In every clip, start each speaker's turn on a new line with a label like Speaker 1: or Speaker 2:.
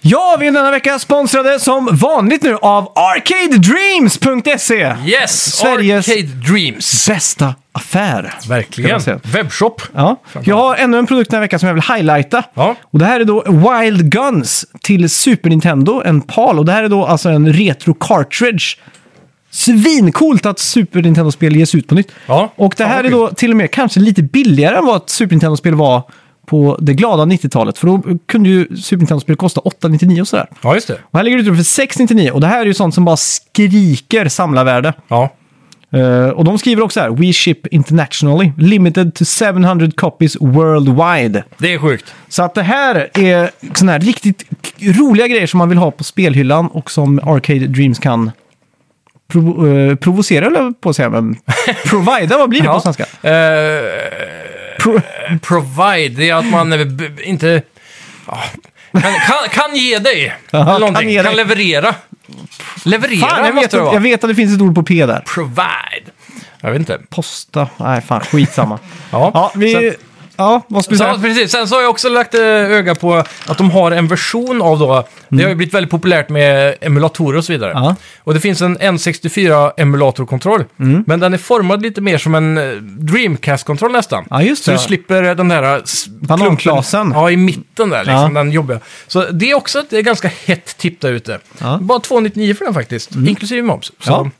Speaker 1: Ja, vi är denna vecka sponsrade som vanligt nu av ArcadeDreams.se!
Speaker 2: Yes!
Speaker 1: Sveriges-
Speaker 2: Arcade Dreams.
Speaker 1: Bästa affär.
Speaker 2: Verkligen.
Speaker 1: Ska man
Speaker 2: Webbshop.
Speaker 1: Ja. Jag har ännu en produkt den här veckan som jag vill highlighta.
Speaker 2: Ja.
Speaker 1: Och det här är då Wild Guns till Super Nintendo, en PAL. Och det här är då alltså en retro cartridge. Svincoolt att Super Nintendo-spel ges ut på nytt.
Speaker 2: Ja.
Speaker 1: Och det
Speaker 2: Fan,
Speaker 1: här
Speaker 2: vad
Speaker 1: är då till och med kanske lite billigare än vad ett Super Nintendo-spel var på det glada 90-talet. För då kunde ju Super Nintendo-spel kosta 899 och sådär.
Speaker 2: Ja, just det.
Speaker 1: Och här ligger det ute för 699 och det här är ju sånt som bara skriker samlarvärde.
Speaker 2: Ja.
Speaker 1: Eh, och de skriver också här, We ship internationally, limited to 700 copies worldwide.
Speaker 2: Det är sjukt.
Speaker 1: Så att det här är såna här riktigt k- roliga grejer som man vill ha på spelhyllan och som Arcade Dreams kan provo- eh, provocera, eller på att säga, men provida, vad blir det på svenska?
Speaker 2: Eh,
Speaker 1: Pro-
Speaker 2: provide, det är att man eh, b- b- inte... ja, Kan, kan, kan ge dig.
Speaker 1: Jaha,
Speaker 2: Eller
Speaker 1: kan
Speaker 2: någonting.
Speaker 1: ge
Speaker 2: kan,
Speaker 1: dig.
Speaker 2: leverera. Leverera
Speaker 1: Fan, jag, vet,
Speaker 2: måste det
Speaker 1: att- jag
Speaker 2: vara.
Speaker 1: vet att det finns ett ord på P där.
Speaker 2: Provide. Jag vet inte.
Speaker 1: Posta, nej fan, skitsamma.
Speaker 2: Ja.
Speaker 1: ja, vi... Ja, vad skulle du
Speaker 2: Så,
Speaker 1: säga?
Speaker 2: precis. Sen så har jag också lagt eh, öga på att de har en version av då, det har ju blivit väldigt populärt med emulatorer och så vidare.
Speaker 1: Mm. Ja.
Speaker 2: Och det finns en N64-emulatorkontroll,
Speaker 1: Mm.
Speaker 2: men den är formad lite mer som en eh, Dreamcast-kontroll nästan.
Speaker 1: Ja, just
Speaker 2: så
Speaker 1: det.
Speaker 2: du slipper eh, den där eh, s-
Speaker 1: Bananklasen.
Speaker 2: klumpen- Ja, i mitten där, liksom,
Speaker 1: Ja.
Speaker 2: den jobbiga. Så det är också ett det är ganska hett tipp där ute.
Speaker 1: Ja. Mm.
Speaker 2: Bara 299 för den faktiskt, inklusive moms. Så,
Speaker 1: Ja.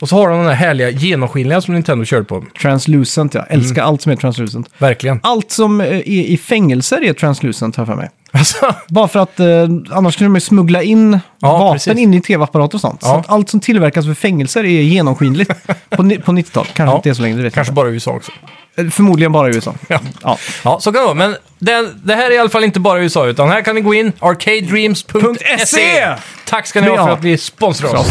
Speaker 2: Och så har de den här härliga genomskinliga som Nintendo körde på.
Speaker 1: Translucent, ja. Älskar allt som är translucent.
Speaker 2: Verkligen.
Speaker 1: Allt som eh, är i fängelser är translucent, har jag för mig.
Speaker 2: Alltså,
Speaker 1: Bara för att eh, annars kunde de ju smuggla in vapen
Speaker 2: precis.
Speaker 1: in i tv-apparater och sånt. Så
Speaker 2: Ja.
Speaker 1: att allt som tillverkas för fängelser är genomskinligt på, ni- på 90-talet. Kanske
Speaker 2: Ja.
Speaker 1: inte är så länge, det vet
Speaker 2: kanske
Speaker 1: jag
Speaker 2: bara i USA också.
Speaker 1: inte. Eh, Förmodligen bara i USA.
Speaker 2: Ja.
Speaker 1: Ja.
Speaker 2: Ja, så kan det vara. Men det, det här är i alla fall inte bara i USA, utan här kan ni gå in arcadedreams.se. E. Tack ska ni ha för att ni sponsrar oss.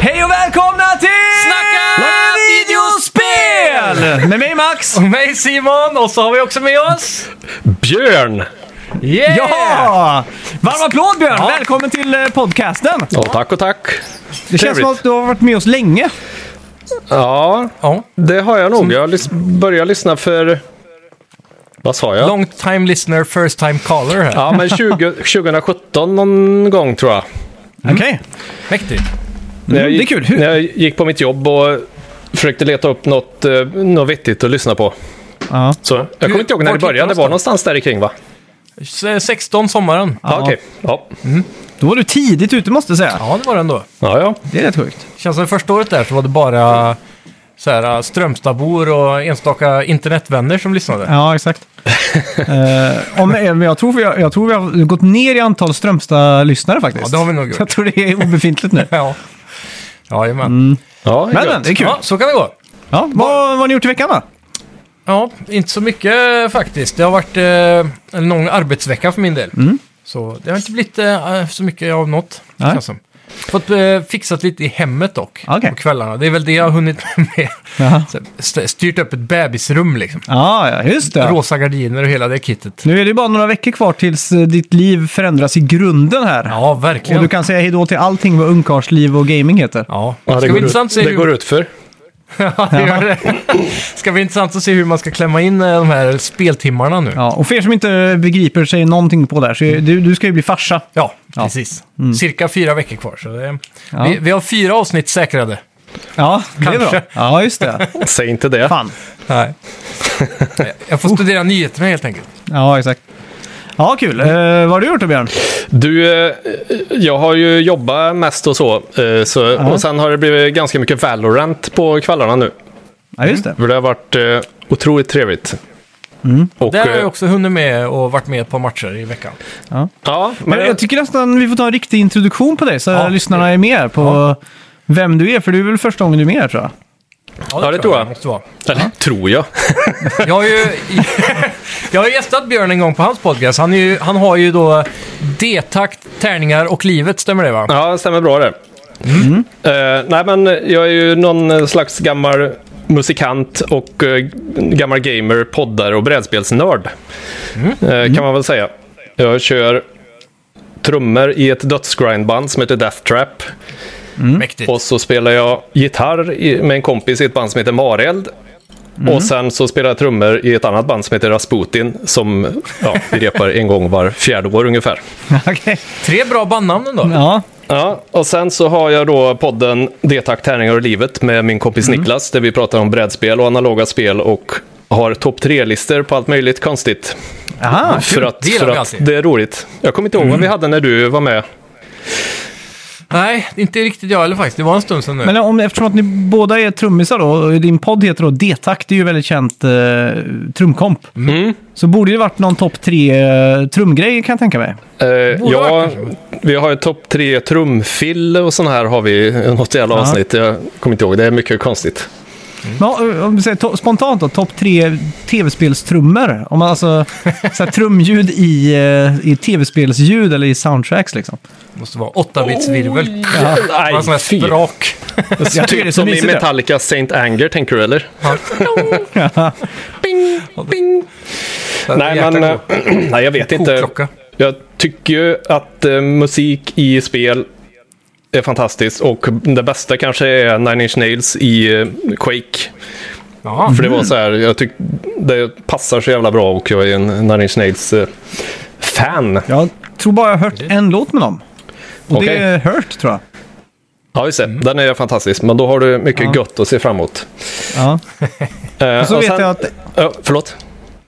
Speaker 1: Hej och välkomna till
Speaker 2: Snacka videospel!
Speaker 1: Videospel! Med mig Max!
Speaker 2: Och mig Simon, och så har vi också med oss...
Speaker 3: Björn!
Speaker 2: Yeah!
Speaker 1: Ja! Varm applåd Björn!
Speaker 2: Ja.
Speaker 1: Välkommen till eh, podcasten!
Speaker 3: Ja, tack och tack.
Speaker 1: Det känns som
Speaker 3: Trevligt.
Speaker 1: att du har varit med oss länge.
Speaker 3: Ja,
Speaker 2: Ja,
Speaker 3: det har jag nog. Jag lys- började lyssna för... Vad sa jag?
Speaker 2: long time listener, first time caller här.
Speaker 3: Ja, men 20, 2017 någon gång tror jag.
Speaker 1: Okej.
Speaker 2: Mäktigt.
Speaker 3: När jag
Speaker 1: det är
Speaker 3: gick,
Speaker 1: kul. Hur-
Speaker 3: När jag gick på mitt jobb och försökte leta upp något, eh, något vettigt att lyssna på.
Speaker 1: Ja.
Speaker 3: Så jag kommer inte ihåg när
Speaker 2: Var
Speaker 3: det började.
Speaker 2: hittar
Speaker 3: Det var någonstans där i kring va?
Speaker 2: S- 16 sommaren.
Speaker 3: Ja, okej. Ja.
Speaker 1: Då var du tidigt ute måste jag säga.
Speaker 2: Ja, det var det ändå.
Speaker 3: ja, ja.
Speaker 1: Det är rätt sjukt.
Speaker 2: Känns som första året där så var det bara så här, Strömstadbor och enstaka internetvänner som lyssnade.
Speaker 1: Ja, exakt. Eh, om, eh, men jag, tror vi har, jag tror vi har gått ner i antal Strömstad-lyssnare faktiskt.
Speaker 2: Ja, det har vi nog gjort.
Speaker 1: Jag tror det är obefintligt nu.
Speaker 2: Ja, jajamän.
Speaker 3: ja
Speaker 1: Men,
Speaker 3: gött.
Speaker 1: men det är kul.
Speaker 2: Ja,
Speaker 1: Ja.
Speaker 2: så kan det gå.
Speaker 1: vad, vad har ni gjort i veckan då?
Speaker 2: Ja, inte så mycket eh, faktiskt. Det har varit eh, en lång arbetsvecka för min del. Så det har inte blivit eh, så mycket av något.
Speaker 1: Mm. Nej.
Speaker 2: känns som. Fått eh, fixat lite i hemmet dock,
Speaker 1: Okej.
Speaker 2: på kvällarna. Det är väl det jag har hunnit med.
Speaker 1: Jaha.
Speaker 2: Så, st- Styrt upp ett bebisrum liksom.
Speaker 1: Ja, ja, just det.
Speaker 2: Rosa gardiner och hela det kittet.
Speaker 1: Nu är det bara några veckor kvar tills eh, ditt liv förändras i grunden här.
Speaker 2: Ja,
Speaker 1: och
Speaker 2: verkligen.
Speaker 1: du kan säga hejdå till allting vad ungkarlsliv och gaming heter.
Speaker 2: Ja.
Speaker 3: Ja, det
Speaker 2: Ska bli
Speaker 3: går,
Speaker 2: intressant att
Speaker 3: ut,
Speaker 2: se
Speaker 3: det går
Speaker 2: hur...
Speaker 3: ut för.
Speaker 2: Ja, det gör det. Ska bli intressant att se hur man ska klämma in eh, de här speltimmarna nu.
Speaker 1: Ja, och för er som inte begriper sig någonting på det här, så är, du, du ska ju bli farsa.
Speaker 2: Ja, precis. Cirka fyra veckor kvar. Så det,
Speaker 1: Mm. Ja.
Speaker 2: vi, vi har fyra avsnitt säkrade.
Speaker 1: Ja, det är
Speaker 2: Kanske.
Speaker 1: bra. Ja, just det.
Speaker 3: Säg inte det.
Speaker 1: Fan.
Speaker 2: Nej. Jag får studera nyheterna helt enkelt.
Speaker 1: Ja, exakt. Ja, kul. Eh, vad har du gjort då, Björn?
Speaker 3: Du, eh, jag har ju jobbat mest och så. eh, så Och sen har det blivit ganska mycket Valorant på kvällarna nu.
Speaker 1: Ja, just det.
Speaker 3: För det har varit eh, otroligt trevligt. Och,
Speaker 2: Där har
Speaker 3: eh,
Speaker 2: jag också hunnit med och varit med på matcher i veckan.
Speaker 3: Ja, men,
Speaker 1: Men jag tycker nästan vi får ta en riktig introduktion på dig så
Speaker 2: Ja.
Speaker 1: lyssnarna är med på vem du är. För det är väl första gången du är med här tror jag.
Speaker 3: Ja, det tror jag.
Speaker 2: måste vara.
Speaker 3: Eller tror jag.
Speaker 2: Jag har ju jag har gästat Björn en gång på hans podcast. Han, är ju, han har ju då D-takt, tärningar och livet, stämmer det va?
Speaker 3: Ja, det stämmer bra det. Eh, nej, men jag är ju någon slags gammal musikant och eh, gammal gamer, poddare och brädspelsnörd.
Speaker 2: Mm.
Speaker 3: Eh, kan man väl säga. Jag kör trummor i ett dödsgrindband som heter Death Trap.
Speaker 2: Mäktigt.
Speaker 3: Mm. Och så spelar jag gitarr i- med en kompis i ett band som heter Mareld.
Speaker 2: Mm.
Speaker 3: Och sen så spelar jag trummor i ett annat band som heter Rasputin som ja, vi repar en gång var fjärde år ungefär.
Speaker 1: Okej.
Speaker 2: Tre bra bandnamn ändå.
Speaker 1: Ja.
Speaker 3: Ja, och sen så har jag då podden D-takt, tärningar och livet med min kompis
Speaker 2: Mm.
Speaker 3: Niklas där vi pratar om brädspel och analoga spel och har topp tre-listor på allt möjligt konstigt.
Speaker 1: Aha.
Speaker 3: För att,
Speaker 2: det gillar
Speaker 3: för
Speaker 2: vi
Speaker 3: att
Speaker 2: alltid. Mm.
Speaker 3: det är roligt. Jag kommer inte ihåg vad vi hade när du var med.
Speaker 2: Nej, inte riktigt jag heller faktiskt. Det var en stund sedan nu.
Speaker 1: Men om, eftersom att ni båda är trummisar då, och din podd heter då D-takt, det är ju väldigt känt eh, trumkomp. Så borde det varit någon topp tre eh, trumgrej kan jag tänka mig.
Speaker 3: Eh,
Speaker 2: Borde
Speaker 3: ja,
Speaker 2: varit
Speaker 3: vi har ju topp tre trumfill och sån här har vi i något jävla
Speaker 1: Ja.
Speaker 3: avsnitt. Jag kommer inte ihåg, det är mycket konstigt.
Speaker 1: Men, eh, om- om du säger to- spontant då, topp tre tv-spelstrummor. Om man alltså, så här, trumljud i, eh, i tv-spelsljud eller i soundtracks liksom.
Speaker 2: måste vara 8-bits-virvel.
Speaker 3: Nej,
Speaker 2: Oh, sån här
Speaker 3: fy.
Speaker 2: sprak.
Speaker 1: Jag tycker det är
Speaker 3: Typ
Speaker 1: så
Speaker 3: som i
Speaker 1: mysigt. det.
Speaker 3: Metallica Saint Anger, tänker du eller? Bing, bing. Nej, men, eh, nej, jag vet inte.
Speaker 2: Koklocka.
Speaker 3: Jag tycker ju att eh, musik i spel är fantastiskt och det bästa kanske är Nine Inch Nails i eh, Quake.
Speaker 1: Mm.
Speaker 2: Ja,
Speaker 3: För det var så här, jag tyck, det passar så jävla bra och jag är en Nine Inch Nails eh, fan.
Speaker 1: Jag tror bara jag har hört en låt med dem. Och det Mm.
Speaker 3: Okej.
Speaker 1: är Hurt tror jag.
Speaker 3: Ja, just det. Den är fantastisk, men då har du mycket gött att se fram emot.
Speaker 1: Ja.
Speaker 3: Eh,
Speaker 1: Och så
Speaker 3: och
Speaker 1: vet
Speaker 3: sen-
Speaker 1: jag att...
Speaker 3: Ja, förlåt?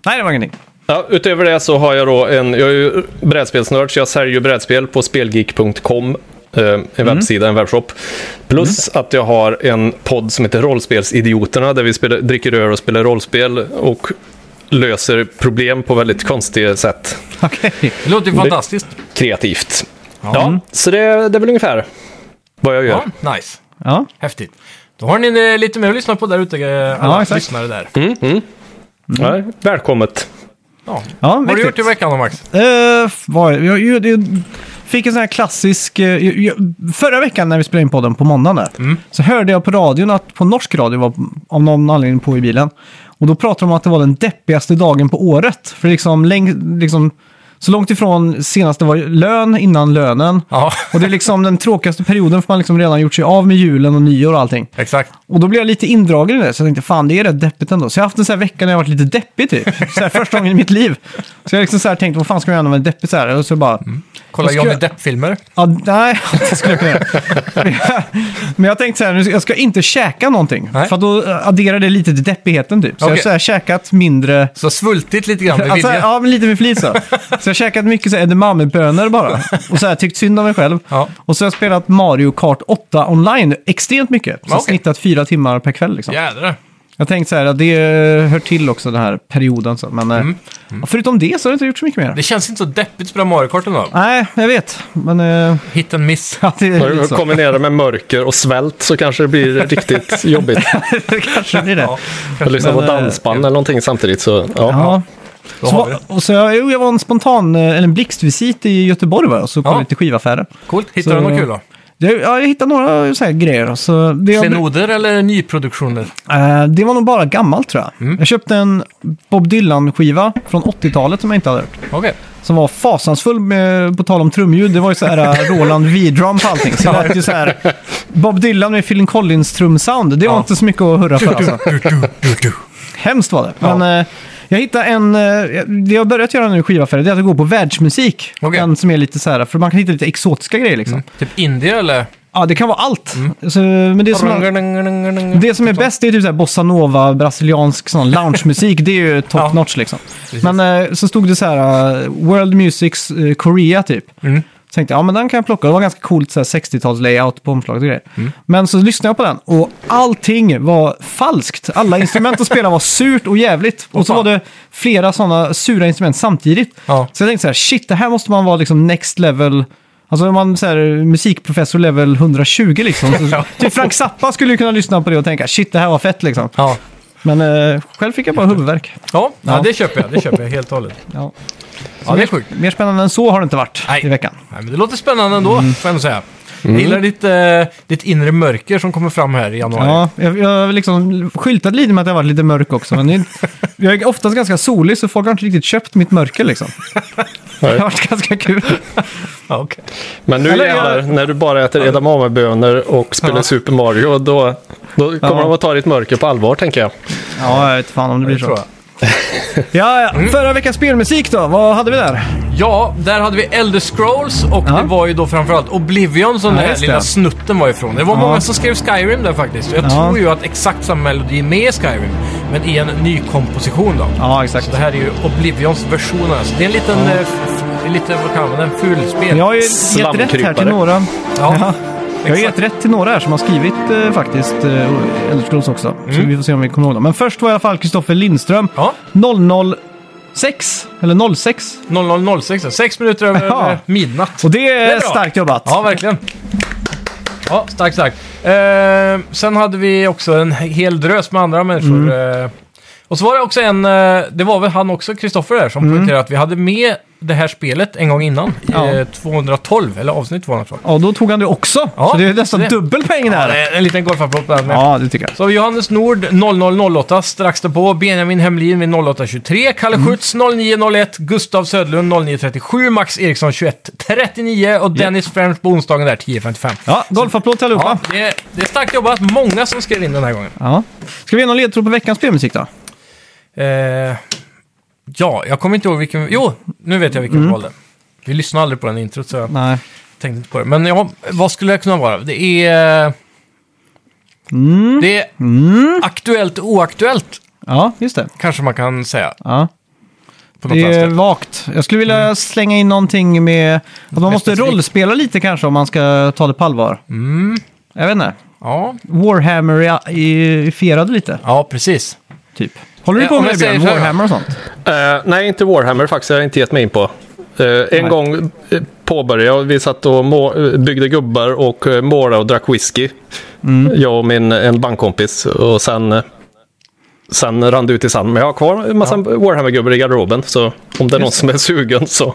Speaker 1: Nej, det var ingenting.
Speaker 3: Ja, utöver det så har jag då en, jag är ju brädspelsnörd så jag säljer ju brädspel på spelgeek.com, eh, en
Speaker 1: Mm.
Speaker 3: webbsida, en webbshop. Plus att jag har en podd som heter Rollspelsidioterna där vi spelar, dricker öl och spelar rollspel och löser problem på väldigt konstiga sätt,
Speaker 1: Okej.
Speaker 2: det låter ju fantastiskt. Mm.
Speaker 3: kreativt. Ja, så det, det är väl ungefär vad jag gör.
Speaker 2: Ja, nice.
Speaker 1: Ja.
Speaker 2: Häftigt. Då har ni eh, lite mer att lyssna på där ute, eh, alla
Speaker 1: Ja, exakt. Mm.
Speaker 2: lyssnare där.
Speaker 3: Ja, välkommet.
Speaker 2: Ja.
Speaker 1: Ja,
Speaker 2: Vad har du
Speaker 1: mäktigt.
Speaker 2: gjort i veckan då, Max?
Speaker 1: Eh, vad, jag, jag, jag fick en sån här klassisk... eh, jag, jag, förra veckan när vi spelade in podden på måndagen där,
Speaker 2: Mm.
Speaker 1: så hörde jag på radion att på norsk radio var av någon anledning på i bilen. Och då pratade de om att det var den deppigaste dagen på året. För liksom, läng, liksom så långt ifrån senast det var lön innan lönen.
Speaker 2: Ja,
Speaker 1: Och det är liksom den tråkigaste perioden för man liksom redan gjort sig av med julen och nyår och allting.
Speaker 2: exakt.
Speaker 1: Och då blev jag lite indragen i det, så jag tänkte fan det är rätt deppigt ändå. Så jag har haft en sån här vecka när jag har varit lite deppig typ. Så här, första gången i mitt liv. Så jag liksom så här tänkte, vad fan ska jag göra när man är deppig så här? Och så bara,
Speaker 2: Kolla
Speaker 1: Vad ska
Speaker 2: Johnny
Speaker 1: jag-
Speaker 2: Depp-filmer.
Speaker 1: ja, nej, det skulle jag kunna göra. Men jag- Men jag tänkte så här, nu ska- jag ska inte käka någonting.
Speaker 2: Nej.
Speaker 1: För att då eh, adderar det lite till deppigheten typ. Så jag har
Speaker 2: Okej.
Speaker 1: så här käkat mindre...
Speaker 2: Så svultit lite grann med
Speaker 1: Alltså,
Speaker 2: vilja.
Speaker 1: ja, men lite med flit så. Så jag har käkat mycket så här edamamebönor bara. Och så här tyckt synd om mig själv.
Speaker 2: Ja.
Speaker 1: Och så har jag spelat Mario Kart 8 online extremt mycket. Så
Speaker 2: Ja, okej.
Speaker 1: snittat fyra timmar per kväll liksom.
Speaker 2: Jädrar.
Speaker 1: Jag tänkte så här att det eh, hör till också den här perioden. Så. Men eh, ja, förutom det så har jag inte gjort så mycket mer.
Speaker 2: Mm. Det känns inte så deppigt att spela Mario Kart ändå.
Speaker 1: Nej, jag vet. Men eh,
Speaker 2: Hit and miss.
Speaker 1: ja, det är lite så.
Speaker 3: Kombinera med mörker och svält så kanske det blir riktigt jobbigt.
Speaker 1: det kanske blir det.
Speaker 2: Ja,
Speaker 1: Ja.
Speaker 3: Jag lyssnar på
Speaker 1: Men, eh,
Speaker 3: dansband eller någonting samtidigt så ja.
Speaker 2: då
Speaker 1: Så,
Speaker 2: har vi
Speaker 1: va-
Speaker 2: det.
Speaker 1: och så jag, jo, jag var en spontan, eh, eller en blixtvisit i Göteborg var jag, och så kom
Speaker 2: Ja.
Speaker 1: jag till skivaffären.
Speaker 2: Coolt. Hittar
Speaker 1: Så-
Speaker 2: du något kul då?
Speaker 1: Jag, ja, jag hittade några eh, så här grejer. och Så det, jag,
Speaker 2: Klenoder eller nyproduktioner?
Speaker 1: eh, det var nog bara gammalt tror jag.
Speaker 2: Mm.
Speaker 1: Jag köpte en Bob Dylan-skiva från 80-talet som jag inte hade hört.
Speaker 2: Okej.
Speaker 1: som var fasansfull med, på tal om trumljud. Det var ju så här eh, Roland Widrum på allting. Så det lät ju så här Bob Dylan med Phil Collins trumsound. Det var
Speaker 2: Ja.
Speaker 1: inte så mycket att hurra för alltså. Hemskt var det.
Speaker 2: Ja.
Speaker 1: Men eh, jag hittade en, eh, det jag har börjat göra nu i skivaffärer, det är att gå på världsmusik.
Speaker 2: Okej.
Speaker 1: Den som är lite så här, för man kan hitta lite exotiska grejer liksom.
Speaker 2: Typ Indien eller?
Speaker 1: Ja, det kan vara allt.
Speaker 2: Mm.
Speaker 1: Så, men det som, det som är bäst det är typ så här bossa nova, brasiliansk sån loungemusik. Det är ju top
Speaker 2: Ja.
Speaker 1: notch liksom. Men eh, så stod det så här eh, World Musics eh, Korea typ.
Speaker 2: Mm.
Speaker 1: Så tänkte jag, ja men den kan jag plocka. Det var ganska coolt så här 60-tals layout på omslaget och grejer.
Speaker 2: Mm.
Speaker 1: Men så lyssnade jag på den och allting var falskt. Alla instrument att spela var surt och jävligt. Och så
Speaker 2: fan.
Speaker 1: var det flera sådana sura instrument samtidigt.
Speaker 2: Ja.
Speaker 1: Så jag tänkte så här, shit det här måste man vara liksom next level. Alltså om man säger musikprofessor level 120 liksom. Så, typ Frank Zappa skulle ju kunna lyssna på det och tänka shit det här var fett liksom.
Speaker 2: Ja.
Speaker 1: Men eh, själv fick jag bara huvudvärk.
Speaker 2: Ja, ja,
Speaker 1: Ja.
Speaker 2: det köper jag. Det köper jag helt och hållet.
Speaker 1: Ja.
Speaker 2: Ja, det är sjukt.
Speaker 1: Mer spännande än så har det inte varit
Speaker 2: Nej.
Speaker 1: i veckan.
Speaker 2: Nej, men det låter spännande ändå,
Speaker 1: Mm.
Speaker 2: får jag ändå säga. Jag gillar ditt, eh, ditt inre mörker som kommer fram här i januari.
Speaker 1: Ja, jag jag har liksom skyltat lite med att jag varit lite mörk också. Men det- jag är oftast ganska solig så folk har inte riktigt köpt mitt mörker liksom. Det
Speaker 3: Nej.
Speaker 1: har varit ganska kul.
Speaker 2: Ja, okej.
Speaker 3: Men nu
Speaker 1: Eller
Speaker 3: jävlar,
Speaker 1: jag-
Speaker 3: när du bara äter edamamebönor och spelar
Speaker 1: Ja.
Speaker 3: Super Mario, då, då kommer
Speaker 1: Ja.
Speaker 3: de att ta ditt mörker på allvar, tänker jag.
Speaker 1: Ja, jag vet fan om det blir
Speaker 2: Det tror
Speaker 1: så. Mm.
Speaker 2: jag.
Speaker 1: Ja, ja. Förra veckans spelmusik då, vad hade vi där?
Speaker 2: Ja, där hade vi Elder Scrolls och
Speaker 1: Ja.
Speaker 2: det var ju då framförallt Oblivion som
Speaker 1: Ja,
Speaker 2: den här
Speaker 1: just
Speaker 2: lilla
Speaker 1: det.
Speaker 2: snutten var ifrån. Det var
Speaker 1: Ja.
Speaker 2: många som skrev Skyrim där faktiskt. Jag
Speaker 1: Ja.
Speaker 2: tror ju att exakt samma melodi är med i Skyrim, men i en ny komposition då.
Speaker 1: Ja,
Speaker 2: Så
Speaker 1: exakt.
Speaker 2: det här är ju Oblivions version alltså. Det är en liten, eh, f- det är lite, vad kallar man den, fulspel.
Speaker 1: Jag har ju gett rätt här till
Speaker 3: Slamkrypare.
Speaker 1: några.
Speaker 2: Ja.
Speaker 1: Ja. Jag har
Speaker 2: Exakt.
Speaker 1: gett rätt till några här som har skrivit eh, faktiskt eh, Elder Scrolls också. Så vi får se om vi kommer ihåg dem. Men först var i alla fall Kristoffer Lindström.
Speaker 2: Ja.
Speaker 1: 006, eller 06.
Speaker 2: 00.06, sex minuter över
Speaker 1: Ja.
Speaker 2: eh, midnatt.
Speaker 1: Och det är,
Speaker 2: bra.
Speaker 1: starkt jobbat.
Speaker 2: Ja, verkligen. Ja, starkt, starkt. Eh, sen hade vi också en hel drös med andra människor. Eh, och så var det också en, eh, det var väl han också, Kristoffer där, som poängterade att vi hade med det här spelet en gång innan,
Speaker 1: Ja.
Speaker 2: i eh, 212, eller avsnitt 212.
Speaker 1: Ja, då tog han det också.
Speaker 2: Ja,
Speaker 1: så det är nästan
Speaker 2: det-
Speaker 1: dubbel peng
Speaker 2: Ja,
Speaker 1: där.
Speaker 2: det
Speaker 1: Ja,
Speaker 2: är Eh, en liten golfapplåd på den med.
Speaker 1: det tycker jag.
Speaker 2: Så har vi Johannes Nord 0008 strax därpå, Benjamin Hemlin vid 0823, Kalle Schütz 0901, Gustav Södlund 0937, Max Eriksson 2139 och Dennis French på onsdagen där 1055.
Speaker 1: Ja, golfapplåd till allihopa.
Speaker 2: Ja, det, är- det är starkt jobbat. Många som skrev in den här gången.
Speaker 1: Ja. Ska vi ge någon ledtråd på veckans spelmusik då?
Speaker 2: Eh, ja, jag kommer inte ihåg vilken... Jo, nu vet jag vilken
Speaker 3: Mm.
Speaker 2: vi valde. Vi lyssnade aldrig på den introt, så jag
Speaker 1: Nej.
Speaker 2: tänkte inte på det. Men ja, vad skulle det kunna vara? Det är...
Speaker 3: Mm.
Speaker 2: Det är aktuellt oaktuellt,
Speaker 1: Ja, just det.
Speaker 2: kanske man kan säga.
Speaker 1: Ja.
Speaker 2: På något
Speaker 1: Det är
Speaker 2: vänster.
Speaker 1: vagt. Jag skulle vilja
Speaker 2: Mm.
Speaker 1: slänga in någonting med att man måste
Speaker 2: Mästerstryk.
Speaker 1: rollspela lite kanske om man ska ta det på allvar.
Speaker 2: Mm.
Speaker 1: Jag vet inte.
Speaker 2: Ja,
Speaker 1: Warhammerifierade lite,
Speaker 2: ja, precis.
Speaker 1: typ. Håller du
Speaker 2: Eh,
Speaker 1: på
Speaker 2: om
Speaker 1: med det
Speaker 2: jag
Speaker 1: Björn?
Speaker 2: säger så här då.
Speaker 1: Warhammer och sånt?
Speaker 3: Eh, nej, inte Warhammer faktiskt. Jag har jag inte gett mig in på. Eh, en gång eh, påbörjade jag. Vi satt och må- eh, byggde gubbar och eh, målade och drack whisky. Jag och min, en bankkompis. Och sen, eh, sen rann det ut i sanden. Men jag har kvar en massa Warhammer-gubbar i garderoben. Så om det är någon som är sugen så...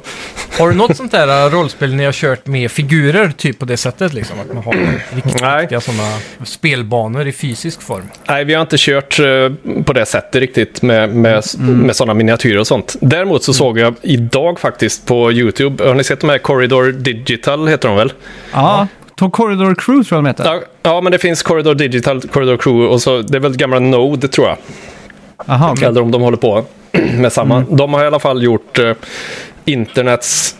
Speaker 2: Har du något sånt där rollspel ni har kört med figurer, typ på det sättet liksom? Att man har riktigt
Speaker 3: Nej.
Speaker 2: riktiga sådana spelbanor i fysisk form?
Speaker 3: Nej, vi har inte kört eh, på det sättet riktigt med, med, med sådana miniatyrer och sånt. Däremot så såg jag idag faktiskt på YouTube. Har ni sett de här Corridor Digital heter de väl?
Speaker 1: Ja. Tog Corridor Crew tror jag de heter.
Speaker 3: Ja, ja, men det finns Corridor Digital, Corridor Crew och så det är väl gamla Node tror jag.
Speaker 1: Aha, okej. Mm.
Speaker 3: Eller om de håller på med samma. De har i alla fall gjort eh, internets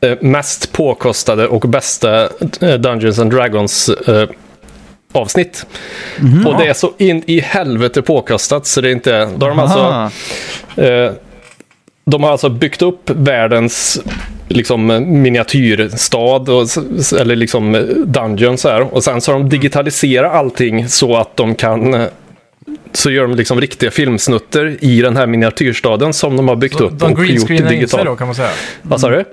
Speaker 3: eh, mest påkostade och bästa eh, Dungeons and Dragons eh, avsnitt.
Speaker 1: Mhm.
Speaker 3: och det är så in i helvete påkostat så det är inte... Då har de alltså
Speaker 1: Aha.
Speaker 3: Eh, de har alltså byggt upp världens liksom, eh, miniatyrstad, och, s- s- eller liksom eh, dungeon så här. Och sen så har de digitaliserat allting så att de kan... eh, Så gör de liksom riktiga filmsnutter i den här miniatyrstaden som de har byggt upp
Speaker 2: De
Speaker 3: och gjort
Speaker 2: greenscreenar in sig
Speaker 3: digitalt.
Speaker 2: då, kan man säga.
Speaker 3: Vad sa du?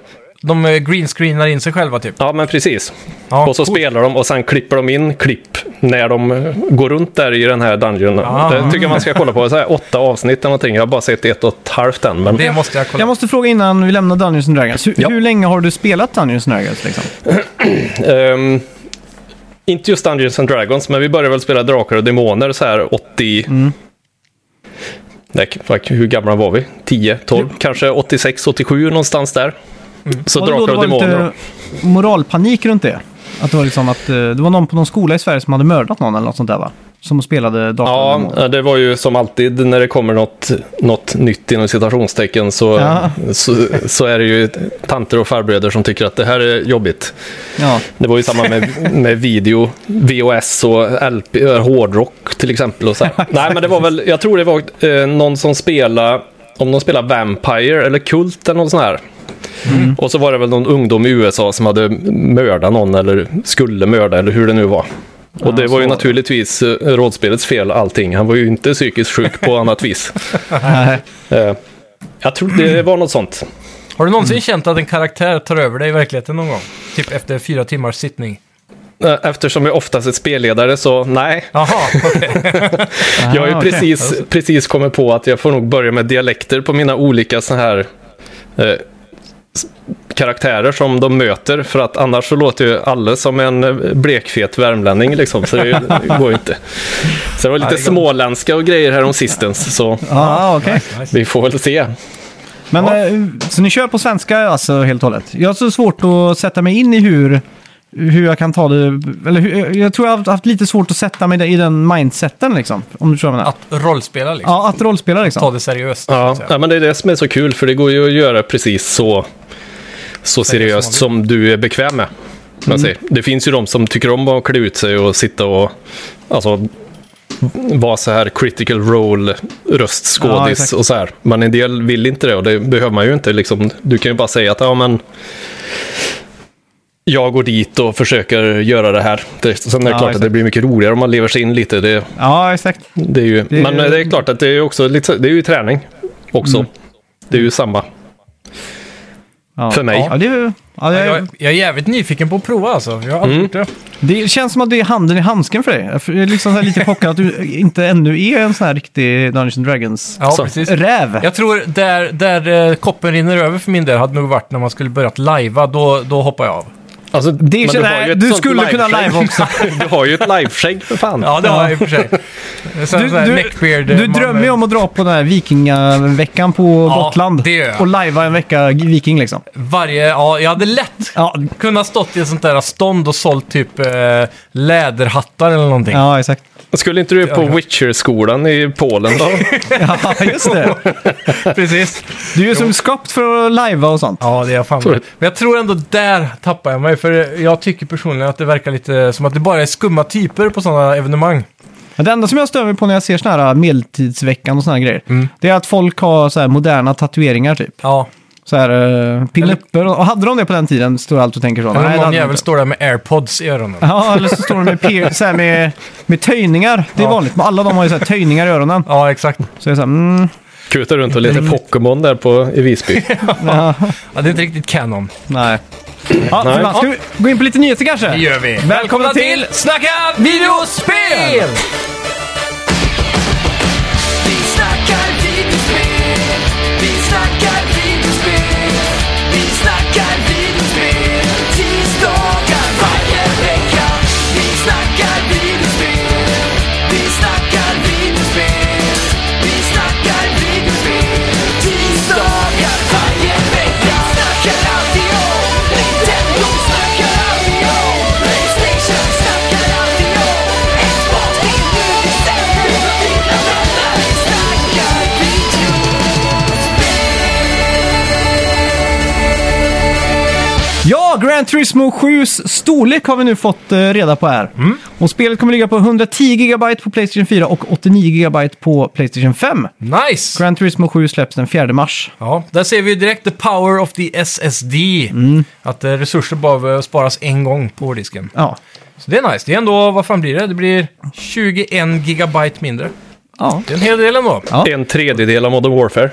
Speaker 2: De eh, greenscreenar in sig själva typ.
Speaker 3: Ja, men precis.
Speaker 2: Ja,
Speaker 3: och så
Speaker 2: coolt.
Speaker 3: spelar de och sen klipper de in klipp när de eh, går runt där i den här dungeon.
Speaker 2: Ah.
Speaker 3: Det tycker jag man ska kolla på. Så här, åtta avsnitt eller någonting. Jag har bara sett ett och ett halvt än. Men...
Speaker 2: Det måste jag kolla.
Speaker 1: Jag måste fråga innan vi lämnar Dungeons and Dragons. Hur,
Speaker 3: Ja.
Speaker 1: hur länge har du spelat Dungeons and Dragons? Liksom?
Speaker 3: Ehm, inte just Dungeons and Dragons, men vi började väl spela Drakar och Demoner så här 80...
Speaker 1: Mm.
Speaker 3: Nej, fuck, hur gamla var vi? 10, 12, kanske 86, 87 någonstans där. Så
Speaker 1: Var Mm. det då
Speaker 3: Drakar och
Speaker 1: det var
Speaker 3: Demoner.
Speaker 1: lite moralpanik runt det? Att det, var liksom att, eh, det var någon på någon skola i Sverige som hade mördat någon eller något sånt där va? Som spelade Drakar och
Speaker 3: Ja, eh,
Speaker 1: Demoner.
Speaker 3: det var ju som alltid när det kommer något, något nytt inom citationstecken så,
Speaker 1: Ja.
Speaker 3: så, så är det ju tanter och farbröder som tycker att det här är jobbigt.
Speaker 1: Ja.
Speaker 3: Det var ju samma med, med video, VHS och LP, eh, hårdrock till exempel. Och så här. Nej, men det var väl, jag tror det var eh, någon som spelade, om de spelade Vampire eller Kult eller någon sån här.
Speaker 1: Mm.
Speaker 3: Och så var det väl någon ungdom i USA som hade mördat någon eller skulle mörda eller hur det nu var. Och det
Speaker 1: Ja,
Speaker 3: var ju
Speaker 1: så.
Speaker 3: naturligtvis eh, rådspelets fel allting. Han var ju inte psykiskt sjuk på annat vis.
Speaker 1: Nej.
Speaker 3: Eh, jag tror det var något sånt.
Speaker 2: Har du någonsin känt att en karaktär tar över dig i verkligheten någon gång? Typ efter fyra timmars sittning.
Speaker 3: Eh, Eftersom jag oftast är spelledare så nej.
Speaker 2: Jaha, okej.
Speaker 3: jag har ju
Speaker 1: Ah, okej.
Speaker 3: precis, precis kommit på att jag får nog börja med dialekter på mina olika så här eh, s- karaktärer som de möter. För att annars så låter ju alla som en eh, blekfet värmlänning liksom. Så det ju- går ju inte. Så det var lite
Speaker 2: det går.
Speaker 3: småländska och grejer här om sistens. Så
Speaker 1: ah, okej.
Speaker 2: nice.
Speaker 3: vi får väl se.
Speaker 1: Men eh, så ni kör på svenska alltså helt och hållet? Jag har så svårt att sätta mig in i hur, hur jag kan ta det... Eller hur, jag tror jag har haft- haft lite svårt att sätta mig i den mindseten liksom. Om du tror vad jag menar.
Speaker 2: Att rollspela liksom.
Speaker 1: Ja, att rollspela
Speaker 2: Ta
Speaker 1: liksom.
Speaker 2: det seriöst. så
Speaker 3: Ja,
Speaker 2: att säga.
Speaker 3: ja, men det är det som är så kul för det går ju att göra precis så, så seriöst som du är bekväm med. om jag säger. Det finns ju de som tycker om att klä ut sig och sitta och alltså, vara så här critical role
Speaker 1: Ja,
Speaker 3: röstskådis
Speaker 1: exakt.
Speaker 3: och så här. Men en del vill inte det och det behöver man ju inte. Liksom. Du kan ju bara säga att ja, men jag går dit och försöker göra det här. Det, sen är det
Speaker 1: Ja,
Speaker 3: klart att
Speaker 1: exakt.
Speaker 3: det blir mycket roligare om man lever sig in lite. Det,
Speaker 1: Ja, exakt.
Speaker 3: det är ju,
Speaker 1: är
Speaker 3: men
Speaker 1: ju-
Speaker 3: det är klart att det är, också lite, det är ju träning också.
Speaker 1: Mm.
Speaker 3: Det är ju samma
Speaker 1: Ja.
Speaker 3: för mig.
Speaker 1: Ja, det, är- ja, det, är-
Speaker 2: Jag, jag är jävligt nyfiken på att prova alltså. Jag har
Speaker 3: Mm.
Speaker 2: aldrig gjort det.
Speaker 1: det känns som att det är handen i handsken för dig. Jag är liksom så här lite chockad att du inte ännu är en sån här riktig Dungeons and Dragons
Speaker 2: Ja,
Speaker 3: Så.
Speaker 2: precis.
Speaker 1: räv.
Speaker 2: Jag tror där, där eh, koppen rinner över för min del hade nog varit när man skulle börjat lajva. Då, då hoppar jag av.
Speaker 3: Alltså,
Speaker 1: Det är
Speaker 3: men
Speaker 1: så- nej, du
Speaker 3: sånt
Speaker 1: skulle kunna
Speaker 3: liveskägg.
Speaker 1: live också.
Speaker 3: du har ju ett liveskägg för fan.
Speaker 2: Ja, det har jag i och för sig. Sen,
Speaker 1: Du-
Speaker 2: så här
Speaker 1: du-
Speaker 2: neckbeard, eh,
Speaker 1: Du
Speaker 2: man-
Speaker 1: drömmer ju om att dra på den här vikingaveckan på
Speaker 2: Ja,
Speaker 1: Gotland.
Speaker 2: det gör jag.
Speaker 1: Och lajva en vecka viking liksom.
Speaker 2: Varje, ja, jag hade lätt
Speaker 1: Ja,
Speaker 2: kunnat stått i ett sånt där stånd och sålt typ eh, läderhattar eller någonting.
Speaker 1: ja exakt.
Speaker 3: Skulle inte du på Witcher-skolan i Polen då?
Speaker 1: Ja, just det.
Speaker 2: Precis.
Speaker 1: Du är ju som skapt för att lajva och sånt.
Speaker 2: Ja, det är jag fan
Speaker 3: Tror
Speaker 2: med.
Speaker 3: du?
Speaker 2: Men jag tror ändå där tappar jag mig. För jag tycker personligen att det verkar lite som att det bara är skumma typer på sådana evenemang.
Speaker 1: Men det enda som jag stör mig på när jag ser såna här medeltidsveckan och såna här grejer,
Speaker 2: Mm.
Speaker 1: det är att folk har så här moderna tatueringar typ.
Speaker 2: Ja,
Speaker 1: Så här uh, pinupper. Och och hade de det på den tiden står jag alltid och tänker så.
Speaker 2: eller
Speaker 1: det
Speaker 2: någon
Speaker 1: hade de
Speaker 2: jävel
Speaker 1: inte.
Speaker 2: står där med airpods i öronen.
Speaker 1: Ja, eller så står de med, pier- så här med, med töjningar. Det är
Speaker 2: Ja.
Speaker 1: vanligt, men alla de har ju så här töjningar i öronen.
Speaker 2: Ja, exakt.
Speaker 1: Så jag är så här, mm,
Speaker 3: Kutar runt och letar Pokémon där på, i Visby.
Speaker 2: Ja, det är inte riktigt canon.
Speaker 1: nej. Ja,
Speaker 3: Nej.
Speaker 1: förband, ska vi gå in på lite nyheter kanske?
Speaker 2: Det gör vi.
Speaker 1: Välkomna, till
Speaker 2: Snacka videospel!
Speaker 4: Vi snackar videospel, vi snackar videospel, vi snackar videospel, tisdagar varje vecka. Vi snackar videospel, vi snackar videospel, vi snackar videospel, tisdagar varje vecka. Snackar alltid om Nintendo, snackar alltid om Playstation, snackar alltid om Xbox, det är nu det stämmer. Vi snackar videospel.
Speaker 1: Ja, Gran Turismo 7s storlek har vi nu fått eh, reda på här. Och spelet kommer ligga på 110 GB på Playstation 4 och 89 GB på Playstation 5.
Speaker 2: Nice!
Speaker 1: Gran Turismo 7 släpps den 4 mars.
Speaker 2: Ja, där ser vi ju direkt the power of the SSD.
Speaker 1: Mm.
Speaker 2: Att eh, resurser bara sparas en gång på hårddisken.
Speaker 1: Ja.
Speaker 2: Så det är nice. Det är ändå, vad fan blir det? Det blir 21 gigabyte mindre.
Speaker 1: Ja.
Speaker 2: Det är en hel del ändå.
Speaker 1: Ja.
Speaker 3: En tredjedel av Modern Warfare.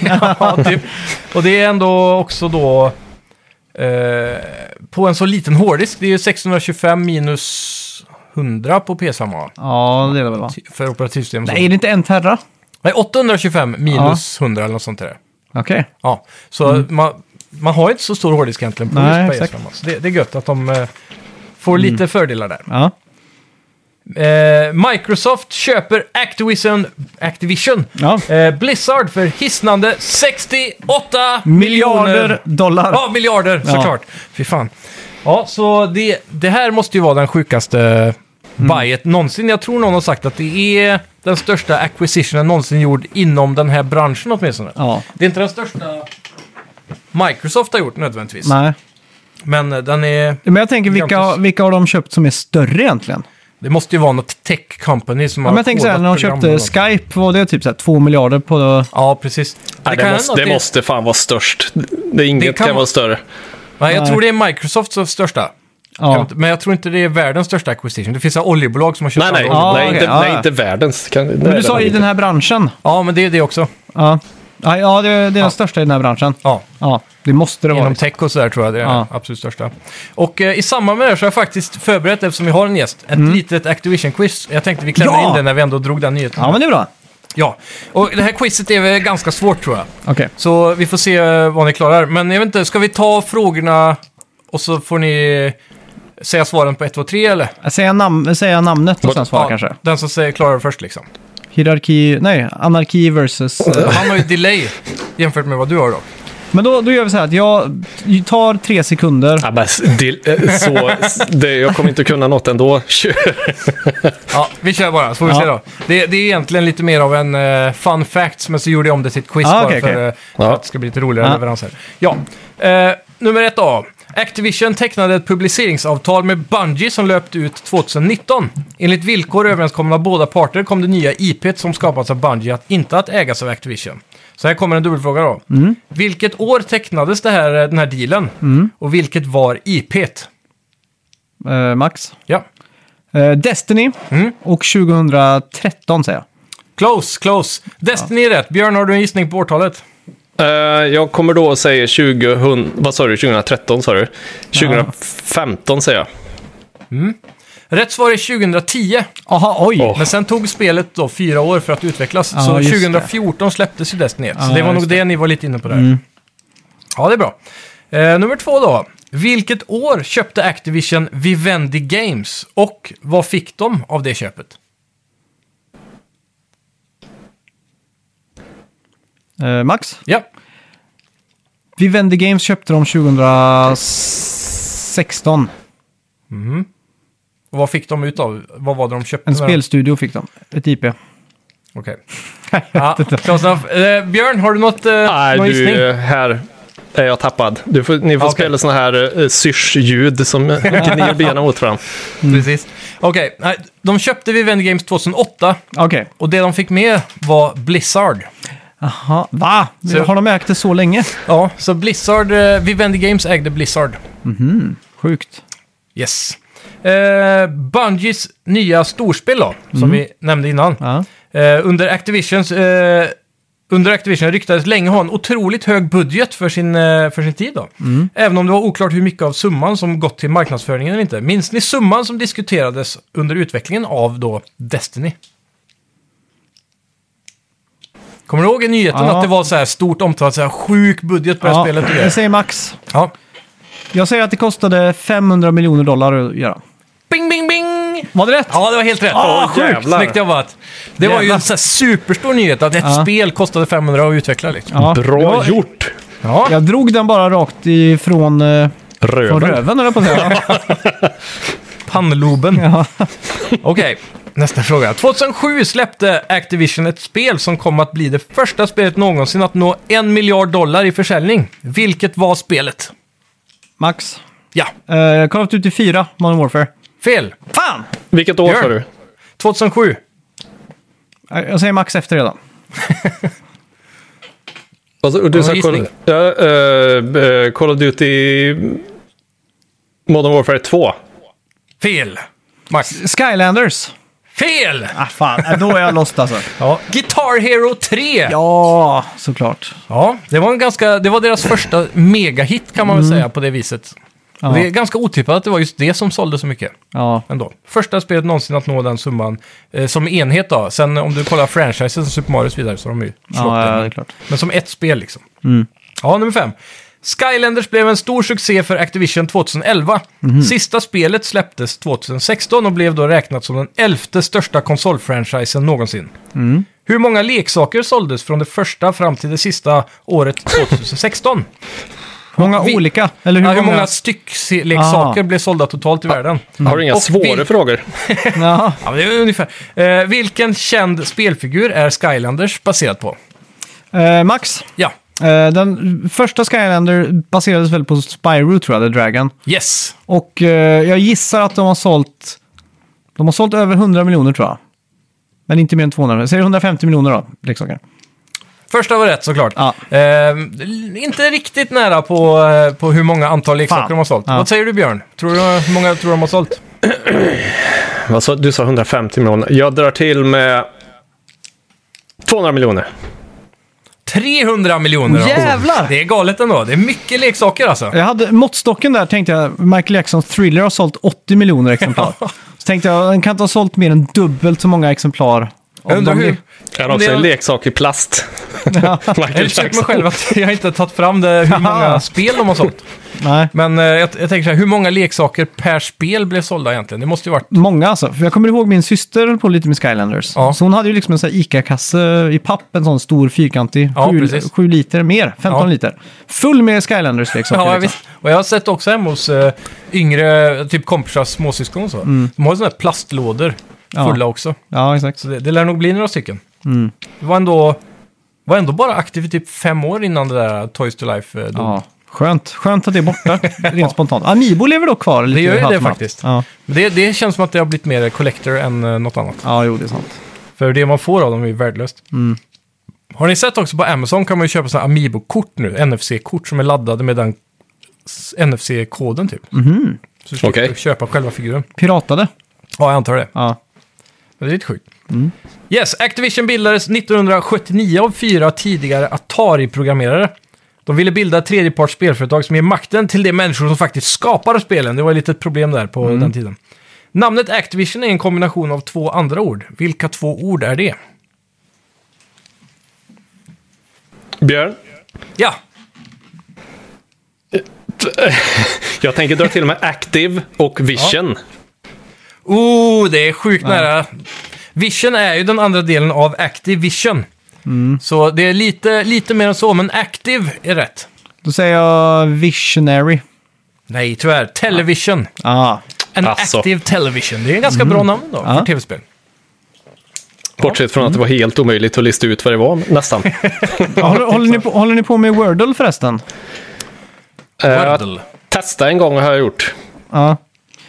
Speaker 2: Ja, typ. Och det är ändå också då eh, på en så liten hårddisk. Det är ju 625 minus 100 på PS5
Speaker 1: ja, det är det väl va?
Speaker 2: för operativsystem. och så.
Speaker 1: Nej, är det inte en Terra?
Speaker 2: Nej, 825 minus 100 eller något sånt där.
Speaker 1: Okej.
Speaker 2: Ja, så man, man har ju inte så stor hårddisk egentligen på
Speaker 1: Mm. Nej, Mm.
Speaker 2: just PS5. Så det, det är gött att de eh, får lite fördelar där.
Speaker 1: Ja.
Speaker 2: Eh, Microsoft köper Activision, Activision
Speaker 1: ja.
Speaker 2: eh, Blizzard för hisnande 68
Speaker 1: Miljarder dollar.
Speaker 2: Ja, miljarder
Speaker 1: Ja.
Speaker 2: såklart. Fy fan. Ja, så det, det här måste ju vara den sjukaste
Speaker 1: Mm.
Speaker 2: buyet någonsin. Jag tror någon har sagt att det är den största acquisitionen någonsin gjord inom den här branschen åtminstone.
Speaker 1: Ja.
Speaker 2: Det är inte den största Microsoft har gjort nödvändigtvis.
Speaker 1: Nej.
Speaker 2: Men eh, den är,
Speaker 1: Men jag tänker, vilka,
Speaker 2: Gigantisk.
Speaker 1: vilka har de köpt som är större egentligen?
Speaker 2: det måste ju vara något tech company som
Speaker 1: Ja,
Speaker 2: har
Speaker 1: men jag tänker så här,
Speaker 2: kodat
Speaker 1: när de
Speaker 2: program eller
Speaker 1: köpte
Speaker 2: något.
Speaker 1: Skype var det typ så här 2 miljarder på...
Speaker 2: Ja, precis.
Speaker 3: Det,
Speaker 2: kan
Speaker 3: det, måste,
Speaker 2: hända att
Speaker 3: det måste fan vara störst. Det, inget
Speaker 2: Det kan
Speaker 3: kan,
Speaker 2: vara-
Speaker 3: vara större.
Speaker 2: Nej, jag
Speaker 1: Nej.
Speaker 2: tror det är Microsofts största. Jag
Speaker 1: Ja.
Speaker 2: vet- Men jag tror inte det är världens största acquisition. Det finns så här oljebolag som har köpt
Speaker 3: Nej, nej.
Speaker 2: andra
Speaker 1: Ja,
Speaker 2: oljebolag.
Speaker 3: nej,
Speaker 1: okej,
Speaker 3: inte,
Speaker 1: ja, ja.
Speaker 3: nej, inte världens. Kan,
Speaker 1: Men du sa i den här branschen.
Speaker 2: Ja, men det är det också.
Speaker 1: Ja. Ja, ja det, det är den största i den här branschen.
Speaker 2: Ja.
Speaker 1: Ja, det måste det vara.
Speaker 2: Inom tech och sådär tror jag det är
Speaker 1: Ja.
Speaker 2: det absolut största. Och eh, i samband med det här så har jag faktiskt förberett, eftersom vi har en gäst, ett litet Activision-quiz. Jag tänkte vi klämmer
Speaker 1: Mm. Ja!
Speaker 2: in det när vi ändå drog den nyheten.
Speaker 1: Ja, men det är bra.
Speaker 2: Ja. Och det här quizet är väl ganska svårt tror jag.
Speaker 1: Okej.
Speaker 2: Så vi får se eh, vad ni klarar. Men jag vet inte, ska vi ta frågorna och så får ni eh, säga svaren på 1, 2, 3 eller?
Speaker 1: Säga, nam- säga namnet och
Speaker 3: Vad-
Speaker 1: sen svara kanske.
Speaker 2: Den som säger klarar det först liksom.
Speaker 1: Hierarki, nej, anarki versus... eh,
Speaker 2: Han har ju delay jämfört med vad du har då.
Speaker 1: Men då, då gör vi så här att jag tar tre sekunder.
Speaker 3: Ja, men, s- dil- eh, så, s- det, jag kommer inte kunna något ändå. Kör.
Speaker 2: Ja, vi kör bara så får vi
Speaker 1: Ja.
Speaker 2: se då. Det, det är egentligen lite mer av en eh, fun fact, men så gjorde jag om det till ett quiz
Speaker 1: Ah,
Speaker 2: bara
Speaker 1: okej,
Speaker 2: för,
Speaker 1: okej.
Speaker 2: eh, för
Speaker 3: Ja.
Speaker 2: att det ska bli lite roligare
Speaker 1: Ja.
Speaker 2: leveranser. Ja, eh, nummer ett A. Activision tecknade ett publiceringsavtal med Bungie som löpte ut 2019. Enligt villkor överenskomna av båda parter kom det nya IP som skapats av Bungie att inte att ägas av Activision. Så här kommer en dubbelfråga då.
Speaker 1: Mm.
Speaker 2: Vilket år tecknades det här, eh, den här dealen? Och vilket var IP't?
Speaker 1: Eh, Max.
Speaker 2: Ja.
Speaker 1: Eh, Destiny
Speaker 2: Mm.
Speaker 1: och 2013 säger jag.
Speaker 2: Close, close. Destiny är rätt. Björn, har du en gissning på årtalet?
Speaker 3: Eh, jag kommer då att säga 2000, vad sa du, 2013 sa du? 2015 säger jag.
Speaker 2: Rätt svar är 2010,
Speaker 1: Aha, oj!
Speaker 3: Åh.
Speaker 2: men sen tog spelet då fyra år för att utvecklas.
Speaker 1: Ja,
Speaker 2: så
Speaker 1: just det.
Speaker 2: 2014 släpptes ju Destiny 1, så
Speaker 1: Ja,
Speaker 2: det var nog
Speaker 1: just Mm.
Speaker 2: det. ni var lite inne på där. Ja, det är bra. Eh, nummer två då. Vilket år köpte Activision Vivendi Games och vad fick de av det köpet?
Speaker 1: Eh, Max.
Speaker 2: Ja,
Speaker 1: Vivendi Games köpte de 2016.
Speaker 2: och vad fick de ut av? Vad var det de köpte?
Speaker 1: En
Speaker 2: när de-
Speaker 1: spelstudio fick de. Ett IP.
Speaker 2: Okej. Ja, close enough. eh, Björn, har du något, eh,
Speaker 3: Nej,
Speaker 2: någon
Speaker 3: du,
Speaker 2: gissning?
Speaker 3: eh, här är jag tappad. Du får, ni får
Speaker 2: Okej.
Speaker 3: spela såna här eh, syrsljud som eh, gnider benen mot varandra.
Speaker 1: Mm.
Speaker 2: Precis. Okej, nej, de köpte Vivendi Games 2008
Speaker 1: Okej.
Speaker 2: och det de fick med var Blizzard.
Speaker 1: Aha. Va?
Speaker 2: Så-
Speaker 1: Har de ägt det så länge?
Speaker 2: Ja, så Blizzard, eh, Vivendi Games ägde Blizzard.
Speaker 1: Sjukt.
Speaker 2: Yes. Eh, Bungies nya storspel då, som vi nämnde innan.
Speaker 1: Mm. Ja.
Speaker 2: Eh, under, Activisions, eh, under Activision ryktades länge ha en otroligt hög budget för sin, eh, för sin tid då.
Speaker 1: Mm.
Speaker 2: Även om det var oklart hur mycket av summan som gått till marknadsföringen eller inte. Minns ni summan som diskuterades under utvecklingen av då Destiny? Kommer du ihåg i nyheten
Speaker 1: Ja.
Speaker 2: att det var så här stort omtalat, så här sjuk budget på det här
Speaker 1: Ja,
Speaker 2: spelet? och
Speaker 1: det
Speaker 2: grejer?
Speaker 1: säger Max.
Speaker 2: Ja.
Speaker 1: Jag säger att det kostade 500 miljoner dollar att göra.
Speaker 2: Bing, bing, bing!
Speaker 1: Var det rätt?
Speaker 2: Ja, det var helt rätt.
Speaker 1: Ah,
Speaker 2: Åh, sjukt
Speaker 3: jävlar.
Speaker 2: snyggt jobbat. Det var ju
Speaker 1: Jävlar.
Speaker 2: en så här superstor nyhet att ett
Speaker 1: Ja.
Speaker 2: spel kostade 500 att utveckla. Liksom.
Speaker 1: Ja, det
Speaker 3: Bra
Speaker 1: var-
Speaker 3: gjort!
Speaker 2: Ja.
Speaker 1: Jag drog den bara rakt ifrån eh, från
Speaker 3: Röven.
Speaker 1: röven, eller på att säga.
Speaker 2: Pannloben.
Speaker 1: Ja.
Speaker 2: Okej, nästa fråga. 2007 släppte Activision ett spel som kom att bli det första spelet någonsin att nå en miljard dollar i försäljning. Vilket var spelet?
Speaker 1: Max.
Speaker 2: Ja,
Speaker 1: Uh, Call of Duty 4, Modern Warfare.
Speaker 2: fel.
Speaker 1: Fan!
Speaker 3: Vilket år
Speaker 2: Björn.
Speaker 3: sa du?
Speaker 2: 2007.
Speaker 1: Eh, Jag säger Max efter redan.
Speaker 3: Alltså, du
Speaker 2: Ja,
Speaker 3: sa
Speaker 2: gissning.
Speaker 3: Call, ja, eh, eh, Call of Duty Modern Warfare 2.
Speaker 2: Fel. Max.
Speaker 1: Skylanders.
Speaker 2: Fel!
Speaker 1: Ah, fan. Eh, Då är jag lost alltså.
Speaker 2: Ja. Guitar Hero 3.
Speaker 1: Ja, såklart.
Speaker 2: Ja, det var, en ganska, det var deras första megahit kan man väl säga på det viset.
Speaker 1: Mm. Ja.
Speaker 2: Det är ganska otippat att det var just det som sålde så mycket
Speaker 1: Ja.
Speaker 2: ändå. Första spelet någonsin att nå den summan eh, som enhet då. Sen om du kollar franchisen som Super Mario och så vidare så har de ju slått
Speaker 1: Ja, ja,
Speaker 2: den.
Speaker 1: det är klart.
Speaker 2: Men som ett spel liksom.
Speaker 1: Mm.
Speaker 2: Ja, nummer fem. Skylanders blev en stor succé för Activision 2011.
Speaker 1: Mhm.
Speaker 2: Sista spelet släpptes 2016 och blev då räknat som den elfte största konsolfranchisen någonsin.
Speaker 1: Mm.
Speaker 2: Hur många leksaker såldes från det första fram till det sista året 2016?
Speaker 1: Hur många
Speaker 2: Vi-
Speaker 1: oleksaker? Eller hur
Speaker 2: Hur, hur
Speaker 1: många?
Speaker 2: många styckleksaker
Speaker 1: Ah.
Speaker 2: blev sålda totalt i världen?
Speaker 3: Har du inga
Speaker 2: Och
Speaker 3: svåra
Speaker 2: vil-
Speaker 3: frågor?
Speaker 1: Jaha.
Speaker 2: Ja, men det är ungefär. Eh, vilken känd spelfigur är Skylanders baserad på?
Speaker 1: Eh, Max.
Speaker 2: Ja,
Speaker 1: Eh, den första Skylander baserades väl på Spyro, tror jag, The Dragon.
Speaker 2: yes.
Speaker 1: Och eh, jag gissar att de har sålt... De har sålt över 100 miljoner, tror jag. Men inte mer än 200. Säger 150 miljoner då, leksaker.
Speaker 2: Första var rätt såklart.
Speaker 1: Ja.
Speaker 2: Eh, inte riktigt nära på, eh, på hur många antal leksaker
Speaker 1: Fan.
Speaker 2: de har sålt.
Speaker 1: Ja.
Speaker 2: Vad säger du Björn? Tror du, hur många tror du de har sålt?
Speaker 3: Vad sa- du sa 150 miljoner. Jag drar till med 200 miljoner.
Speaker 2: 300 miljoner.
Speaker 1: Jävlar!
Speaker 2: Det är galet ändå. Det är mycket leksaker alltså.
Speaker 1: Jag hade måttstocken där tänkte jag, Michael Jacksons Thriller har sålt 80 miljoner exemplar. Så tänkte jag, den kan inte ha sålt mer än dubbelt så många exemplar.
Speaker 2: Jag undrar
Speaker 1: de-
Speaker 2: hur...
Speaker 3: Jag har också
Speaker 2: Det är-
Speaker 3: en leksak i plast.
Speaker 2: Jag har
Speaker 3: Michael
Speaker 2: försökt mig
Speaker 3: Jackson.
Speaker 2: själv att jag inte har tagit fram det, hur många spel de har sålt.
Speaker 1: Nej,
Speaker 2: Men eh, jag, jag tänker så här, hur många leksaker per spel blev sålda egentligen? Det måste ju varit...
Speaker 1: många alltså. För jag kommer ihåg min syster höll på lite med Skylanders.
Speaker 2: Ja.
Speaker 1: Så hon hade ju liksom en sån här ICA-kasse i papp, en sån stor fyrkantig.
Speaker 2: Ja,
Speaker 1: sju,
Speaker 2: precis.
Speaker 1: sju liter mer, 15
Speaker 2: Ja.
Speaker 1: liter. Full med Skylanders-leksaker.
Speaker 2: Ja,
Speaker 1: liksom.
Speaker 2: visst. Och jag har sett också hemma hos eh, yngre, typ kompisars småsyskon och så. De har ju sådana här plastlådor
Speaker 1: Mm. Ja.
Speaker 2: fulla också.
Speaker 1: ja, exakt.
Speaker 2: Så det, det lär nog bli några stycken. Det var ändå, var ändå bara aktiv i typ fem år innan det där Toys to Life eh, dog.
Speaker 1: Ja. Skönt. Skönt att det är borta, rent spontant. Amiibo lever dock kvar. Lite
Speaker 2: gör ju det
Speaker 1: halvt om halvt.
Speaker 2: faktiskt.
Speaker 1: Ja.
Speaker 2: Men det, det känns som att det har blivit mer collector än eh, något annat.
Speaker 1: ja, jo, det är sant.
Speaker 2: För det man får av dem är ju värdelöst. Har ni sett också på Amazon kan man ju köpa sådana Amiibo-kort nu, NFC-kort som är laddade med den s- NFC-koden typ. Så du slipper
Speaker 3: Okej.
Speaker 2: köpa själva figuren.
Speaker 1: Piratade.
Speaker 2: Ja, jag antar det.
Speaker 1: Ja.
Speaker 2: Men det är lite sjukt. Yes, Activision bildades 1979 av fyra tidigare Atari-programmerare. De ville bilda ett tredjeparts spelföretag som ger makten till de människor som faktiskt skapar spelen. Det var ett litet problem där på den tiden. Namnet Activision är en kombination av två andra ord. Vilka två ord är det?
Speaker 3: Björn?
Speaker 2: Ja,
Speaker 3: Jag tänker dra till med Active och Vision.
Speaker 2: Oh, det är sjukt nära. Vision är ju den andra delen av Active Vision. Så det är lite, lite mer än så, men Active är rätt.
Speaker 1: Då säger jag Visionary.
Speaker 2: Nej, tyvärr. Television.
Speaker 1: Ja,
Speaker 2: En
Speaker 3: Alltså.
Speaker 2: Active Television. Det är en ganska bra namn då, för
Speaker 1: Mm. Ja.
Speaker 2: tv-spel.
Speaker 3: Bortsett
Speaker 2: Mm.
Speaker 3: från att det var helt omöjligt att lista ut vad det var, nästan.
Speaker 1: håller, håller,
Speaker 2: Typ
Speaker 1: ni på, håller ni på med Wordle förresten?
Speaker 3: Eh, att
Speaker 2: Wordle.
Speaker 3: testa en gång har jag gjort.
Speaker 1: Ja.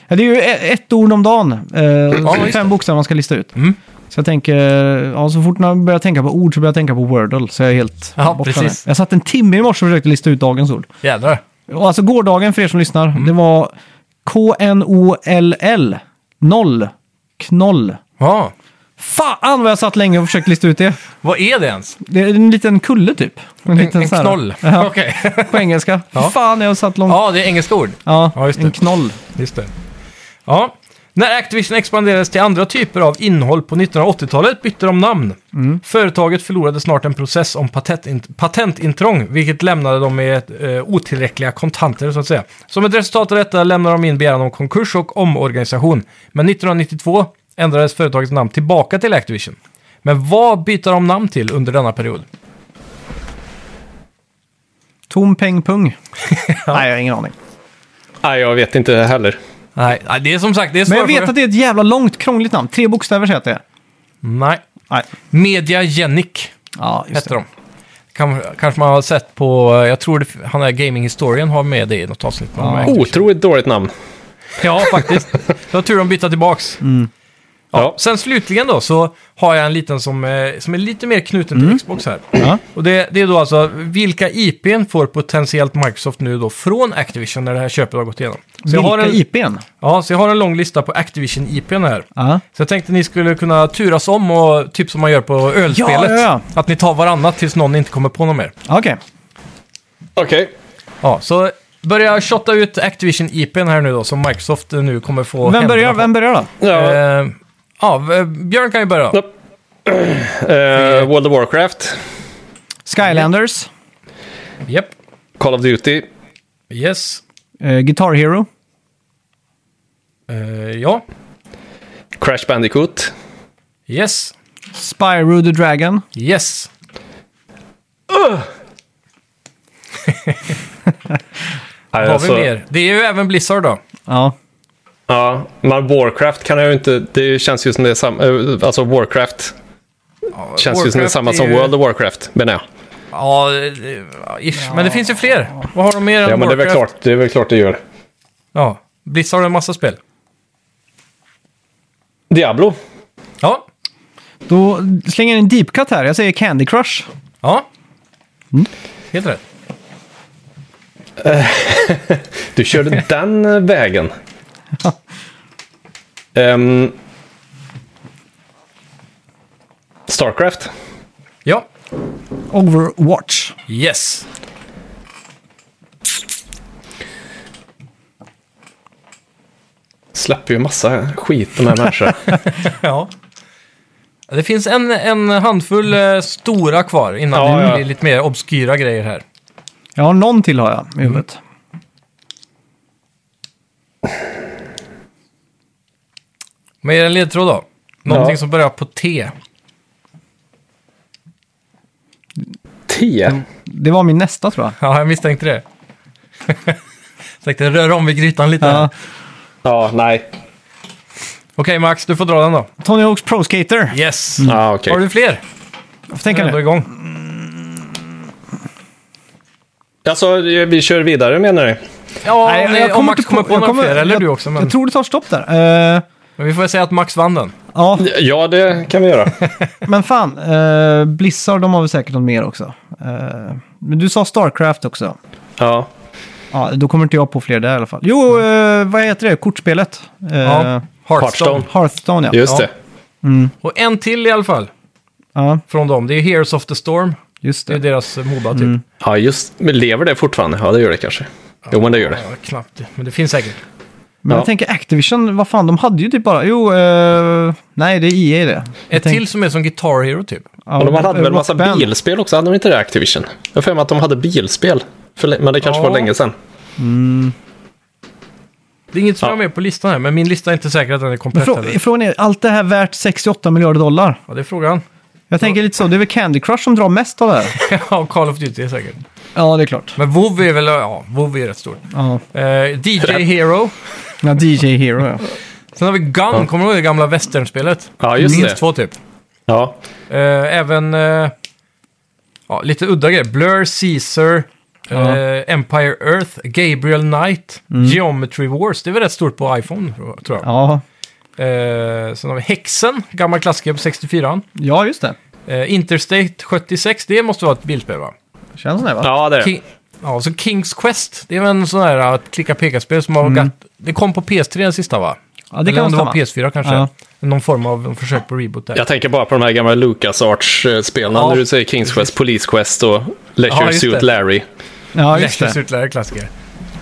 Speaker 1: Ja, Det är ju e- ett ord om dagen. Eh,
Speaker 2: just Mm.
Speaker 1: fem bokstäver man ska lista ut. Så jag tänker, eh, ja, så fort jag börjar tänka på ord så börjar jag tänka på Wordle. Så jag är helt
Speaker 2: Ja,
Speaker 1: borta
Speaker 2: precis.
Speaker 1: där. Jag satt en timme i morse och försökte lista ut dagens ord.
Speaker 2: Jädrar.
Speaker 1: Och alltså gårdagen för er som lyssnar,
Speaker 2: Mm.
Speaker 1: det var K-N-O-L-L. Noll. Knoll.
Speaker 2: Ja.
Speaker 1: Fan vad jag satt länge och försökte lista ut det.
Speaker 2: Vad är det ens?
Speaker 1: Det är en liten kulle typ. En, liten
Speaker 2: En
Speaker 1: så här-
Speaker 2: knoll?
Speaker 1: Ja.
Speaker 2: Okej.
Speaker 1: På engelska.
Speaker 2: Ja.
Speaker 1: Fan, jag har satt långt.
Speaker 2: ja, det är engelska ord.
Speaker 1: Ja,
Speaker 2: Ja, just det.
Speaker 1: en knoll.
Speaker 2: Just det. Ja. När Activision expanderades till andra typer av innehåll på 1980-talet bytte de namn.
Speaker 1: Mm.
Speaker 2: Företaget förlorade snart en process om patent, patentintrång, vilket lämnade dem med eh, otillräckliga kontanter så att säga. Som ett resultat av detta lämnade de in begäran om konkurs och omorganisation. Men 1992 ändrades företagets namn tillbaka till Activision. Men vad byter de namn till under denna period?
Speaker 1: Tom Peng Pung. Nej, jag har ingen aning.
Speaker 3: Nej, jag vet inte heller.
Speaker 2: Nej, nej, det är som sagt, det är
Speaker 1: Men
Speaker 2: svåra
Speaker 1: jag vet
Speaker 2: frågor.
Speaker 1: att det är ett jävla långt, krångligt namn. Tre bokstäver säger jag att det är.
Speaker 2: Nej.
Speaker 1: Nej.
Speaker 2: Media Genic.
Speaker 1: Ja, just
Speaker 2: hette
Speaker 1: det.
Speaker 2: de. Kan, kanske man har sett på, eh, jag tror det, han är Gaming Historien har med det i något avsnitt. Ja,
Speaker 1: Oh,
Speaker 3: Otroligt dåligt namn.
Speaker 2: ja faktiskt. Det var tur de bytte tillbaks.
Speaker 1: Mm.
Speaker 2: Ja.
Speaker 3: Ja.
Speaker 2: Sen slutligen då så har jag en liten som, eh, som är lite mer knuten till Xbox här.
Speaker 1: Mm. Ja.
Speaker 2: Och det, det är då alltså vilka IPn får potentiellt Microsoft nu då från Activision när det här köpet har gått igenom. Så jag har
Speaker 1: Vilka
Speaker 2: en,
Speaker 1: IPn?
Speaker 2: ja, så jag har en lång lista på Activision-IPn här.
Speaker 1: Ja.
Speaker 2: Så jag tänkte ni skulle kunna turas om och typ som man gör på ölspelet.
Speaker 1: Ja, ja, ja.
Speaker 2: Att ni tar varannat tills någon inte kommer på något mer.
Speaker 1: Okej.
Speaker 3: Okej.
Speaker 2: Ja, så börja shotta ut Activision-IPn här nu då, som Microsoft nu kommer få
Speaker 1: Vem
Speaker 2: händerna
Speaker 1: börjar?
Speaker 2: på.
Speaker 1: Vem börjar då?
Speaker 3: Ja.
Speaker 2: Eh, ja, v- Björn kan ju börja.
Speaker 3: Ja. Eh, World of Warcraft,
Speaker 1: Skylanders.
Speaker 2: Japp.
Speaker 3: Call of Duty,
Speaker 2: Yes.
Speaker 1: eh, Guitar Hero.
Speaker 2: Eh, ja.
Speaker 3: Crash Bandicoot.
Speaker 2: Yes.
Speaker 1: Spyro the Dragon.
Speaker 2: Yes.
Speaker 3: Nej,
Speaker 2: Har
Speaker 3: alltså,
Speaker 2: vi mer? Det är ju även Blizzard då.
Speaker 1: Ja.
Speaker 3: Ja, men Warcraft kan jag ju inte... Det känns ju som det är samma... eh, Alltså Warcraft känns ju som det är
Speaker 2: Warcraft
Speaker 3: samma
Speaker 2: är
Speaker 3: som
Speaker 2: ju-
Speaker 3: World of Warcraft, menar jag.
Speaker 2: Ja, eh, ish. Men det finns ju fler. Vad har de mer än
Speaker 3: Ja, men det är väl
Speaker 2: Warcraft?
Speaker 3: klart det, är väl klart det gör.
Speaker 2: Ja. Blizzard har en massa spel.
Speaker 3: Diablo.
Speaker 2: Ja.
Speaker 1: Då slänger jag in en deep cut här. Jag säger Candy Crush.
Speaker 2: Ja.
Speaker 3: Mm.
Speaker 2: Helt rätt.
Speaker 3: Du körde den eh, vägen. Ehm, Starcraft.
Speaker 2: Ja.
Speaker 1: Overwatch.
Speaker 2: Yes.
Speaker 3: Släpper ju massa skit de här människorna.
Speaker 2: Ja. Det finns en, en handfull eh, stora kvar innan
Speaker 3: Ja,
Speaker 2: det
Speaker 3: ja.
Speaker 2: blir lite mer obskyra grejer här.
Speaker 1: Ja, någon till har jag i huvudet.
Speaker 2: Men är det en ledtråd då? Någonting
Speaker 3: Ja.
Speaker 2: som börjar på T.
Speaker 3: T.
Speaker 2: Mm.
Speaker 1: Det var min nästa tror jag.
Speaker 2: Ja, jag misstänkte det. Tänkte röra om vid grytan lite.
Speaker 1: Ja.
Speaker 3: Ja, nej.
Speaker 2: Okej Max, du får dra den då.
Speaker 1: Tony Hawks Pro Skater.
Speaker 2: Yes.
Speaker 3: Ah, okej.
Speaker 2: Mm. Har du fler?
Speaker 1: Jag får
Speaker 2: Tänk
Speaker 1: tänka
Speaker 2: ändå
Speaker 1: nu.
Speaker 2: igång.
Speaker 3: Alltså, vi kör vidare menar du?
Speaker 2: Ja,
Speaker 1: Nej,
Speaker 2: om, ni- om Max kommer på
Speaker 1: jag
Speaker 2: några
Speaker 1: kommer-
Speaker 2: fler, eller
Speaker 1: jag-
Speaker 2: du också. Men,
Speaker 1: Jag tror det tar stopp där. Eh,
Speaker 2: men vi får väl säga att Max vann den.
Speaker 1: ja,
Speaker 3: Ja, det kan vi göra.
Speaker 1: men fan. eh, Blizzard, de har väl säkert något mer också. Eh, men du sa Starcraft också.
Speaker 3: Ja.
Speaker 1: Ja, då kommer inte jag på fler där i alla fall. Jo, eh, vad heter det? Kortspelet. Eh,
Speaker 2: Ja. Hearthstone.
Speaker 3: Hearthstone.
Speaker 1: Hearthstone, ja.
Speaker 3: Just
Speaker 2: Ja.
Speaker 3: det.
Speaker 2: Och en till i alla fall
Speaker 1: Ja,
Speaker 2: från dem. Det är Heroes of the Storm.
Speaker 1: just
Speaker 2: Det är
Speaker 1: det.
Speaker 2: deras eh, Moba typ.
Speaker 3: Ja, just Men lever det fortfarande? Ja, det gör det kanske. Jo, men det gör det.
Speaker 2: Ja, knappt. Men det finns säkert.
Speaker 1: Men
Speaker 3: Ja.
Speaker 1: jag tänker Activision, vad fan, de hade ju typ bara... Jo, eh, nej, det är EA det. Jag
Speaker 2: Ett
Speaker 1: tänk-
Speaker 2: till som är som Guitar Hero typ.
Speaker 1: Ja,
Speaker 3: Och de hade väl en massa
Speaker 1: Rock Band.
Speaker 3: bilspel också? Hade de inte det, Activision? Jag har för mig att de hade bilspel. För lä- Men det kanske
Speaker 2: Ja.
Speaker 3: var länge sedan.
Speaker 2: Det är inget som
Speaker 3: Ja.
Speaker 2: jag har med på listan här, men min lista är inte säker att den är komplett.
Speaker 1: Men frå-
Speaker 2: heller.
Speaker 1: Frågan är, allt det här värt 68 miljarder dollar?
Speaker 2: Ja, det är frågan.
Speaker 1: Jag tänker lite så, det är väl Candy Crush som drar mest av det här?
Speaker 2: ja, Call of Duty är säkert.
Speaker 1: ja, det är klart.
Speaker 2: Men WoW är väl, ja, WoW är rätt stort.
Speaker 1: Ja,
Speaker 2: Eh, DJ Hero.
Speaker 1: ja DJ Hero ja.
Speaker 2: Sen har vi Gun, kommer du ihåg det gamla westernspelet?
Speaker 3: Ja, just
Speaker 2: Minst
Speaker 3: det.
Speaker 2: två typ.
Speaker 3: Ja.
Speaker 2: Eh, även eh, ja, lite udda grejer. Blur, Caesar,
Speaker 1: Ja. Mm.
Speaker 2: eh, Empire Earth, Gabriel Knight, Geometry Wars. Det är väl rätt stort på iPhone, tror jag.
Speaker 1: Ja,
Speaker 2: Eh, sen har vi Hexen, gammal klassiker på 64.
Speaker 1: ja just det.
Speaker 2: Eh, Interstate 76, det måste vara ett bilspel va?
Speaker 1: Känns det va?
Speaker 3: ja, det är det.
Speaker 2: Ki- ja, så Kings Quest, det är väl en sån här ja, klicka-peka-spel som har gatt, Det kom på PS3 den sista va?
Speaker 1: Mm. Ja, det
Speaker 2: Eller
Speaker 1: kan
Speaker 2: om det var
Speaker 1: stämma.
Speaker 2: PS4 kanske.
Speaker 1: Ja.
Speaker 2: Någon form av försök på reboot där.
Speaker 3: Jag tänker bara på de här gamla LucasArts-spelen.
Speaker 2: Ja.
Speaker 3: När du säger Kings Quest, Police Quest och Leisure
Speaker 2: Ja, just
Speaker 3: Suit
Speaker 2: det.
Speaker 3: Larry.
Speaker 1: Ja, just
Speaker 2: Leisure
Speaker 1: det.
Speaker 2: Suit Larry klassiker.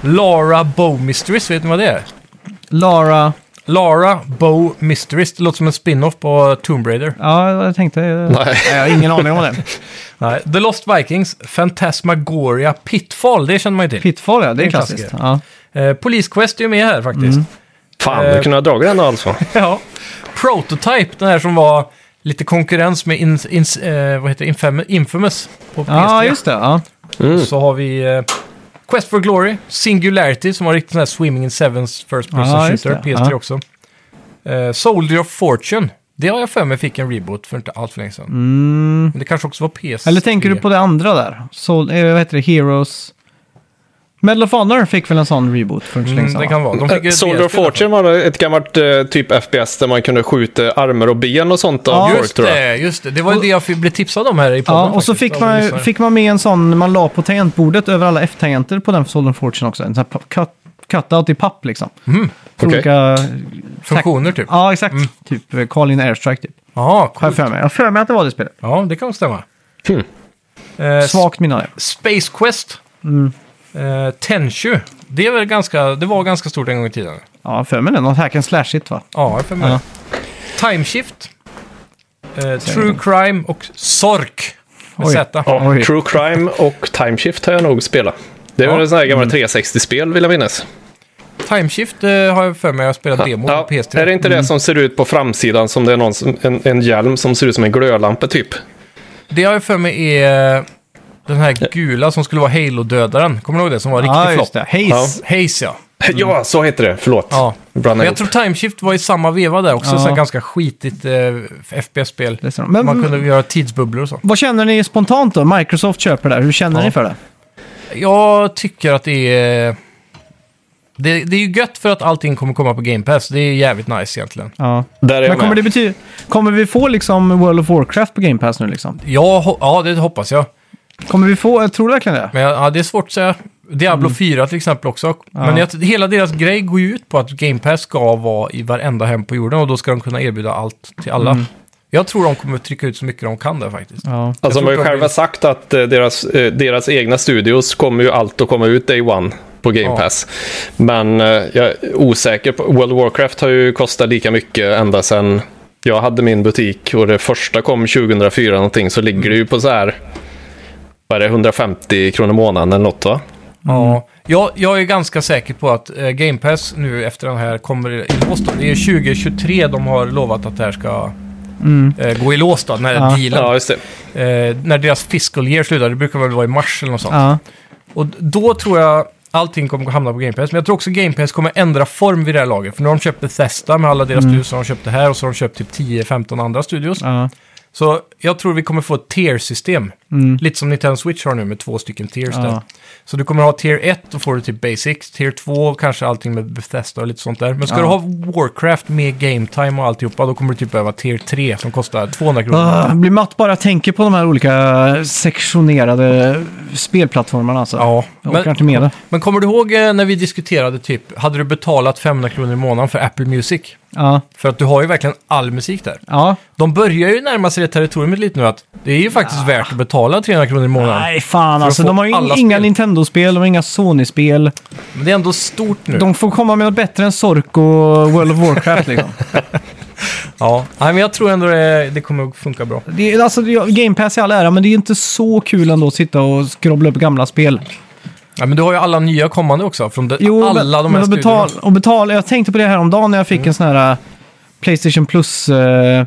Speaker 2: Lara Bow Mysteries, vet ni vad det är?
Speaker 1: Lara,
Speaker 2: Lara Bow Mysteries, det låter som en spin-off på Tomb Raider.
Speaker 1: ja jag tänkte... eh, Nej. Jag har ingen aning om det.
Speaker 2: Nej, The Lost Vikings, Phantasmagoria Pitfall, det känner man ju till.
Speaker 1: Pitfall ja, det är
Speaker 2: en
Speaker 1: klassiskt.
Speaker 2: klassiker.
Speaker 1: Ja.
Speaker 2: eh, Police Quest är ju med här
Speaker 1: Mm.
Speaker 2: faktiskt.
Speaker 3: Fan,
Speaker 2: Eh,
Speaker 3: du kunde ha dragit den alltså.
Speaker 2: ja. Prototype, den här som var lite konkurrens med in, in, eh, vad heter det? Infam- Infamous på PS3.
Speaker 1: ja, just det. Ja.
Speaker 3: Mm.
Speaker 2: Så har vi eh, Quest for Glory, Singularity som var riktigt sån här Swimming in Sevens First Person
Speaker 1: Ja, just
Speaker 2: Shooter,
Speaker 1: det.
Speaker 2: PS3
Speaker 1: Ja.
Speaker 2: också. Eh, Soldier of Fortune, det har jag för mig fick en reboot för inte allt för länge sedan. Men det kanske också var PS3.
Speaker 1: Mm. Eller tänker du på det andra där? Sol, eh, vad heter det? Heroes... Medal of Honor fick väl en sån reboot för inte så länge
Speaker 2: Mm,
Speaker 1: sedan?
Speaker 2: det
Speaker 1: va?
Speaker 2: kan vara. De fick ett
Speaker 3: Soldier Eh, of
Speaker 2: DS-spel i alla fall.
Speaker 3: Fortune var ett gammalt eh, typ FPS där man kunde skjuta armar och ben och sånt av
Speaker 1: Ja,
Speaker 3: folk
Speaker 2: Just
Speaker 3: tror jag.
Speaker 2: det, just det. Det var ju det jag fick- blev tipsad om här i podden.
Speaker 1: Ja, och så
Speaker 2: faktiskt,
Speaker 1: fick
Speaker 2: av
Speaker 1: man, ju-
Speaker 2: lyssnare.
Speaker 1: fick man med en sån man la på tangentbordet över alla F-tangenter på den Solden Fortune också. En sån här pa- cut, cutout i papp liksom. För
Speaker 3: Okej.
Speaker 1: olika...
Speaker 2: Funktioner typ.
Speaker 1: Ja, exakt. Typ eh, Call in Airstrike typ.
Speaker 2: Ja,
Speaker 1: Har jag
Speaker 2: coolt.
Speaker 1: för mig. Jag har för mig att det var det spelet.
Speaker 2: Ja, det kan stämma.
Speaker 3: Hmm.
Speaker 2: Eh,
Speaker 1: Svagt minne av det.
Speaker 2: Space Quest.
Speaker 1: Mm.
Speaker 2: Eh, Tenchu. Det, är väl ganska, det var ganska stort en gång i tiden.
Speaker 1: Ja, jag har för mig det. Något hack and slash-igt va?
Speaker 2: Ja, jag får med.
Speaker 1: Ja.
Speaker 2: Time Shift. Eh, True Crime och Sork. Med
Speaker 1: Oj.
Speaker 2: Z.
Speaker 3: Ja,
Speaker 1: Oj.
Speaker 3: True Crime och Time Shift har jag nog spelat. Det
Speaker 2: Ja.
Speaker 3: var
Speaker 2: Mm.
Speaker 3: ja. sådana här gamla 360-spel vill jag minnas.
Speaker 2: Time Shift eh, har jag för mig. Jag spelat demo
Speaker 3: Ja,
Speaker 2: på PS3.
Speaker 3: Är det inte det som ser ut på framsidan som det är någon som, en, en hjälm som ser ut som en glödlampa typ?
Speaker 2: Det har jag för mig är eh, den här gula som skulle vara Halo-dödaren. Kommer du ihåg det? Som var riktigt
Speaker 1: Ja,
Speaker 2: flopp.
Speaker 1: just det. Hayes.
Speaker 2: Haze, ja.
Speaker 3: Ja, så heter det. Förlåt.
Speaker 2: Mm. ja.
Speaker 3: Blandade
Speaker 2: Men jag tror
Speaker 3: ihop.
Speaker 2: Time Shift var i samma veva där också.
Speaker 1: Ja.
Speaker 2: Så här ganska skitigt eh, FPS-spel.
Speaker 1: Det är så. Men-
Speaker 2: Man kunde göra tidsbubblor och så.
Speaker 1: Vad känner ni spontant då? Microsoft köper det här. Hur känner
Speaker 2: Ja.
Speaker 1: ni för det?
Speaker 2: Jag tycker att det är... Det, det är ju gött för att allting kommer komma på Game Pass. Det är jävligt nice egentligen.
Speaker 1: Ja.
Speaker 3: Där är
Speaker 1: Men
Speaker 3: jag
Speaker 1: kommer,
Speaker 3: med.
Speaker 1: det bety- kommer vi få liksom World of Warcraft på Game Pass nu liksom?
Speaker 2: Jag, ho- ja, det hoppas jag.
Speaker 1: Kommer vi få, jag tror du verkligen det?
Speaker 2: Men ja, det är svårt att säga. Diablo 4 till exempel också. Men jag, hela deras grej går ju ut på att Game Pass ska vara i varenda hem på jorden och då ska de kunna erbjuda allt till alla. Jag tror de kommer trycka ut så mycket de kan där faktiskt.
Speaker 1: Ja.
Speaker 3: Alltså de har ju
Speaker 2: tror att
Speaker 3: själva
Speaker 2: vi-
Speaker 3: sagt att eh, deras, eh, deras egna studios kommer ju allt att komma ut day one på Game
Speaker 2: Ja.
Speaker 3: Pass. Men eh, jag är osäker på, World of Warcraft har ju kostat lika mycket ända sedan jag hade min butik och det första kom 2004 någonting så ligger det ju på så här, vad är det, 150 kronor i månaden eller något va?
Speaker 1: Mm.
Speaker 2: Ja, jag, jag är ganska säker på att eh, Game Pass nu efter den här kommer i lås. Då. Det är 2023 de har lovat att det här ska
Speaker 1: Mm.
Speaker 2: eh, gå i lås då, när
Speaker 1: Ja.
Speaker 2: dealen.
Speaker 3: Ja, just det.
Speaker 2: Eh, när deras fiscal year slutar, det brukar väl vara i mars eller något sånt.
Speaker 1: Ja.
Speaker 2: Och d- då tror jag allting kommer att hamna på Game Pass. Men jag tror också Game Pass kommer ändra form vid det här laget. För nu har de köpt Bethesda med alla deras studios som de köpte här och så har de köpt typ 10-15 andra studios.
Speaker 1: Mm. Ja.
Speaker 2: Så jag tror vi kommer få ett tier-system.
Speaker 1: Mm.
Speaker 2: Lite som Nintendo Switch har nu med två stycken tiers
Speaker 1: Ja.
Speaker 2: där. Så du kommer ha tier 1, då får du typ basics. Tier 2, kanske allting med Bethesda och lite sånt där. Men ska
Speaker 1: Ja.
Speaker 2: du ha Warcraft med game time och alltihopa, då kommer du typ behöva tier 3 som kostar 200 kronor.
Speaker 1: Ah, jag blir matt bara jag tänker på de här olika sektionerade spelplattformarna alltså.
Speaker 2: Ja,
Speaker 1: jag orkar
Speaker 2: men,
Speaker 1: inte med det.
Speaker 2: men kommer du ihåg eh, när vi diskuterade typ, hade du betalat 500 kronor i månaden för Apple Music?
Speaker 1: Ja,
Speaker 2: För att du har ju verkligen all musik där.
Speaker 1: ja.
Speaker 2: De börjar ju närma sig det territoriet lite nu att det är ju faktiskt värt att betala 300 kronor i månaden.
Speaker 1: Ah. Nej, fan
Speaker 2: att
Speaker 1: alltså.
Speaker 2: få
Speaker 1: De har ju
Speaker 2: alla
Speaker 1: inga
Speaker 2: spel.
Speaker 1: Nintendo-spel, de har inga Sony-spel.
Speaker 2: Men det är ändå stort nu.
Speaker 1: De får komma med något bättre än Sork och World of Warcraft liksom.
Speaker 2: Ja, Nej, men jag tror ändå det, det kommer att funka bra.
Speaker 1: Det är, alltså, det är- Game Pass i all ära, men det är inte så kul ändå att sitta och skrobbla upp gamla spel.
Speaker 2: Ja, men du har ju alla nya kommande också från de,
Speaker 1: Jo,
Speaker 2: alla de här Mm.
Speaker 1: men
Speaker 2: studierna.
Speaker 1: betal, och betal, Jag tänkte på det här om dagen när jag fick en sån här äh, Playstation Plus eh,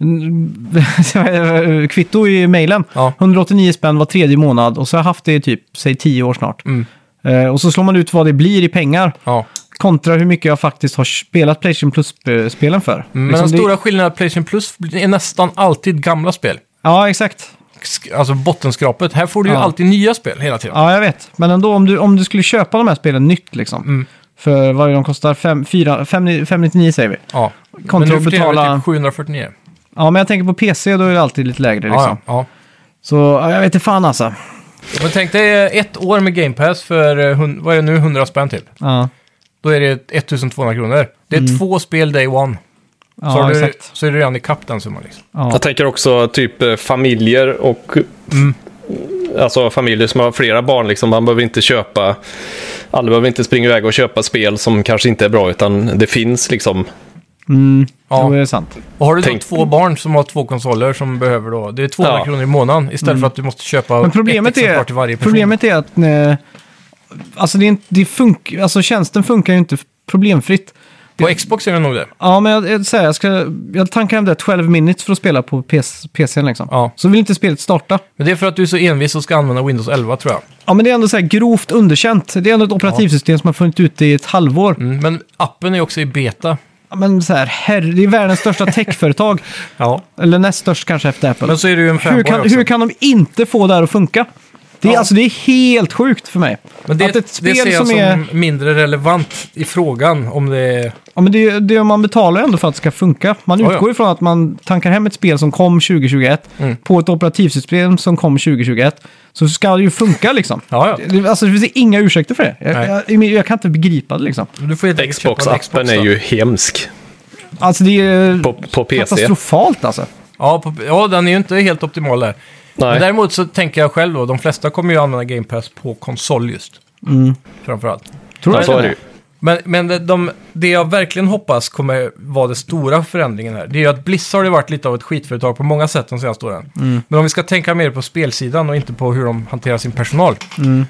Speaker 1: n- kvitto i mejlen.
Speaker 2: Ja.
Speaker 1: 189 spänn var tredje månad och så har jag haft det i typ, säg 10 år snart.
Speaker 2: Mm.
Speaker 1: Eh, och så slår man ut vad det blir i pengar
Speaker 2: Ja.
Speaker 1: kontra hur mycket jag faktiskt har spelat Playstation Plus-spelen för.
Speaker 2: Mm, Men
Speaker 1: Liksom
Speaker 2: den
Speaker 1: det-
Speaker 2: stora skillnaden är att Playstation Plus är nästan alltid gamla spel.
Speaker 1: Ja, exakt.
Speaker 2: Sk- Alltså bottenskrapet. Här får du ju
Speaker 1: Ja.
Speaker 2: alltid nya spel hela tiden.
Speaker 1: Ja, jag vet. Men ändå, om du, om du skulle köpa de här spelen nytt liksom.
Speaker 2: Mm.
Speaker 1: För vad är det de kostar? Fem- fyra- fem- 599 säger vi.
Speaker 2: Ja.
Speaker 1: Kontra
Speaker 2: men nu
Speaker 1: att
Speaker 2: för tiden är det
Speaker 1: betala-
Speaker 2: Typ 749.
Speaker 1: Ja, men jag tänker på PC, då är det alltid lite lägre liksom.
Speaker 2: Ja, ja.
Speaker 1: Så ja, jag vet inte fan alltså.
Speaker 2: ja. Men tänk dig ett år med Game Pass för, eh, hun- vad är det nu, 100 spänn typ.
Speaker 1: Ja,
Speaker 2: Då är det 1200 kronor. Det är två spel day one. Så,
Speaker 1: Mm. ja
Speaker 2: har du,
Speaker 1: exakt.
Speaker 2: så är du redan ikapp den summan. Liksom.
Speaker 1: Ja.
Speaker 3: Jag tänker också typ eh, familjer och
Speaker 2: Mm.
Speaker 3: alltså familjer som har flera barn. Liksom. Man behöver inte köpa, alla behöver inte springa iväg och köpa spel som kanske inte är bra utan det finns liksom.
Speaker 1: Mm,
Speaker 2: Ja.
Speaker 1: Jo, det är sant.
Speaker 2: Och har du
Speaker 3: Tänk-
Speaker 2: då två barn som har två konsoler som behöver då, det är 200
Speaker 3: Ja. Mm.
Speaker 2: kronor i månaden istället för att du måste köpa
Speaker 1: Men problemet
Speaker 2: ett exemplar
Speaker 1: är,
Speaker 2: till varje person.
Speaker 1: problemet är att eh, alltså, det är, inte- det funk, alltså, tjänsten funkar ju inte problemfritt.
Speaker 2: På Xbox är det nog det.
Speaker 1: Ja, men jag, jag, säger, jag, ska, jag tankar hem det 12 minutes för att spela på PC, PCn liksom.
Speaker 2: Ja.
Speaker 1: Så vill inte spelet starta.
Speaker 2: Men det är för att du är så envis och ska använda Windows 11 tror jag.
Speaker 1: Ja, men det är ändå så här grovt underkänt. Det är ändå ett operativsystem som har funnits ute i ett halvår.
Speaker 2: Mm, men appen är också i beta.
Speaker 1: Ja, men så här, herre, det är världens största techföretag.
Speaker 2: Ja.
Speaker 1: Eller näst störst kanske efter Apple.
Speaker 2: Men så är du ju en
Speaker 1: hur,
Speaker 2: fanboy
Speaker 1: kan,
Speaker 2: också.
Speaker 1: hur kan de inte få det här att funka? Det är,
Speaker 2: Ja.
Speaker 1: alltså, det är helt sjukt för mig.
Speaker 2: men det,
Speaker 1: att ett
Speaker 2: det ser
Speaker 1: spel
Speaker 2: jag
Speaker 1: som
Speaker 2: som
Speaker 1: är...
Speaker 2: mindre relevant i frågan om det är...
Speaker 1: Ja, men det, är- det, är- man betalar ju ändå för att det ska funka. Man
Speaker 2: Ja, ja.
Speaker 1: utgår ifrån att man tankar hem ett spel som kom 2021
Speaker 2: Mm.
Speaker 1: på ett operativsystem som kom 2021. Så ska det ju funka liksom.
Speaker 2: Ja, ja.
Speaker 1: Det, alltså, det finns inga ursäkter för det. Jag,
Speaker 2: Nej.
Speaker 1: jag, jag, jag kan inte begripa det liksom.
Speaker 2: Du får helt enkelt köpa en
Speaker 3: Xbox-appen
Speaker 2: Xbox
Speaker 3: är
Speaker 2: då.
Speaker 3: ju hemsk
Speaker 1: Alltså det är
Speaker 3: på, på PC.
Speaker 1: katastrofalt alltså.
Speaker 2: Ja, på, ja, den är ju inte helt optimal där. Men
Speaker 3: Nej.
Speaker 2: däremot så tänker jag själv då, de flesta kommer ju använda Game Pass på konsol just.
Speaker 1: Mm.
Speaker 2: Framförallt.
Speaker 1: Tror
Speaker 3: Ja,
Speaker 1: du
Speaker 3: så är det
Speaker 1: det?
Speaker 3: ju.
Speaker 2: Men, men de, de, det jag verkligen hoppas kommer vara den stora förändringen här, det är ju att Blizzard har ju varit lite av ett skitföretag på många sätt de senaste åren. Men om vi ska tänka mer på spelsidan och inte på hur de hanterar sin personal,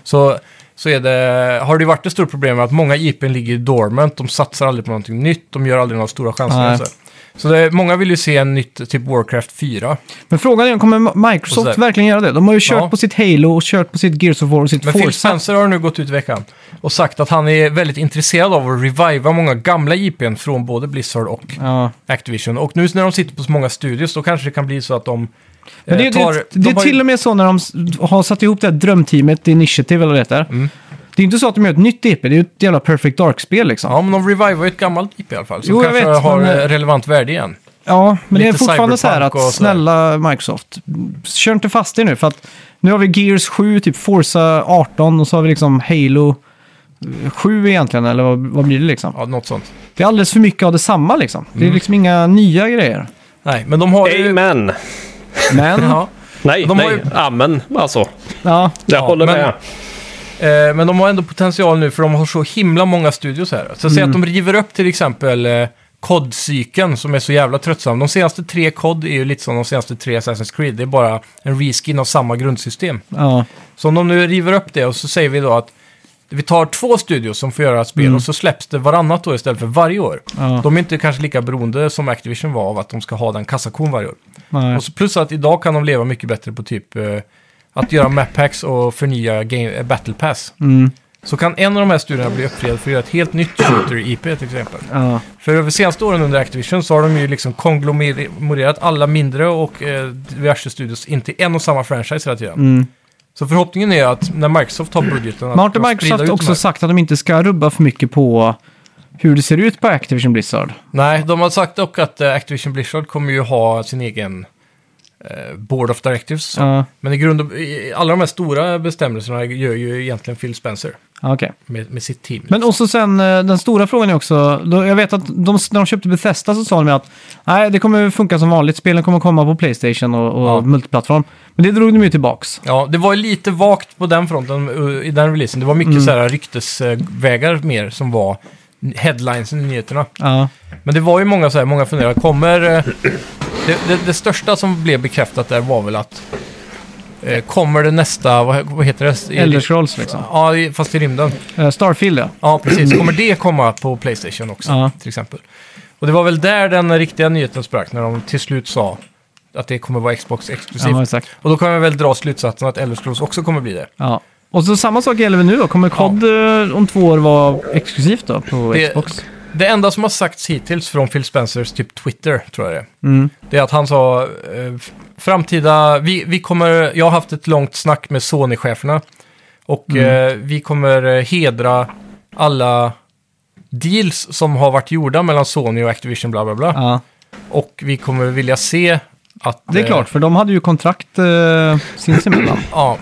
Speaker 2: så, så är det, har det ju varit ett stort problem med att många IPn ligger dormant, de satsar aldrig på någonting nytt, de gör aldrig några stora chanser.
Speaker 1: Nej.
Speaker 2: och Så, så det, många vill ju se en nytt, typ Warcraft 4.
Speaker 1: Men frågan är, kommer
Speaker 2: Och
Speaker 1: Microsoft
Speaker 2: så där.
Speaker 1: verkligen göra det? De har ju kört
Speaker 2: Ja.
Speaker 1: på sitt Halo och kört på sitt Gears of War och sitt
Speaker 2: Men Phil
Speaker 1: Forza.
Speaker 2: Spencer har nu gått ut i veckan och sagt att han är väldigt intresserad av att reviva många gamla IPn från både Blizzard och
Speaker 1: Ja.
Speaker 2: Activision. Och nu när de sitter på så många studios, då kanske det kan bli så att de
Speaker 1: Men det,
Speaker 2: eh, tar...
Speaker 1: det,
Speaker 2: de
Speaker 1: det är
Speaker 2: har ju-
Speaker 1: till och med så när de s- har satt ihop det här drömteamet, Initiative eller vad det heter.
Speaker 2: Mm.
Speaker 1: Det är inte så att de gör ett nytt EP, det är ju ett jävla Perfect Dark-spel liksom. Ja,
Speaker 2: Ja, men de revivar ju ett gammalt IP i alla fall, som
Speaker 1: Jo, jag
Speaker 2: kanske
Speaker 1: vet,
Speaker 2: har
Speaker 1: men-
Speaker 2: eh, relevant värde igen.
Speaker 1: men det är
Speaker 2: lite
Speaker 1: fortfarande så här
Speaker 2: cyberpunk
Speaker 1: att
Speaker 2: och så där.
Speaker 1: snälla Microsoft, kör inte fast er nu för att nu har vi Gears 7, typ Forza 18 och så har vi liksom Halo 7 egentligen, eller vad, vad blir det liksom?
Speaker 2: Ja, något sånt. Mm.
Speaker 1: Det är alldeles för mycket av detsamma liksom. Det är liksom inga nya grejer.
Speaker 2: Nej, men de har ju...
Speaker 3: Amen!
Speaker 1: Men, ja.
Speaker 2: Ja.
Speaker 3: Nej,
Speaker 2: De har
Speaker 3: nej.
Speaker 2: ju-
Speaker 3: Amen, alltså. Jag
Speaker 2: Ja,
Speaker 3: håller
Speaker 2: men-
Speaker 3: med.
Speaker 2: Eh, men de har ändå potential nu för de har så himla många studios här. Så säg att
Speaker 1: Mm.
Speaker 2: de river upp till exempel eh, COD-cykeln som är så jävla tröttsam. De senaste tre COD är ju lite som de senaste tre Assassin's Creed. Det är bara en reskin av samma grundsystem.
Speaker 1: ja.
Speaker 2: Så om de nu river upp det och så säger vi då att vi tar två studios som får göra spel och så släpps det varannat år istället för varje år.
Speaker 1: Mm. Ja.
Speaker 2: De är inte kanske lika beroende som Activision var av att de ska ha den kassakon varje år.
Speaker 1: Nej.
Speaker 2: Och så plus att idag kan de leva mycket bättre på typ eh, att göra map packs och förnya game, eh, battle pass.
Speaker 1: Mm.
Speaker 2: Så kan en av de här studierna bli uppfriad för att göra ett helt nytt shooter-IP till exempel.
Speaker 1: Ja.
Speaker 2: För över senaste åren under Activision så har de ju liksom konglomererat alla mindre och eh, diverse studios inte i en och samma franchise hela tiden.
Speaker 1: Mm.
Speaker 2: Så förhoppningen är att när Microsoft har budgeten... att
Speaker 1: Men har inte
Speaker 2: kunna sprida ut
Speaker 1: Microsoft
Speaker 2: de
Speaker 1: också
Speaker 2: här.
Speaker 1: sagt att de inte ska rubba för mycket på hur det ser ut på Activision Blizzard?
Speaker 2: Nej, de har sagt dock att eh, Activision Blizzard kommer ju ha sin egen eh, Board of Directives. så.
Speaker 1: Ja,
Speaker 2: Men i grund och, i- alla de här stora bestämmelserna gör ju egentligen Phil Spencer
Speaker 1: ja, okej.
Speaker 2: med, med sitt team.
Speaker 1: Men också sen, eh, den stora frågan är också, då, jag vet att de, när de köpte Bethesda så sa de ju att nej, det kommer funka som vanligt, spelen kommer komma på Playstation och, och
Speaker 2: Ja.
Speaker 1: multiplattform. Men det drog de ju tillbaks.
Speaker 2: Ja, det var ju lite vagt på den fronten eh, i den releasen. Det var
Speaker 1: Mm.
Speaker 2: mycket så här ryktesvägar mer som var headlinesen i nyheterna.
Speaker 1: Ja,
Speaker 2: Men det var ju många så här, många funderade, kommer... eh, Det, det, det största som blev bekräftat där var väl att... eh, Kommer det nästa, vad, vad heter det? I-
Speaker 1: Elder Scrolls liksom.
Speaker 2: Ja, i- fast i rymden.
Speaker 1: Eh, Starfield ja.
Speaker 2: Ja, precis. Kommer det komma på Playstation också,
Speaker 1: Ja.
Speaker 2: till exempel? Och det var väl där den riktiga nyheten sprack, när de till slut sa att det kommer vara Xbox exklusivt.
Speaker 1: Ja, exakt.
Speaker 2: Och då kan man väl dra slutsatsen att Elder Scrolls också kommer bli det.
Speaker 1: Ja. Och så samma sak gäller väl nu då? Kommer COD eh, om två år vara exklusivt då på
Speaker 2: Det-
Speaker 1: Xbox?
Speaker 2: Det enda som har sagts hittills från Phil Spencers typ Twitter, tror jag det är,
Speaker 1: Mm.
Speaker 2: det är att han sa eh, framtida, vi, vi kommer, jag har haft ett långt snack med Sony-cheferna och
Speaker 1: Mm.
Speaker 2: eh, vi kommer eh, hedra alla deals som har varit gjorda mellan Sony och Activision bla bla bla.
Speaker 1: Ja.
Speaker 2: Och vi kommer vilja se att...
Speaker 1: Det är
Speaker 2: eh,
Speaker 1: klart, för de hade ju kontrakt eh, sinsemellan.
Speaker 2: Ja.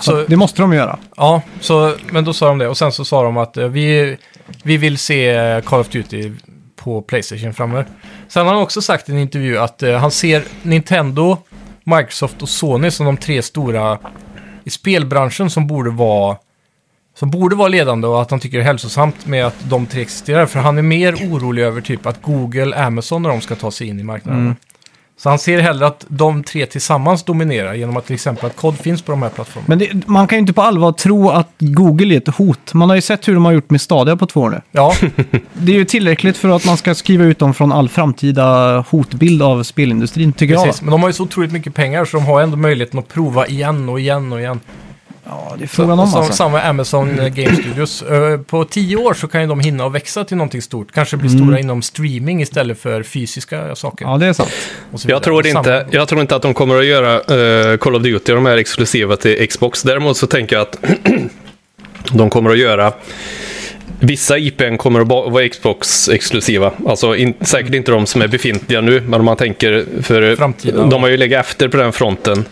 Speaker 2: Så,
Speaker 1: Så det måste de göra.
Speaker 2: ja, så, men då sa de det. Och sen så sa de att eh, vi, vi vill se eh, Call of Duty på Playstation framöver. Sen har han också sagt i en intervju att eh, han ser Nintendo, Microsoft och Sony som de tre stora i spelbranschen som borde vara som borde vara ledande och att han tycker det är hälsosamt med att de tre existerar. För han är mer orolig över typ att Google, Amazon när de ska ta sig in i marknaden. Så han ser hellre att de tre tillsammans dominerar genom att till exempel att kod finns på de här plattformarna.
Speaker 1: Men det, man kan ju inte på allvar tro att Google är ett hot. Man har ju sett hur de har gjort med Stadia på två år nu.
Speaker 2: Ja,
Speaker 1: Det är ju tillräckligt för att man ska skriva ut dem från all framtida hotbild av spelindustrin, tycker
Speaker 2: precis. Men de har ju så otroligt mycket pengar så de har ändå möjligheten att prova igen och igen och igen.
Speaker 1: jag. Ja, det är frågan om
Speaker 2: som,
Speaker 1: alltså.
Speaker 2: Samma Amazon eh, Game Studios. Eh, På tio år så kan ju de hinna och växa till någonting stort. Kanske bli stora inom streaming istället för fysiska saker.
Speaker 1: Mm. Ja, det är sant.
Speaker 2: och så
Speaker 3: Jag
Speaker 2: vidare.
Speaker 3: tror,
Speaker 2: Och
Speaker 3: inte, jag tror inte att de kommer att göra eh, Call of Duty, de är exklusiva till Xbox. Däremot så tänker jag att de kommer att göra... Vissa IPn kommer att ba- vara Xbox-exklusiva. Alltså in, säkert inte de som är befintliga nu, men om man tänker för...
Speaker 2: Framtida.
Speaker 3: De har ju legat efter på den fronten.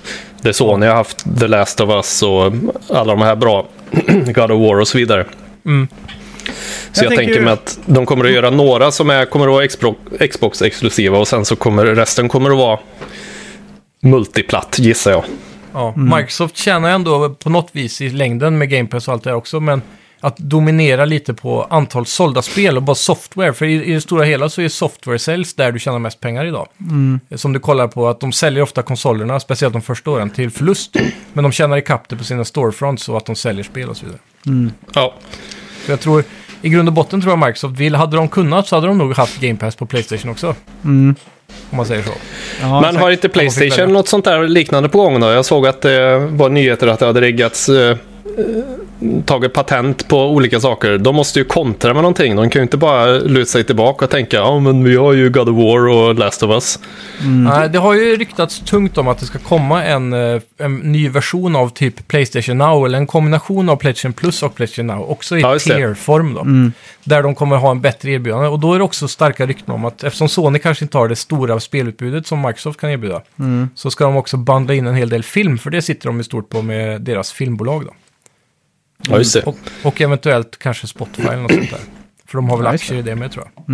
Speaker 3: Där Sony har haft The Last of Us och alla de här bra, God of War och så vidare.
Speaker 2: Mm.
Speaker 3: Så jag,
Speaker 1: Jag tänker
Speaker 3: tänker
Speaker 1: ju-
Speaker 3: mig att de kommer att göra några som är, kommer att vara Xbox- Xbox-exklusiva och sen så kommer resten kommer att vara multiplatt gissar jag.
Speaker 2: Ja, Microsoft tjänar ändå på något vis i längden med Game Pass och allt det här också, men att dominera lite på antal sålda spel och bara software. För i, i det stora hela så är software sales där du tjänar mest pengar idag. Eh, Som du kollar på att de säljer ofta konsolerna, speciellt de första åren, till förlust. Men de tjänar ikapp det på sina storefronts och att de säljer spel och så vidare.
Speaker 3: Ja,
Speaker 2: Så jag tror, i grund och botten tror jag Microsoft vill, hade de kunnat så hade de nog haft Game Pass på Playstation också. Om man säger så.
Speaker 1: Ja,
Speaker 3: Men
Speaker 1: exakt.
Speaker 3: har
Speaker 2: Om man
Speaker 3: inte
Speaker 2: fick
Speaker 3: Playstation
Speaker 2: välja.
Speaker 3: något sånt där liknande på gång då? Jag såg att det var nyheter att det hade riggats, eh, eh, tagit patent på olika saker. De måste ju kontra med någonting. De kan ju inte bara luta sig tillbaka och tänka ja men vi har ju God of War och Last of Us. Mm.
Speaker 2: Nej, det har ju ryktats tungt om att det ska komma en, eh, en ny version av typ Playstation Now, eller en kombination av Playstation Plus och Playstation Now, också i
Speaker 3: Ja, just det. Mm.
Speaker 2: tier-form då. Där de kommer ha en bättre erbjudande. Och då är det också starka rykten om att eftersom Sony kanske inte har det stora spelutbudet som Microsoft kan erbjuda,
Speaker 3: Mm.
Speaker 2: så ska de också banda in en hel del film, för det sitter de ju stort på med deras filmbolag då.
Speaker 3: Ja just det.
Speaker 2: Och, och eventuellt kanske Spotify eller något sånt där. För de har väl
Speaker 1: Ja, just
Speaker 2: aktier i det med tror jag.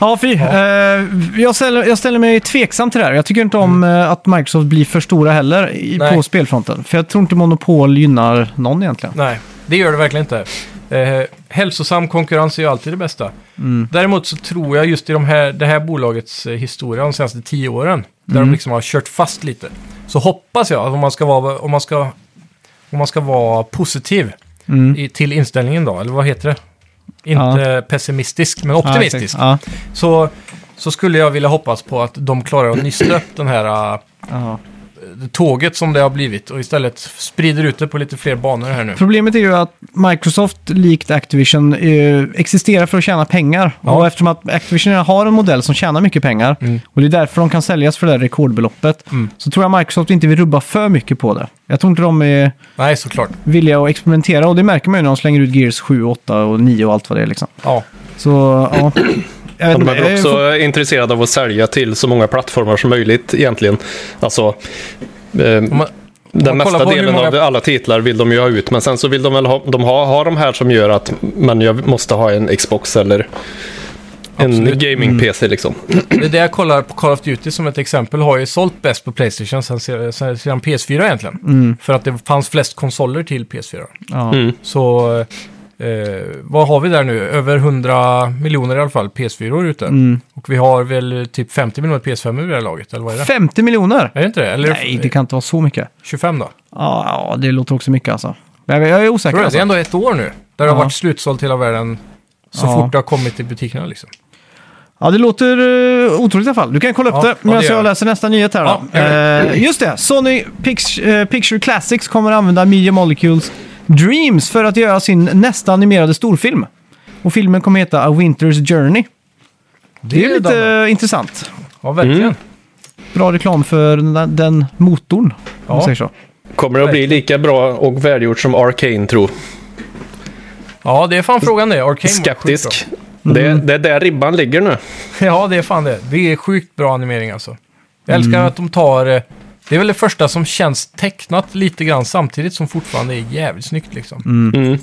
Speaker 1: Ja, fy. Eh, jag, ställer, jag ställer mig tveksam till det här. Jag tycker inte om eh, att Microsoft blir för stora heller i,
Speaker 2: Mm. Nej.
Speaker 1: på spelfronten. För jag tror inte monopol gynnar någon egentligen.
Speaker 2: Nej, det gör det verkligen inte. Eh, hälsosam konkurrens är ju alltid det bästa.
Speaker 1: Mm.
Speaker 2: Däremot så tror jag just i de här, det här bolagets eh, historia de senaste tio åren, där
Speaker 1: Mm.
Speaker 2: de liksom har kört fast lite, så hoppas jag, att om man ska vara, om man ska, om man ska vara positiv
Speaker 1: Mm.
Speaker 2: i, till inställningen då, eller vad heter det? Inte pessimistisk, men
Speaker 1: Ja,
Speaker 2: optimistisk.
Speaker 1: exakt.
Speaker 2: så, så skulle jag vilja hoppas på att de klarar att nysta upp den här eh,
Speaker 1: Ja, ja.
Speaker 2: tåget som det har blivit och istället sprider ut det på lite fler banor här nu.
Speaker 1: Problemet är ju att Microsoft, likt Activision, eh, existerar för att tjäna pengar.
Speaker 2: Ja.
Speaker 1: Och eftersom att Activision redan har en modell som tjänar mycket pengar,
Speaker 2: Mm.
Speaker 1: och det är därför de kan säljas för det här rekordbeloppet,
Speaker 2: Mm.
Speaker 1: så tror jag Microsoft inte vill rubba för mycket på det. Jag tror inte de är
Speaker 2: Nej, såklart.
Speaker 1: villiga att experimentera, och det märker man ju när de slänger ut Gears 7, 8 och 9 och allt vad det är liksom.
Speaker 2: Ja.
Speaker 1: Så, ja. Jag vet
Speaker 3: De
Speaker 1: inte,
Speaker 3: är
Speaker 2: eh,
Speaker 1: jag
Speaker 3: väl
Speaker 1: är
Speaker 3: också
Speaker 1: fort-
Speaker 3: intresserade av att sälja till så många plattformar som möjligt egentligen. Alltså, eh,
Speaker 2: Om man,
Speaker 3: den
Speaker 2: man kollar
Speaker 3: mesta
Speaker 2: på hur
Speaker 3: delen
Speaker 2: många-
Speaker 3: av alla titlar vill de ju ha ut. Men sen så vill de väl ha de, har, ha de här som gör att men jag måste ha en Xbox eller en
Speaker 2: Absolut. Mm.
Speaker 3: gaming-PC liksom.
Speaker 2: det är det jag kollar på Call of Duty som ett exempel. Har ju sålt bäst på Playstation sen, se- sen, sedan PS4 egentligen.
Speaker 1: Mm.
Speaker 2: För att det fanns flest konsoler till PS4.
Speaker 1: ja.
Speaker 3: Mm.
Speaker 2: Så eh, vad har vi där nu? Över 100 miljoner i alla fall PS4 ute.
Speaker 1: Mm.
Speaker 2: Och vi har väl typ 50 miljoner PS5 i det här laget, eller vad är det?
Speaker 1: 50 miljoner?
Speaker 2: Är det inte det? Eller
Speaker 1: Nej, det kan inte vara så mycket.
Speaker 2: 25 då?
Speaker 1: Ja, ja, det låter också mycket alltså. Jag, jag är
Speaker 2: Tror
Speaker 1: osäker.
Speaker 2: du det? Det är
Speaker 1: Alltså.
Speaker 2: ändå ett år nu. Där det har
Speaker 1: Ja.
Speaker 2: varit slutsålt hela världen så
Speaker 1: Ja.
Speaker 2: fort det har kommit till butikerna liksom.
Speaker 1: Ja, det låter uh, otroligt i alla fall. Du kan kolla upp
Speaker 2: Ja, ja,
Speaker 1: det medan
Speaker 2: det gör
Speaker 1: jag
Speaker 2: jag.
Speaker 1: läser nästa nyhet här.
Speaker 2: Ja,
Speaker 1: då. Eh, just det, Sony Pix, eh, Picture Classics kommer använda Media Molecules Dreams för att göra sin nästa animerade storfilm. Och filmen kommer heta A Winter's Journey. Det, är lite
Speaker 2: Danne.
Speaker 1: eh, intressant.
Speaker 2: Ja, verkligen.
Speaker 3: Mm.
Speaker 1: Bra reklam för den, den motorn, om
Speaker 2: Ja.
Speaker 1: man säger så.
Speaker 3: Kommer det att bli lika bra och välgjort som Arcane tror?
Speaker 2: Ja, det är fan frågan det. Arcane var sjukt bra. Mm.
Speaker 3: Skeptisk. Det, det är där ribban ligger nu.
Speaker 2: Ja, det är fan det. Det är sjukt bra animering alltså. Jag älskar
Speaker 1: Mm.
Speaker 2: att de tar... eh, Det är väl det första som känns tecknat lite grann samtidigt som fortfarande är jävligt snyggt liksom.
Speaker 3: Mm.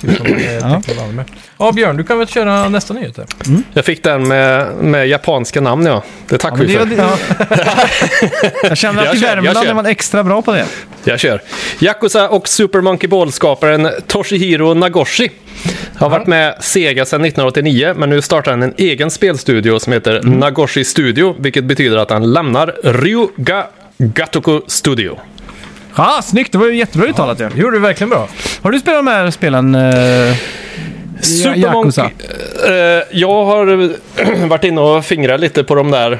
Speaker 2: Typ som, eh, tecknat anime. Ja, Björn, du kan väl köra nästa nyhet här?
Speaker 3: Jag fick den med, med japanska namn ja. Det tackar
Speaker 1: Ja, men
Speaker 3: vi
Speaker 1: det,
Speaker 3: för.
Speaker 1: ja. jag känner att
Speaker 3: Jag
Speaker 1: i
Speaker 3: kör, jag
Speaker 1: Värmland
Speaker 3: kör.
Speaker 1: är man extra bra på det.
Speaker 3: Jag kör. Yakuza och Super Monkey Ball-skaparen Toshihiro Nagoshi har varit med Sega sedan 1989, men nu startar han en egen spelstudio som heter
Speaker 1: Mm.
Speaker 3: Nagoshi Studio, vilket betyder att han lämnar Ryuga Gatoku Studio.
Speaker 1: Ja, snyggt. Det var ju jättebra uttalat ju.
Speaker 2: Det gjorde du verkligen bra.
Speaker 1: Har du spelat de här spelen? eh,
Speaker 3: Super
Speaker 1: Yakuza.
Speaker 3: Eh, jag har varit inne och fingrat lite på de där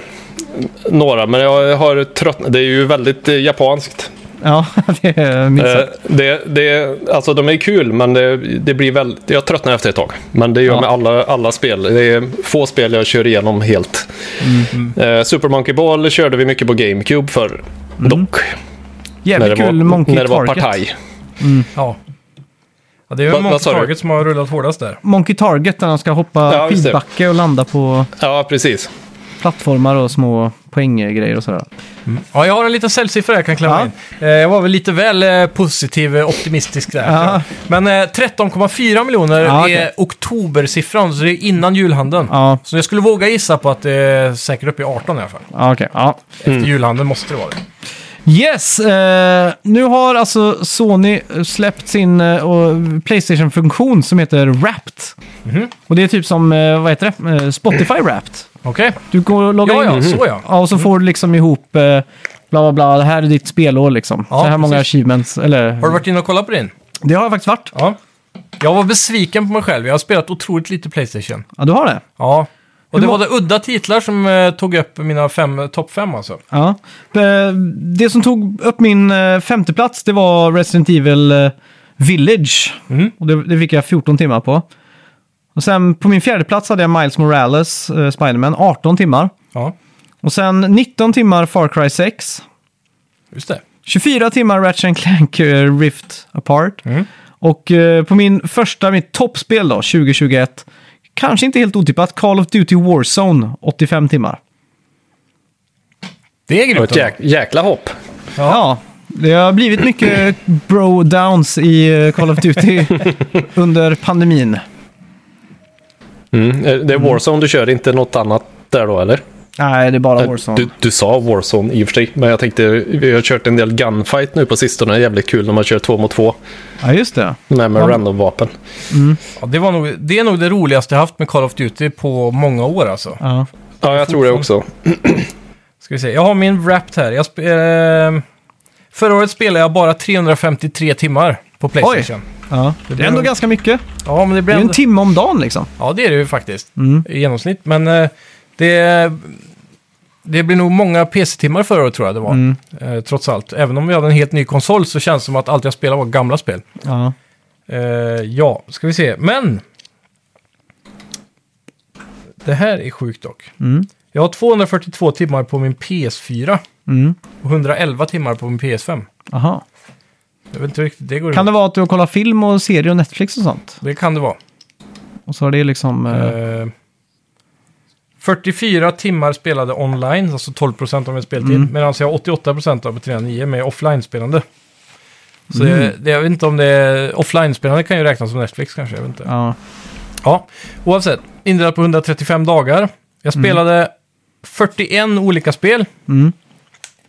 Speaker 3: några, men jag har tröttnat. Det är ju väldigt eh, japanskt.
Speaker 1: Ja, det är minst
Speaker 3: Eh,
Speaker 1: sagt.
Speaker 3: det, det, alltså de är kul, men det, det blir väl, jag tröttnar efter ett tag. Men det gör
Speaker 1: Ja.
Speaker 3: med alla, alla spel. Det är få spel jag kör igenom helt.
Speaker 1: Mm-hmm.
Speaker 3: Eh, Super Monkey Ball körde vi mycket på GameCube för dock. När det
Speaker 1: Jävligt Mm-hmm.
Speaker 3: var,
Speaker 1: kul Monkey
Speaker 3: när det var
Speaker 1: Target.
Speaker 3: partaj.
Speaker 2: Ja. ja det är väl
Speaker 3: Vad- vad
Speaker 2: Monkey
Speaker 3: sa du?
Speaker 2: Target som har rullat hårdast där.
Speaker 1: Monkey Target där de ska hoppa
Speaker 3: Ja, just det.
Speaker 1: skidbacke och landa på
Speaker 3: Ja, precis.
Speaker 1: plattformar och små poänggrejer och sådär.
Speaker 2: Ja, jag har en liten säljsiffra jag kan klämma
Speaker 1: Ja.
Speaker 2: in. Eh, jag var väl lite väl eh, positiv, eh, optimistisk där.
Speaker 1: Ja.
Speaker 2: Men eh, 13,4 miljoner
Speaker 1: Ja,
Speaker 2: är
Speaker 1: okej.
Speaker 2: oktobersiffran, så det är innan julhandeln.
Speaker 1: Ja,
Speaker 2: Så jag skulle våga gissa på att det är säkert uppe i 18 i alla fall.
Speaker 1: ja okej. Ja.
Speaker 2: Efter julhandeln måste det vara det.
Speaker 1: Yes! Eh, nu har alltså Sony släppt sin eh, och Playstation-funktion som heter Wrapped.
Speaker 2: Mhm.
Speaker 1: Och det är typ som, eh, vad heter det? Eh, Spotify Wrapped.
Speaker 2: Okej.
Speaker 1: Du går och loggar
Speaker 2: Ja,
Speaker 1: in.
Speaker 2: ja, så Mm. ja.
Speaker 1: Ja, och så får du liksom ihop eh, bla bla bla, det här är ditt spelår liksom.
Speaker 2: Ja,
Speaker 1: så här många
Speaker 2: precis.
Speaker 1: achievements, eller...
Speaker 2: Har du varit inne och kollat på din?
Speaker 1: Det har jag faktiskt varit.
Speaker 2: Ja. Jag var besviken på mig själv. Jag har spelat otroligt lite Playstation.
Speaker 1: Ja, du har det?
Speaker 2: Ja. Och det
Speaker 1: Hur
Speaker 2: var
Speaker 1: må-
Speaker 2: det udda titlar som eh, tog upp mina fem, topp fem alltså.
Speaker 1: Ja. Eh, Det som tog upp min eh, femteplats, det var Resident Evil eh, Village.
Speaker 2: Mm.
Speaker 1: Och det, det fick jag 14 timmar på. Och sen på min fjärde plats hade jag Miles Morales, eh, Spiderman, 18 timmar.
Speaker 2: Ja,
Speaker 1: Och sen 19 timmar Far Cry 6.
Speaker 2: just det.
Speaker 1: 24 timmar Ratchet and Clank eh, Rift Apart.
Speaker 2: Mm.
Speaker 1: Och eh, på min första, mitt toppspel då, 2021. Kanske inte helt otippat, Call of Duty Warzone, 85 timmar.
Speaker 2: Det är
Speaker 3: Det var
Speaker 2: grymt.
Speaker 3: ett jäk, jäkla hopp.
Speaker 1: Ja, det har blivit mycket bro-downs i eh, Call of Duty under pandemin.
Speaker 3: Mm. eh, Det är Warzone du kör, inte något annat där då eller?
Speaker 1: Nej, det är bara
Speaker 3: Eh,
Speaker 1: Warzone.
Speaker 3: Du, du sa Warzone i och för sig, men jag tänkte, vi har kört en del Gunfight nu på sistone. Det är jävligt kul när man kör två mot två
Speaker 1: Ja, just det.
Speaker 3: med, med random-vapen.
Speaker 2: Ja, det, var nog, det är nog det roligaste jag haft med Call of Duty på många år alltså.
Speaker 1: Ja.
Speaker 3: Ja, jag tror det också.
Speaker 2: Ska vi se. Jag har min Wrapped här. Jag sp- eh, förra året spelade jag bara 353 timmar på Playstation.
Speaker 1: Ja. Det är ändå ganska mycket.
Speaker 2: Ja, men det
Speaker 1: Det
Speaker 2: blir
Speaker 1: är
Speaker 2: ändå...
Speaker 1: en timme om dagen liksom.
Speaker 2: Ja, det är det ju faktiskt i genomsnitt. Men eh, det, det blir nog många PC-timmar förra året tror jag det var. Eh, trots allt. Även om vi hade en helt ny konsol så känns det som att allt jag spelade var gamla spel.
Speaker 1: Ja.
Speaker 2: Eh, ja, ska vi se. Men! Det här är sjukt dock. Jag har 242 timmar på min PS4
Speaker 1: Mm.
Speaker 2: och 111 timmar på min PS5.
Speaker 1: Aha.
Speaker 2: Jag vet inte riktigt, det går
Speaker 1: Kan
Speaker 2: ihop.
Speaker 1: det vara att du har kollat film och serier och Netflix och sånt?
Speaker 2: Det kan det vara.
Speaker 1: Och så har det liksom... eh,
Speaker 2: Eh, 44 timmar spelade online, alltså 12% av min speltid. Medan jag har 88% av 309 med offline-spelande. Så det, det, jag vet inte om det är... Offline-spelande kan ju räknas som Netflix kanske, jag vet inte.
Speaker 1: Ja.
Speaker 2: Ja, oavsett. Indelat på 135 dagar. Jag spelade 41 olika spel.
Speaker 1: Mm.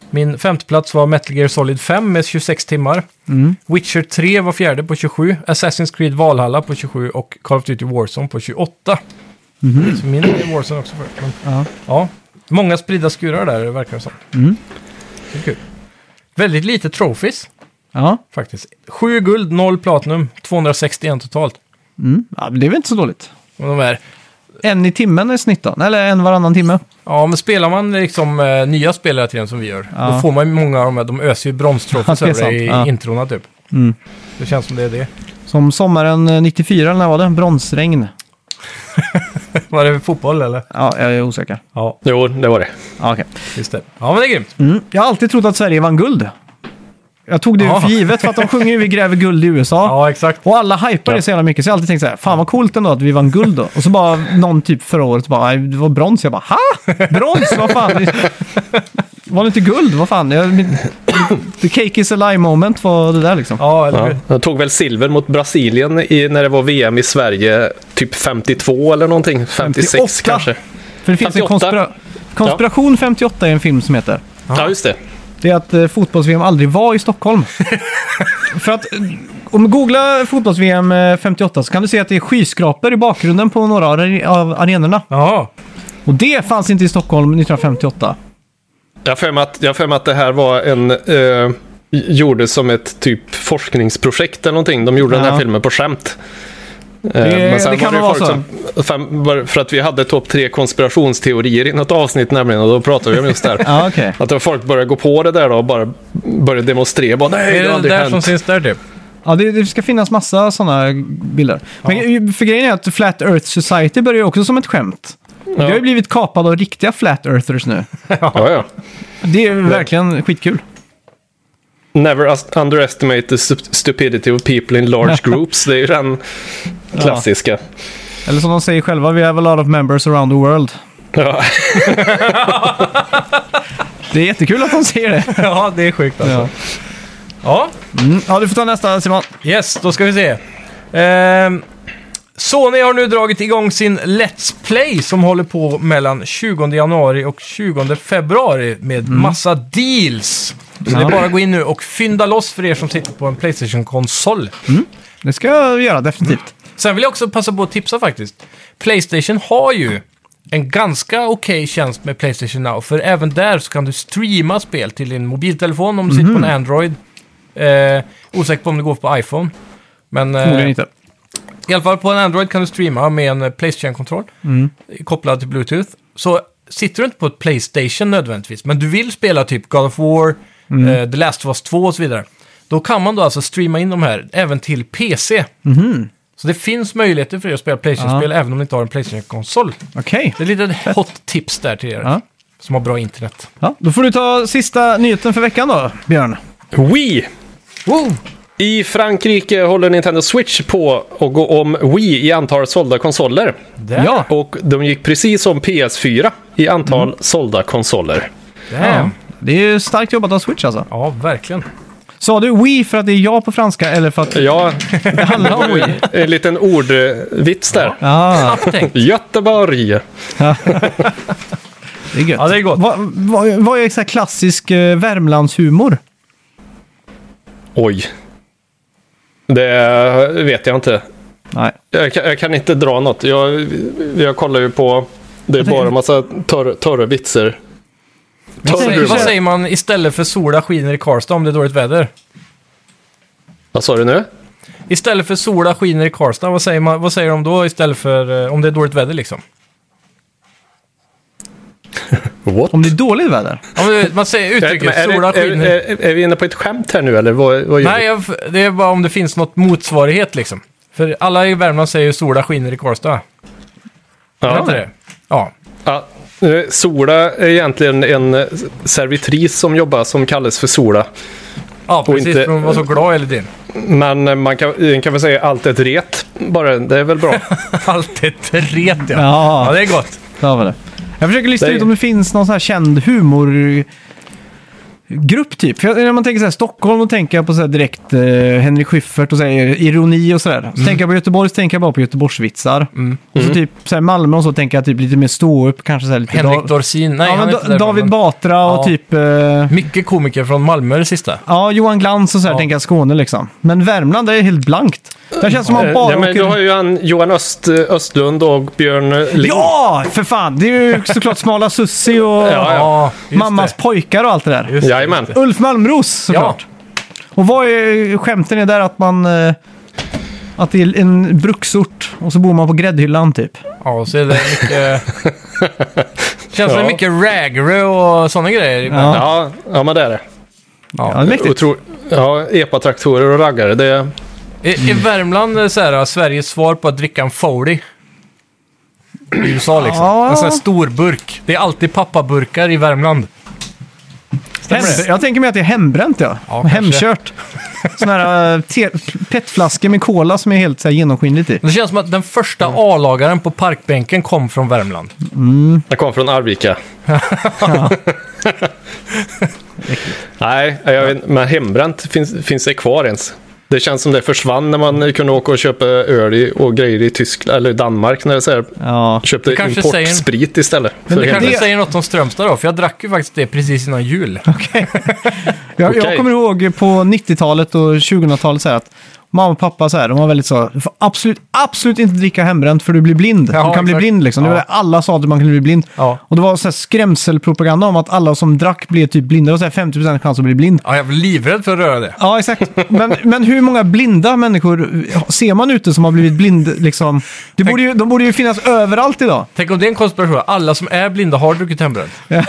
Speaker 2: Min femteplats var Metal Gear Solid 5 med 26 timmar.
Speaker 1: Mm.
Speaker 2: Witcher 3 var fjärde på 27. Assassin's Creed Valhalla på 27 och Call of Duty Warzone på 28. Så min är Warzone också för. Men,
Speaker 1: Mhm. Ja.
Speaker 2: ja. många spridda skurar där verkar det som.
Speaker 1: Mm.
Speaker 2: Det är kul. Väldigt lite trophies
Speaker 1: Ja.
Speaker 2: faktiskt. 7 guld, 0 platinum, 261 totalt.
Speaker 1: Mm. ja, men det är väl inte så dåligt.
Speaker 2: Och de är
Speaker 1: En i timmen i snitt då? Eller en varannan timme?
Speaker 2: Ja, men spelar man liksom eh, nya spelare till den som vi gör,
Speaker 1: Ja.
Speaker 2: då får man ju många av de här, de öser ju bromstrofes
Speaker 1: Ja, det är
Speaker 2: över dig i
Speaker 1: sant. Ja.
Speaker 2: introna typ.
Speaker 1: Mm.
Speaker 2: Det känns som det är det.
Speaker 1: Som sommaren eh, 94, eller när var det? Bronsregn.
Speaker 2: Var det fotboll eller?
Speaker 1: Ja, jag är osäker.
Speaker 2: Ja,
Speaker 3: Jo, det var det.
Speaker 1: Ja, okej.
Speaker 2: just det. Ja, men det är grymt.
Speaker 1: Mm. Jag har alltid trott att Sverige vann guld. Jag tog det ju
Speaker 2: Ja.
Speaker 1: för givet för att de sjunger ju Vi gräver guld i USA.
Speaker 2: Ja, exakt.
Speaker 1: Och alla hypar det så jävla mycket så jag har alltid tänkt så här, fan vad coolt ändå att vi vann guld då. Och så bara någon typ förra året bara, "Nej, det var brons. Jag bara, ha? Brons? Vad fan? Var det inte guld? Vad fan? Jag, min, the cake is a lie moment var det där liksom.
Speaker 2: Ja, eller
Speaker 3: Ja.
Speaker 2: hur?
Speaker 3: Jag tog väl silver mot Brasilien i, när det var VM i Sverige, typ 52 eller någonting. 56
Speaker 1: 58.
Speaker 3: kanske.
Speaker 1: För det finns en
Speaker 3: 58.
Speaker 1: konspira konspiration 58 är en film som heter.
Speaker 3: Ja, just det.
Speaker 1: Det är att eh, fotbolls-VM aldrig var i Stockholm. För att eh, om du googlar fotbolls-VM eh, 58 så kan du se att det är skyskrapor i bakgrunden på några av are- av arenorna.
Speaker 2: Jaha.
Speaker 1: Och det fanns inte i Stockholm 1958.
Speaker 3: Jag har för mig att, jag har för mig att det här var en... Eh, gjordes som ett typ forskningsprojekt eller någonting. De gjorde den
Speaker 1: Ja.
Speaker 3: här filmen på skämt. Eh,
Speaker 1: Det- det kan
Speaker 3: ju
Speaker 1: vara
Speaker 3: folk
Speaker 1: så.
Speaker 3: som- fan, var- För att vi hade topp tre konspirationsteorier i något avsnitt nämligen och då pratade vi om just det här.
Speaker 1: Ja, okej.
Speaker 3: Att då folk började gå på det där då och bara började demonstrera. Bara,
Speaker 2: Är
Speaker 3: Nej, det har
Speaker 2: det det
Speaker 3: aldrig
Speaker 2: där
Speaker 3: hänt.
Speaker 2: som syns där typ?
Speaker 1: Ja, det, det ska finnas massa sådana bilder. Men för grejen är att Flat Earth Society börjar ju också som ett skämt. Det har ju blivit kapad av riktiga Flat Earthers nu.
Speaker 3: Ja, ja.
Speaker 1: Det är ju verkligen skitkul.
Speaker 3: Never us- underestimate the stu- stupidity of people in large groups. Det är ju den klassiska.
Speaker 1: Eller som de säger själva, we have a lot of members around the world.
Speaker 3: Ja.
Speaker 1: Det är jättekul att de säger det.
Speaker 2: ja, det är sjukt
Speaker 1: Ja.
Speaker 2: alltså. Ja.
Speaker 1: Mm. ja, du får ta nästa Simon.
Speaker 2: yes, då ska vi se. Ehm, Sony har nu dragit igång sin Let's Play som håller på mellan 20 januari och 20 februari med
Speaker 3: Mm.
Speaker 2: massa deals. Så det är bara att gå in nu och fynda loss för er som sitter på en Playstation-konsol.
Speaker 1: Det ska jag göra, definitivt.
Speaker 2: Sen vill jag också passa på att tipsa faktiskt. Playstation har ju en ganska okej tjänst med Playstation Now. För även där så kan du streama spel till din mobiltelefon om du sitter på en Android. Eh, osäker på om det går på iPhone. Men
Speaker 1: Förmodligen
Speaker 2: eh,
Speaker 1: inte.
Speaker 2: i alla fall på en Android kan du streama med en eh, Playstation-kontroll
Speaker 1: Mm.
Speaker 2: kopplad till Bluetooth. Så sitter du inte på ett Playstation nödvändigtvis, men du vill spela typ God of War, eh, The Last of Us 2 och så vidare. Då kan man då alltså streama in de här även till PC. Så det finns möjligheter för er att spela Playstation-spel även om ni inte har en Playstation-konsol.
Speaker 1: Okej.
Speaker 2: Det är lite hot tips där till er
Speaker 1: Ja.
Speaker 2: som har bra internet.
Speaker 1: Ja, då får du ta sista nyheten för veckan då, Björn.
Speaker 3: Wii! I Frankrike håller Nintendo Switch på att gå om Wii i antal sålda konsoler.
Speaker 2: Där.
Speaker 1: Ja.
Speaker 3: Och de gick precis som PS4 i antal sålda konsoler.
Speaker 2: Damn.
Speaker 1: Det är ju starkt jobbat av Switch alltså.
Speaker 2: Ja, verkligen.
Speaker 1: Sa du Wii för att det är jag på franska eller för att
Speaker 3: Ja,
Speaker 1: det handlar om Wii?
Speaker 3: en liten ordvits där.
Speaker 1: Ah,
Speaker 2: Snabbt tänkt.
Speaker 3: Göteborg.
Speaker 1: det är gött.
Speaker 2: Ja, det är gott.
Speaker 1: Vad vad- vad är så här klassisk eh, Värmlandshumor?
Speaker 3: Oj. Det vet jag inte.
Speaker 1: Nej.
Speaker 3: Jag kan, jag kan inte dra något. Jag, jag kollar ju på... Det är
Speaker 1: tänker-
Speaker 3: bara en massa torr, torra vitser.
Speaker 2: Vad säger,
Speaker 3: humor.
Speaker 2: vad säger man istället för sola skiner i Karlstad om det är dåligt väder?
Speaker 3: Vad sa du nu?
Speaker 2: Istället för sola skiner i Karlstad, vad säger, man, vad säger de då istället för eh, om det är dåligt väder liksom?
Speaker 3: What?
Speaker 1: Om det är dåligt väder?
Speaker 2: Ja, men Man säger
Speaker 3: Jag vet inte,
Speaker 2: uttrycket
Speaker 3: men
Speaker 2: sola
Speaker 3: är, det-
Speaker 2: skiner
Speaker 3: är,
Speaker 2: i...
Speaker 3: är, är vi inne på ett skämt här nu eller vad, vad gör
Speaker 2: Nej,
Speaker 3: vi?
Speaker 2: jag, det är bara om det finns något motsvarighet liksom. För alla i Värmland säger ju sola skiner i Karlstad. Ja. Inte det? Ja.
Speaker 3: Ja, eh, Sola är egentligen en eh, servitris som jobbar som kallas för Sola.
Speaker 2: ja, precis.
Speaker 3: inte-
Speaker 2: För hon var så glad hela tiden.
Speaker 3: Men eh, man kan, eh, kan väl säga allt är ett ret. Bara, det är väl bra. Eh,
Speaker 2: Allt är ett ret ja. ja.
Speaker 1: Ja,
Speaker 2: det är gott.
Speaker 1: det var det. Jag försöker lista
Speaker 3: Det är-
Speaker 1: ut om det finns någon sån här känd humorgrupp typ. För jag, när man tänker så här, Stockholm, då tänker jag på så här direkt eh, Henrik Schyffert och så här, ironi och sådär. Så tänker jag på Göteborg så tänker jag bara på Göteborgsvitsar. Och så typ så här, Malmö och så tänker jag typ lite mer ståupp, kanske så här lite...
Speaker 2: Henrik
Speaker 1: Da-
Speaker 2: Dorsin. Nej,
Speaker 1: ja,
Speaker 2: han
Speaker 1: men
Speaker 2: är
Speaker 1: da-
Speaker 2: inte därifrån,
Speaker 1: David
Speaker 2: men-
Speaker 1: Batra och
Speaker 2: Ja.
Speaker 1: typ... Eh,
Speaker 2: Mycket komiker från Malmö det sista.
Speaker 1: ja, Johan Glans och så här
Speaker 2: Ja.
Speaker 1: tänker jag Skåne liksom. Men Värmland, det är helt blankt. Det känns som
Speaker 3: Eh,
Speaker 1: man bara
Speaker 3: ja, men
Speaker 1: åker...
Speaker 3: du har ju han, Johan Öst, Östlund och Björn Lind.
Speaker 1: Ja, för fan! Det är ju såklart Smala Sussi och
Speaker 3: Ja,
Speaker 2: just
Speaker 1: Mammas
Speaker 2: det.
Speaker 1: pojkar och allt det där.
Speaker 2: Just det,
Speaker 3: Jajamän.
Speaker 2: just det.
Speaker 1: Ulf Malmros såklart. Och vad är skämten är där att man... eh, Att det är en bruksort och så bor man på gräddhyllan typ.
Speaker 2: Ja, och så är det mycket... Känns som
Speaker 3: Ja.
Speaker 2: mycket Raggerö och sådana grejer. Ja.
Speaker 1: Ja,
Speaker 3: Ja, ja, men det är det.
Speaker 1: ja. det är mäktigt.
Speaker 3: Otro, ja, epatraktorer och raggare. Det,
Speaker 2: Är, är Värmland eh, så här, Sveriges svar på att dricka en Foley? I USA liksom.
Speaker 1: Ja.
Speaker 2: En sån här stor burk. Det är alltid pappaburkar i Värmland.
Speaker 1: Hem, jag tänker mig att det är hembränt ja.
Speaker 2: Ja, kanske.
Speaker 1: Hemkört. Sådana här eh, te- petflaskor med cola som är helt så här, genomskinligt i.
Speaker 2: Det känns som att den första A-lagaren på parkbänken kom från Värmland.
Speaker 3: det kom från Arvika. Nej, jag vet, inte, men hembränt, finns, finns det kvar ens? Det känns som det försvann när man kunde åka och köpa öl i- och grejer i Tyskland eller Danmark. När det så här,
Speaker 1: Ja.
Speaker 3: köpte
Speaker 2: kanske
Speaker 3: importsprit istället.
Speaker 1: Men
Speaker 3: för
Speaker 1: det
Speaker 2: Det kanske
Speaker 3: hembränt.
Speaker 2: säger något om Strömstad då, för jag drack ju faktiskt det precis innan jul.
Speaker 1: Jag, jag
Speaker 3: Okej.
Speaker 1: kommer ihåg på 90-talet och 2000-talet så här att mamma och pappa så här, de var väldigt så, du får absolut, absolut inte dricka hembränt för du blir blind.
Speaker 2: Ja,
Speaker 1: du kan bli
Speaker 2: exakt.
Speaker 1: blind liksom. Det var
Speaker 2: Ja.
Speaker 1: det alla sa att man kunde bli blind.
Speaker 2: Ja.
Speaker 1: Och det var så här skrämselpropaganda om att alla som drack blev typ blinda. Det var så här 50% chans att bli blind.
Speaker 2: Ja, jag var livrädd för att röra det.
Speaker 1: Ja, exakt. Men, men hur många blinda människor ser man ute som har blivit blind? Liksom? Det borde ju, de borde ju finnas överallt idag.
Speaker 2: Tänk om det är en konspiration. Alla som är blinda har druckit hembränt.
Speaker 1: Ja,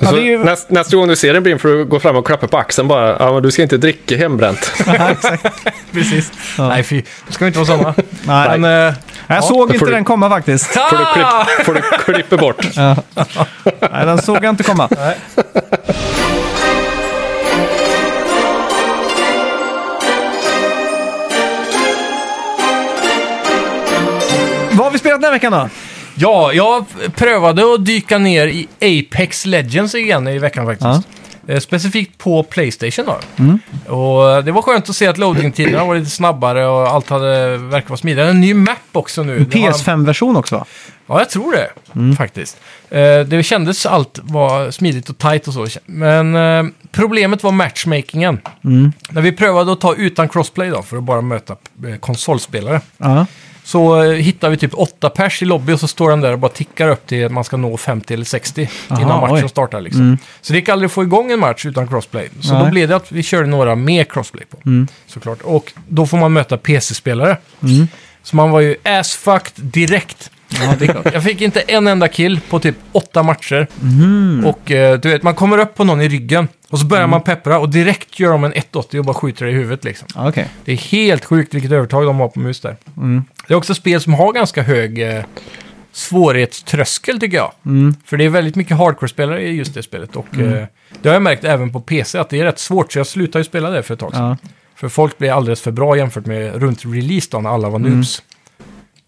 Speaker 3: Så
Speaker 1: det är ju...
Speaker 3: näst, nästa gång du ser en blind får du gå fram och klappa på axeln bara. Ja, men du ska inte dricka hembränt.
Speaker 1: Ja, exakt.
Speaker 2: Precis. Nej, fy. Det ska inte vara sådana.
Speaker 1: Nej,
Speaker 2: Men... eh,
Speaker 1: jag såg
Speaker 3: Då får
Speaker 1: inte
Speaker 3: du-
Speaker 1: den komma faktiskt.
Speaker 3: får, du klipp, får du klippa bort.
Speaker 1: Nej, den såg jag inte komma. Vad har vi spelat den här veckan då?
Speaker 2: Ja, jag prövade att dyka ner i Apex Legends igen i veckan faktiskt. Eh, Specifikt på Playstation då. Och det var skönt att se att loading-tiderna var lite snabbare och allt hade verkar vara smidigare. En ny map också nu. Det har-
Speaker 1: PS5-version också va?
Speaker 2: Ja, jag tror det faktiskt. Eh, Det kändes allt var smidigt och tight och så. Men eh, problemet var matchmakingen. När vi prövade att ta utan crossplay då, för att bara möta eh, konsolspelare.
Speaker 1: Ja.
Speaker 2: Så eh, hittar vi typ åtta pers i lobby och så står den där och bara tickar upp till att man ska nå 50 eller 60 innan matchen
Speaker 1: oj. Mm.
Speaker 2: startar. Liksom. Så det gick aldrig att få igång en match utan crossplay. Så då
Speaker 1: Nej. Mm.
Speaker 2: blev det att vi körde några med crossplay på. Såklart. Och då får man möta PC-spelare. Så man var ju ass-fucked direkt. jag fick inte en enda kill på typ åtta matcher.
Speaker 1: Mm.
Speaker 2: Och eh, du vet, man kommer upp på någon i ryggen och så börjar man peppra och direkt gör de en 180 och bara skjuter dig i huvudet liksom.
Speaker 1: Okej.
Speaker 2: Det är helt sjukt vilket övertag de har på mus där. Det är också spel som har ganska hög eh, svårighetströskel tycker jag. För det är väldigt mycket hardcore-spelare i just det spelet. Och eh, det har jag märkt även på PC att det är rätt svårt. Så jag slutade ju spela det för ett tag sedan.
Speaker 1: Ja.
Speaker 2: För folk blev alldeles för bra jämfört med runt release då när alla var noobs.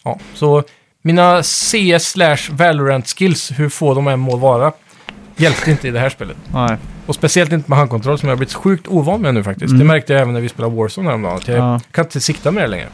Speaker 2: Ja, så mina CS slash Valorant skills, hur få de än må vara, hjälpte inte i det här spelet.
Speaker 1: Nej.
Speaker 2: Och speciellt inte med handkontroll som jag har blivit sjukt ovan med nu faktiskt. Det märkte jag även när vi spelade Warzone häromdagen. Att jag
Speaker 1: Mm. Ja.
Speaker 2: kan inte sikta med det längre.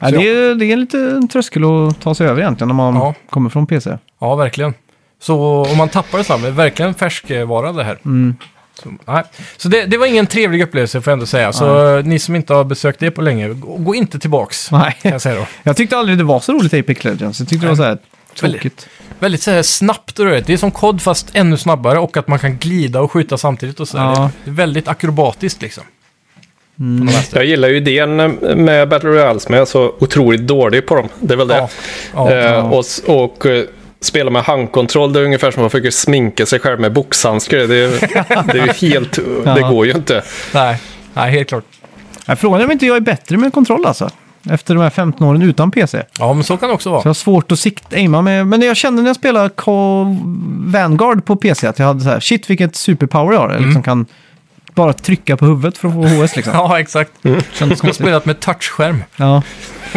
Speaker 1: Ja, det, är, det är en liten tröskel att ta sig över egentligen när man
Speaker 2: Ja.
Speaker 1: kommer från PC.
Speaker 2: Ja, verkligen. Så om man tappar det snabbt, det är verkligen färskvara det här.
Speaker 1: Mm.
Speaker 2: Så, nej. så det, det var ingen trevlig upplevelse får jag ändå säga. Så eh, ni som inte har besökt det på länge, gå, gå inte tillbaks.
Speaker 1: Nej.
Speaker 2: Kan jag säga då.
Speaker 1: Jag tyckte aldrig det var så roligt i Apex Legends. Jag tyckte det var så här tråkigt.
Speaker 2: Väldigt så här snabbt och rörigt. Det är som kod fast ännu snabbare och att man kan glida och skjuta samtidigt och så. där.
Speaker 1: Ja.
Speaker 2: Det är väldigt akrobatiskt liksom. På
Speaker 1: Mm.
Speaker 2: något vänster.
Speaker 3: Jag gillar ju idén med Battle Royale, men jag är så otroligt dålig på dem. Det är väl det.
Speaker 2: Ja. Ja.
Speaker 3: Eh, Och, s- och eh, spela med handkontroll, det är ungefär som att försöka sminka sig själv med boxhandskar. Det, är- det är ju helt... Det går ju inte.
Speaker 2: Nej. Nej, helt klart.
Speaker 1: Nej, frågan är om inte jag är bättre med kontroll alltså. Efter de här 15 åren utan PC.
Speaker 2: Ja, men så kan det
Speaker 1: Så
Speaker 2: också
Speaker 1: jag
Speaker 2: vara.
Speaker 1: har svårt att sikta, aima med. Men jag kände när jag spelade Call Vanguard på PC att jag hade så här, shit vilket superpower jag har. Jag liksom kan bara trycka på huvudet för att få HS liksom.
Speaker 2: Ja, exakt.
Speaker 1: Kändes
Speaker 2: Jag har
Speaker 1: konstigt.
Speaker 2: spelat med touchskärm.
Speaker 1: Ja.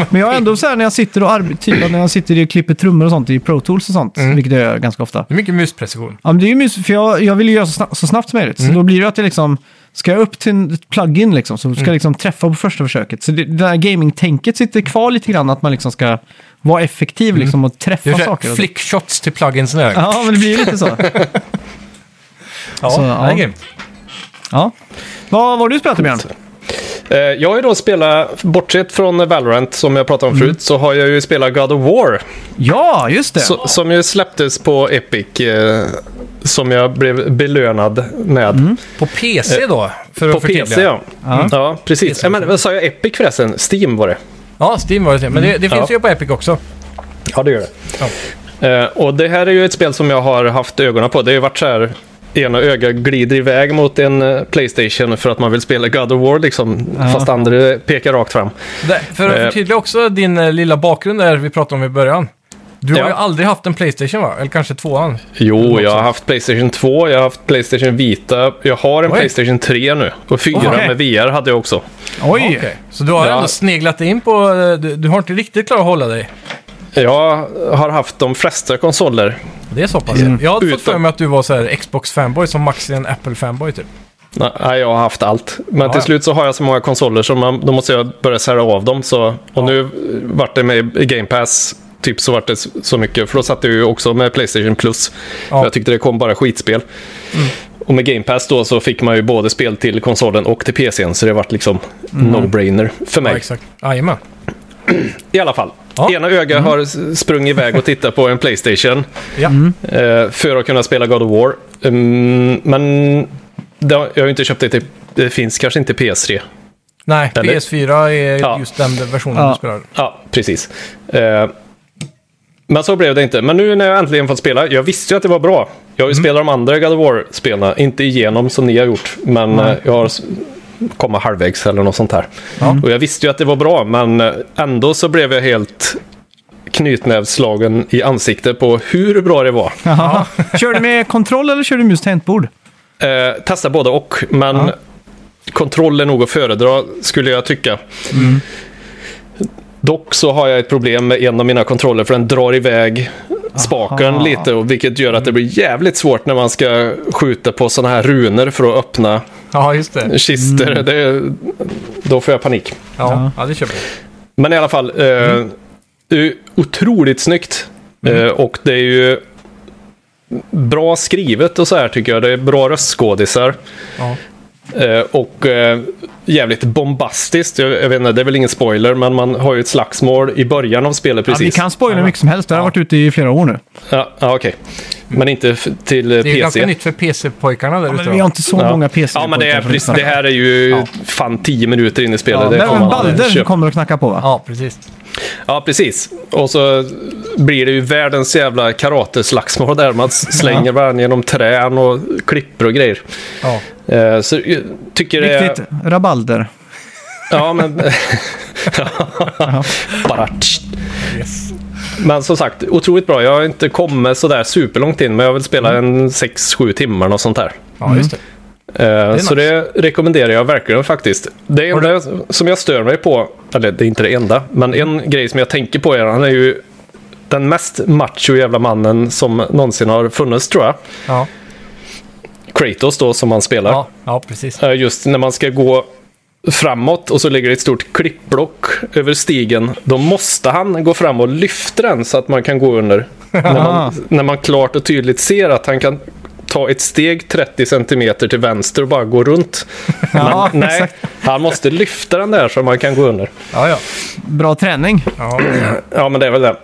Speaker 1: Men jag är ändå så här när jag sitter och arbe- typ, när jag sitter och klipper trummor och sånt i Pro Tools och sånt, vilket jag gör ganska ofta.
Speaker 2: Det är mycket musprecision.
Speaker 1: Ja, men det är ju mysigt, för jag, jag vill ju göra så, snabbt, så snabbt som möjligt. Så då blir det att jag liksom, ska jag upp till en plugin liksom, så ska jag liksom träffa på första försöket. Så det, det där gaming-tänket sitter kvar lite grann, att man liksom ska vara effektiv liksom och träffa
Speaker 2: Det är så
Speaker 1: saker.
Speaker 2: här flickshots till plugins nu.
Speaker 1: Ja, men det blir ju lite så.
Speaker 2: Ja,
Speaker 1: Så,
Speaker 2: det är
Speaker 1: ja.
Speaker 2: grymt.
Speaker 1: Ja. Vad vad har du spelat Björn?
Speaker 3: Eh, Jag har ju då spelat, bortsett från Valorant som jag pratade om
Speaker 2: Mm.
Speaker 3: förut, så har jag ju spelat God of War.
Speaker 1: Ja, just det.
Speaker 3: Så, som ju släpptes på Epic, eh, som jag blev belönad med.
Speaker 2: På PC då? Mm. För
Speaker 3: Eh, På
Speaker 2: att förtydliga.
Speaker 3: PC ja.
Speaker 1: Ja.
Speaker 3: Ja, precis. Ja, men, vad sa jag Epic förresten? Steam var det.
Speaker 2: Ja, Steam var det. Men det, det finns
Speaker 3: Ja.
Speaker 2: ju på Epic också.
Speaker 3: Ja, det gör det.
Speaker 2: Ja.
Speaker 3: Eh, och det här är ju ett spel som jag har haft ögonen på. Det har ju varit så här, ena ögat glider iväg mot en eh, Playstation för att man vill spela God of War liksom, fast andra pekar rakt fram.
Speaker 2: Där, för att
Speaker 3: Eh.
Speaker 2: förtydliga också din eh, lilla bakgrund där vi pratade om i början. Du
Speaker 3: Ja.
Speaker 2: har ju aldrig haft en Playstation va? Eller kanske tvåan?
Speaker 3: Jo, jag har haft Playstation 2, jag har haft Playstation Vita, jag har en
Speaker 2: Oj.
Speaker 3: Playstation 3 nu. Och fyra
Speaker 1: Okej.
Speaker 3: med VR hade jag också.
Speaker 1: Oj!
Speaker 2: Okej. Så du har
Speaker 3: Ja.
Speaker 2: ändå sneglat dig in på... eh, Du, du har inte riktigt klarat att hålla dig.
Speaker 3: Jag har haft de flesta konsoler.
Speaker 2: Det är så pass.
Speaker 1: Mm.
Speaker 2: Jag hade fått
Speaker 3: Utom-
Speaker 2: för mig att du var så här Xbox-fanboy som Max är en Apple-fanboy typ.
Speaker 3: Nej, jag har haft allt. Men
Speaker 2: Ja,
Speaker 3: till
Speaker 2: ja.
Speaker 3: slut så har jag så många konsoler så man, då måste jag börja sära av dem. Så, och nu vart det med i Game Pass, typ så vart det s- så mycket. För då satt jag ju också med Playstation Plus.
Speaker 2: Ja. Mm.
Speaker 3: Jag tyckte det kom bara skitspel. Och med Game Pass då så fick man ju både spel till konsolen och till PCn. Så det vart liksom no-brainer för mig.
Speaker 2: Mm. Ja, exakt. Jajamän.
Speaker 3: I alla fall.
Speaker 2: Ja. Mm.
Speaker 3: Ena ögat har s- sprungit iväg och tittat på en Playstation
Speaker 2: Ja.
Speaker 1: Mm.
Speaker 3: eh, för att kunna spela God of War. Mm, men det, har- jag har ju inte köpt det till... Det finns kanske inte PS3.
Speaker 2: Nej,
Speaker 3: Eller?
Speaker 2: PS4 är
Speaker 3: Ja.
Speaker 2: just den versionen
Speaker 1: Ja.
Speaker 2: du spelar.
Speaker 3: Ja, precis. Eh, men så blev det inte. Men nu när jag äntligen fått spela, jag visste ju att det var bra. Jag har ju spelat de andra God of War-spelarna, inte igenom som ni har gjort, men eh, jag har s- kommit halvvägs eller något sånt här. Och jag visste ju att det var bra, men eh, ändå så blev jag helt knytnävsslagen i ansiktet på hur bra det var.
Speaker 1: Jaha. Kör du med kontroll eller kör du mus tangentbord?
Speaker 3: Eh, testa både och, men kontroll är nog att föredra skulle jag tycka. Dock så har jag ett problem med en av mina kontroller för den drar iväg spaken
Speaker 1: Aha.
Speaker 3: lite och vilket gör att det blir jävligt svårt när man ska skjuta på sådana här runor för att öppna
Speaker 2: Ja, just det.
Speaker 3: kister. Det, är- då får jag panik.
Speaker 2: Ja, ja det köper jag.
Speaker 3: Men i alla fall, eh, det är ju otroligt snyggt.
Speaker 1: Mm.
Speaker 3: Eh, och det är ju bra skrivet och så här tycker jag. Det är bra röstskådisar.
Speaker 2: Ja.
Speaker 3: Eh, och eh, jävligt bombastiskt. Jag, jag vet inte, det är väl ingen spoiler, men man har ju ett slagsmål i början av spelet
Speaker 1: Ja, vi
Speaker 3: precis.
Speaker 1: kan spoila hur mycket som helst, det har varit ute i flera år nu.
Speaker 3: Ja, ja okej.
Speaker 1: Mm.
Speaker 3: Men inte f- till eh,
Speaker 2: Det är ju ganska
Speaker 3: PC.
Speaker 2: nytt för PC-pojkarna där ute.
Speaker 1: Men vi har inte så
Speaker 3: Ja.
Speaker 1: många PC.
Speaker 3: Ja, men det, är, precis, det här är ju fan tio minuter in i spelet.
Speaker 1: Ja,
Speaker 3: det
Speaker 1: men
Speaker 3: får man
Speaker 1: Balder
Speaker 3: köpa.
Speaker 1: kommer att knacka på va?
Speaker 2: Ja, precis.
Speaker 3: Ja, precis. Och så blir det ju världens jävla karateslagsmål där. Man s- slänger varandra genom trän och klipper och grejer.
Speaker 2: Ja.
Speaker 3: Eh, Så jag tycker det är...
Speaker 1: Riktigt rabalder.
Speaker 3: Ja, men... Bara... tsch.
Speaker 2: Yes.
Speaker 3: Men som sagt, otroligt bra. Jag har inte kommit sådär superlångt in, men jag vill spela en 6-7 timmar och sånt där.
Speaker 1: Mm.
Speaker 2: Ja, just det.
Speaker 3: Eh, så
Speaker 2: nice.
Speaker 3: det rekommenderar jag verkligen faktiskt. Det enda som jag stör mig på, eller det är inte det enda, men en grej som jag tänker på är han är ju den mest macho jävla mannen som någonsin har funnits tror jag.
Speaker 2: Ja.
Speaker 3: Kratos då som han spelar.
Speaker 2: Ja, ja precis.
Speaker 3: Eh, Just när man ska gå framåt och så ligger det ett stort klippblock över stigen. Då måste han gå fram och lyfta den så att man kan gå under. när, man, när man klart och tydligt ser att han kan ta ett steg 30 centimeter till vänster och bara gå runt.
Speaker 1: Ja,
Speaker 3: Men nej,
Speaker 1: exakt.
Speaker 3: han måste lyfta den där så man kan gå under.
Speaker 2: Ja, ja.
Speaker 1: Bra träning.
Speaker 2: ja.
Speaker 3: Ja, men det är väl det.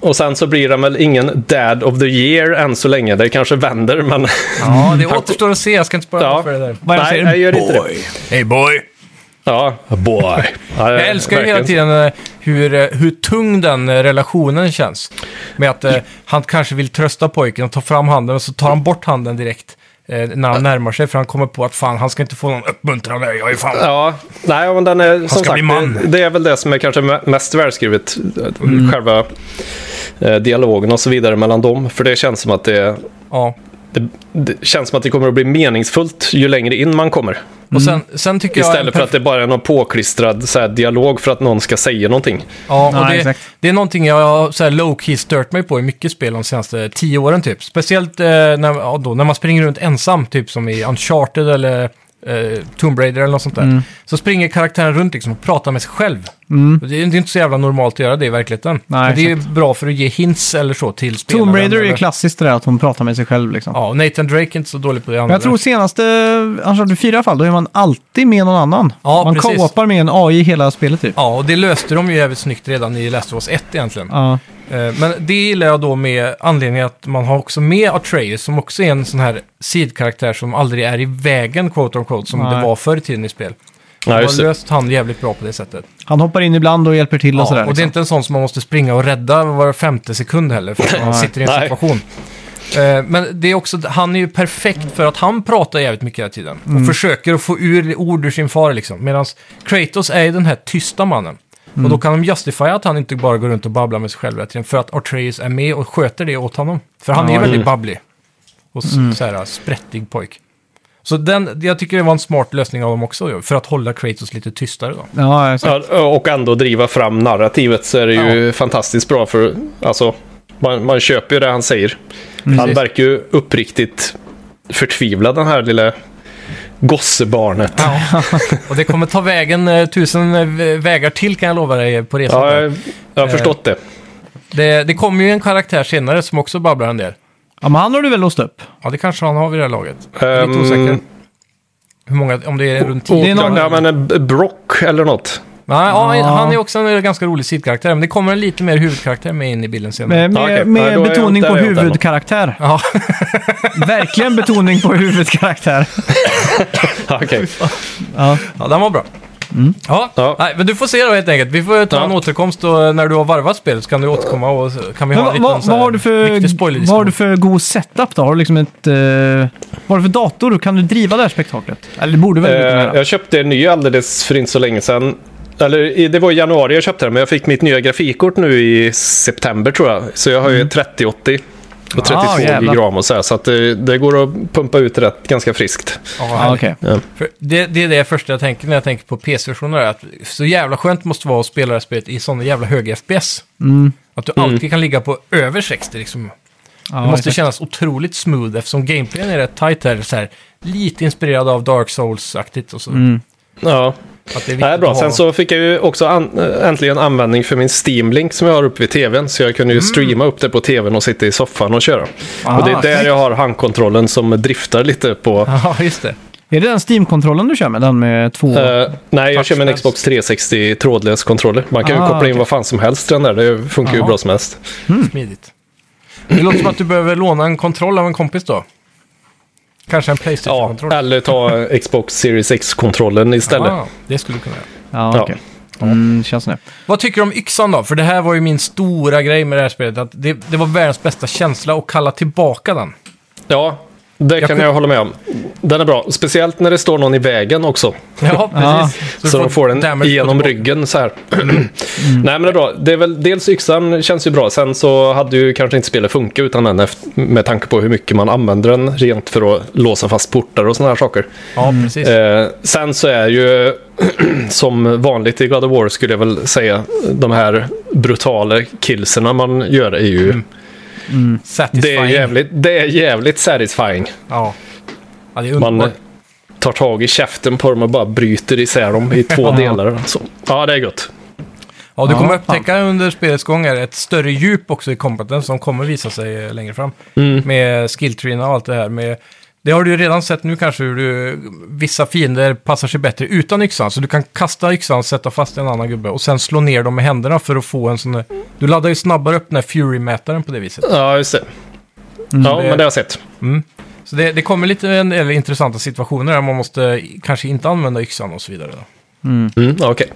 Speaker 3: Och sen så blir han väl ingen dad of the year än så länge. Det kanske vänder, men...
Speaker 2: ja det återstår att se. Jag ska inte spara
Speaker 3: Ja.
Speaker 2: för det där.
Speaker 1: Vad jag
Speaker 3: nej,
Speaker 1: säger.
Speaker 3: jag gör inte det.
Speaker 2: Hey boy!
Speaker 3: Ja. Boy.
Speaker 2: Jag älskar ju hela tiden eh, hur, eh, hur tung den eh, relationen känns. Med att
Speaker 3: Mm.
Speaker 2: eh, han kanske vill trösta pojken och ta fram handen och så tar han bort handen direkt eh, när han närmar sig. För han kommer på att fan, han ska inte få någon uppmuntran där. Jag är fan...
Speaker 3: Ja, nej, men den är som
Speaker 2: ska bli
Speaker 3: sagt,
Speaker 2: man. Mm.
Speaker 3: det- det är väl det som är kanske me- mest välskrivet. Själva eh, dialogen och så vidare mellan dem. För det känns som att det,
Speaker 2: Ja.
Speaker 3: det, det känns som att det kommer att bli meningsfullt ju längre in man kommer.
Speaker 2: Och sen, sen tycker jag... en
Speaker 3: Mm. Istället för
Speaker 2: perf-
Speaker 3: att det bara är någon påklistrad så här, dialog för att någon ska säga någonting.
Speaker 2: Ja, och
Speaker 1: Nej,
Speaker 2: det,
Speaker 1: exakt.
Speaker 2: det är någonting jag har så här low-key stört mig på i mycket spel de senaste tio åren typ. Speciellt eh, när, ja, då, när man springer runt ensam, typ som i Uncharted eller eh, Tomb Raider eller något sånt där.
Speaker 1: Mm.
Speaker 2: Så springer karaktären runt liksom och pratar med sig själv. Och Det, är, det är inte så jävla normalt att göra det i verkligheten.
Speaker 1: Nej,
Speaker 2: Men det är bra för att ge hints eller så till spelaren.
Speaker 1: Tomb Raider är
Speaker 2: eller-
Speaker 1: klassiskt det där att hon pratar med sig själv liksom.
Speaker 2: Ja, och Nathan Drake är inte så dålig på det andra.
Speaker 1: Men jag tror senaste Uncharted 4 i alla fall, då är man alltid med någon annan.
Speaker 2: Ja,
Speaker 1: man
Speaker 2: precis.
Speaker 1: co-opar med en AI hela spelet typ.
Speaker 2: Ja, och det löste de ju jävligt snyggt redan i Last of Us 1 egentligen.
Speaker 1: Ja.
Speaker 2: Eh, Men det gillar jag då med anledningen att man har också med Atreus som också är en sån här sidkaraktär som aldrig är i vägen, quote on quote, som
Speaker 1: Nej.
Speaker 2: det var förr i tiden i spel.
Speaker 3: Ja,
Speaker 2: Man
Speaker 3: just
Speaker 2: har
Speaker 3: det.
Speaker 2: löst han jävligt bra på det sättet.
Speaker 1: Han hoppar in ibland och hjälper till och
Speaker 2: Ja,
Speaker 1: sådär.
Speaker 2: och det
Speaker 1: liksom.
Speaker 2: är inte en sån som man måste springa och rädda var femte sekund heller, för att man
Speaker 1: Nej.
Speaker 2: sitter i en
Speaker 3: Nej.
Speaker 2: situation. Eh, Men det är också, han är ju perfekt för att han pratar jävligt mycket hela tiden. Och
Speaker 1: Mm.
Speaker 2: försöker att få ur ord ur sin far liksom. Medan Kratos är ju den här tysta mannen. Och
Speaker 1: Mm.
Speaker 2: då kan de justifiera att han inte bara går runt och babblar med sig själv hela tiden. För att Atreus är med och sköter det åt honom. För han
Speaker 1: Ja,
Speaker 2: är
Speaker 1: mm.
Speaker 2: väldigt babblig. Och s- så här sprättig pojk. Så den, jag tycker det var en smart lösning av dem också. ju, För att hålla Kratos lite tystare då.
Speaker 1: Ja, exakt.
Speaker 3: Ja, och ändå driva fram narrativet så är det ju fantastiskt bra för, alltså, man, man köper ju det han säger. Han
Speaker 2: Precis.
Speaker 3: verkar ju uppriktigt förtvivlad, den här lilla gossebarnet.
Speaker 2: Ja, och det kommer ta vägen eh, tusen eh, vägar till kan jag lova dig eh, på resan.
Speaker 3: Ja, jag, jag har förstått det.
Speaker 2: Det, det kommer ju en karaktär senare som också babblar en del.
Speaker 1: Ja, men han har du väl låst upp?
Speaker 2: Ja, det kanske han har vid det här laget. Jag är lite
Speaker 3: Ehm,
Speaker 2: osäker. Hur många, om det är runt
Speaker 1: Det
Speaker 2: tio?
Speaker 1: är någon-
Speaker 3: Ja, men eh, B- Brock eller något.
Speaker 2: Nej, ja,
Speaker 1: Ja.
Speaker 2: han är också en eh, ganska rolig sidkaraktär, men det kommer en lite mer huvudkaraktär med in i bilden senare.
Speaker 1: Med, med,
Speaker 3: Ja, okej. Ja,
Speaker 1: med
Speaker 3: då är jag
Speaker 1: betoning
Speaker 3: inte
Speaker 1: på
Speaker 3: där jag är åt
Speaker 1: huvudkaraktär.
Speaker 2: Ja,
Speaker 1: Verkligen betoning på huvudkaraktär.
Speaker 3: Ja, okej.
Speaker 1: Ja.
Speaker 2: ja den var bra.
Speaker 1: Mm.
Speaker 2: Ja,
Speaker 3: Ja.
Speaker 2: Nej, men du får se då helt enkelt. Vi får ta
Speaker 3: Ja.
Speaker 2: en återkomst då, när du har varvat spelet, så kan du återkomma och så kan vi
Speaker 1: Men
Speaker 2: ha en
Speaker 1: vad,
Speaker 2: liten
Speaker 1: vad,
Speaker 2: så här
Speaker 1: vad, har du
Speaker 2: riktig
Speaker 1: för,
Speaker 2: spoilerdiskussion.
Speaker 1: vad har du för god setup då? Har du liksom ett... eh, vad har du för dator? Kan du driva det här spektaklet? Eller det borde du väl kunna
Speaker 3: Eh,
Speaker 1: göra?
Speaker 3: Jag köpte en ny alldeles för inte så länge sedan. Eller i- det var i januari jag köpte den, men jag fick mitt nya grafikkort nu i september tror jag. Så jag har ju 3080 och 32
Speaker 1: Ah, jävlar.
Speaker 3: gig ram och så här. Så att det, det går att pumpa ut rätt ganska friskt.
Speaker 2: Ja,
Speaker 1: Ja, Ah, okej.
Speaker 2: För det, det är det första jag tänker när jag tänker på PC-versioner. Att så jävla skönt måste vara att spela det här spelet i sådana jävla höga FPS. Att du alltid kan ligga på över 60 liksom.
Speaker 1: Ja,
Speaker 2: det måste
Speaker 1: exakt.
Speaker 2: kännas otroligt smooth eftersom gameplayen är rätt tight här. Så här lite inspirerad av Dark Souls-aktigt och så.
Speaker 3: Ja,
Speaker 2: Att det är viktigt
Speaker 3: det är bra.
Speaker 2: att ha-
Speaker 3: Sen så fick jag ju också an- eh, äntligen användning för min Steam-link som jag har uppe vid tvn. Så jag kunde ju streama upp det på tvn och sitta i soffan och köra. och det
Speaker 1: Ah,
Speaker 3: är där jag har handkontrollen som driftar lite på...
Speaker 2: Ja, just det.
Speaker 1: Är det den Steam-kontrollen du kör med? Den med två...
Speaker 3: Eh, nej, jag kör med en
Speaker 2: Touchpads.
Speaker 3: Xbox 360 trådlös kontroller. Man kan
Speaker 1: Ah,
Speaker 3: ju koppla in
Speaker 1: okej.
Speaker 3: vad fan som helst i den där. Det funkar ju
Speaker 2: Jaha.
Speaker 3: bra som helst.
Speaker 2: Smidigt. Det låter som att du behöver låna en kontroll av en kompis då. Kanske en
Speaker 3: Ja,
Speaker 2: Playstation-kontroll.
Speaker 3: eller ta Xbox Series X-kontrollen istället.
Speaker 2: Ah, det skulle du kunna göra.
Speaker 1: ja,
Speaker 3: ja.
Speaker 1: okej. Mm, känns det.
Speaker 2: Vad tycker du om yxan då? För det här var ju min stora grej med det här spelet. Att det, det var världens bästa känsla att kalla tillbaka den.
Speaker 3: Ja, det kan
Speaker 2: kunde-
Speaker 3: jag hålla med om. Den är bra, speciellt när det står någon i vägen också.
Speaker 2: Ja, precis.
Speaker 3: Så, de får den
Speaker 2: damage på
Speaker 3: genom
Speaker 2: tillbaka.
Speaker 3: ryggen så här. Nej, men det är bra. Det är väl, dels yxan känns ju bra. Sen så hade ju kanske inte spelet funkat utan den efter, med tanke på hur mycket man använder den rent för att låsa fast portar och sådana här saker.
Speaker 2: Ja, precis.
Speaker 3: Eh, sen så är ju som vanligt i God of War skulle jag väl säga de här brutala killserna man gör är ju...
Speaker 2: Mm, Satisfying.
Speaker 3: Det är jävligt, det är jävligt satisfying.
Speaker 2: Ja. Ja, det är
Speaker 3: Man eh,
Speaker 2: underbart.
Speaker 3: tar tag i käften på dem och bara bryter isär dem i två delar. Så. Ja, det är gött.
Speaker 2: Ja, du kommer
Speaker 1: Ja,
Speaker 2: upptäcka under spelets gång här ett större djup också i kompetens som kommer visa sig eh, längre fram.
Speaker 1: Mm.
Speaker 2: Med skilltreena och allt det här. Med, det har du ju redan sett nu kanske hur du, vissa fiender passar sig bättre utan yxan. Så du kan kasta yxan, sätta fast en annan gubbe och sen slå ner dem med händerna för att få en sån där... Du laddar ju snabbare upp den här Fury-mätaren på det viset.
Speaker 3: Ja, just det.
Speaker 2: Mm,
Speaker 3: Ja, men det har jag sett.
Speaker 2: Så det, det kommer lite en del intressanta situationer där man måste kanske inte använda yxan och så vidare. Då.
Speaker 3: Mm, ja, okej.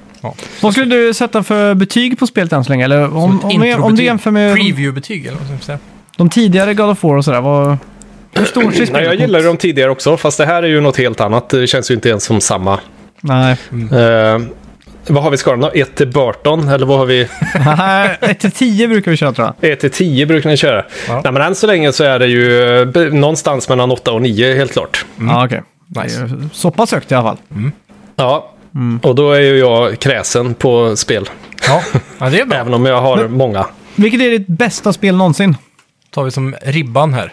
Speaker 1: Vad skulle du sätta för betyg på spelet än så länge? Eller om,
Speaker 2: Som ett
Speaker 1: om, vi- om du
Speaker 2: introbetyg.
Speaker 1: jämför med de,
Speaker 2: Preview-betyg eller vad man ska säga.
Speaker 1: de tidigare God of War och sådär, vad, hur stort ser
Speaker 3: Nej,
Speaker 1: spelet
Speaker 3: jag
Speaker 1: ut?
Speaker 3: gillar ju dem tidigare också, fast det här är ju något helt annat. Det känns ju inte ens som samma.
Speaker 1: Nej,
Speaker 2: Mm.
Speaker 3: Eh, vad har vi skalan då? 1 till Burton, eller vad har vi?
Speaker 1: 1-10 brukar vi köra tror jag.
Speaker 3: 1 till 10 brukar ni köra.
Speaker 2: Ja.
Speaker 3: Nej, men än så länge så är det ju eh, be- någonstans mellan 8 och 9, helt klart.
Speaker 1: Ja, okej. Mm. Nice. Så pass högt i alla fall.
Speaker 3: Ja, Mm. och då är ju jag kräsen på spel.
Speaker 2: Ja. ja, det är bra.
Speaker 3: Även om jag har många.
Speaker 1: Vilket är ditt bästa spel någonsin?
Speaker 2: tar vi som ribban här.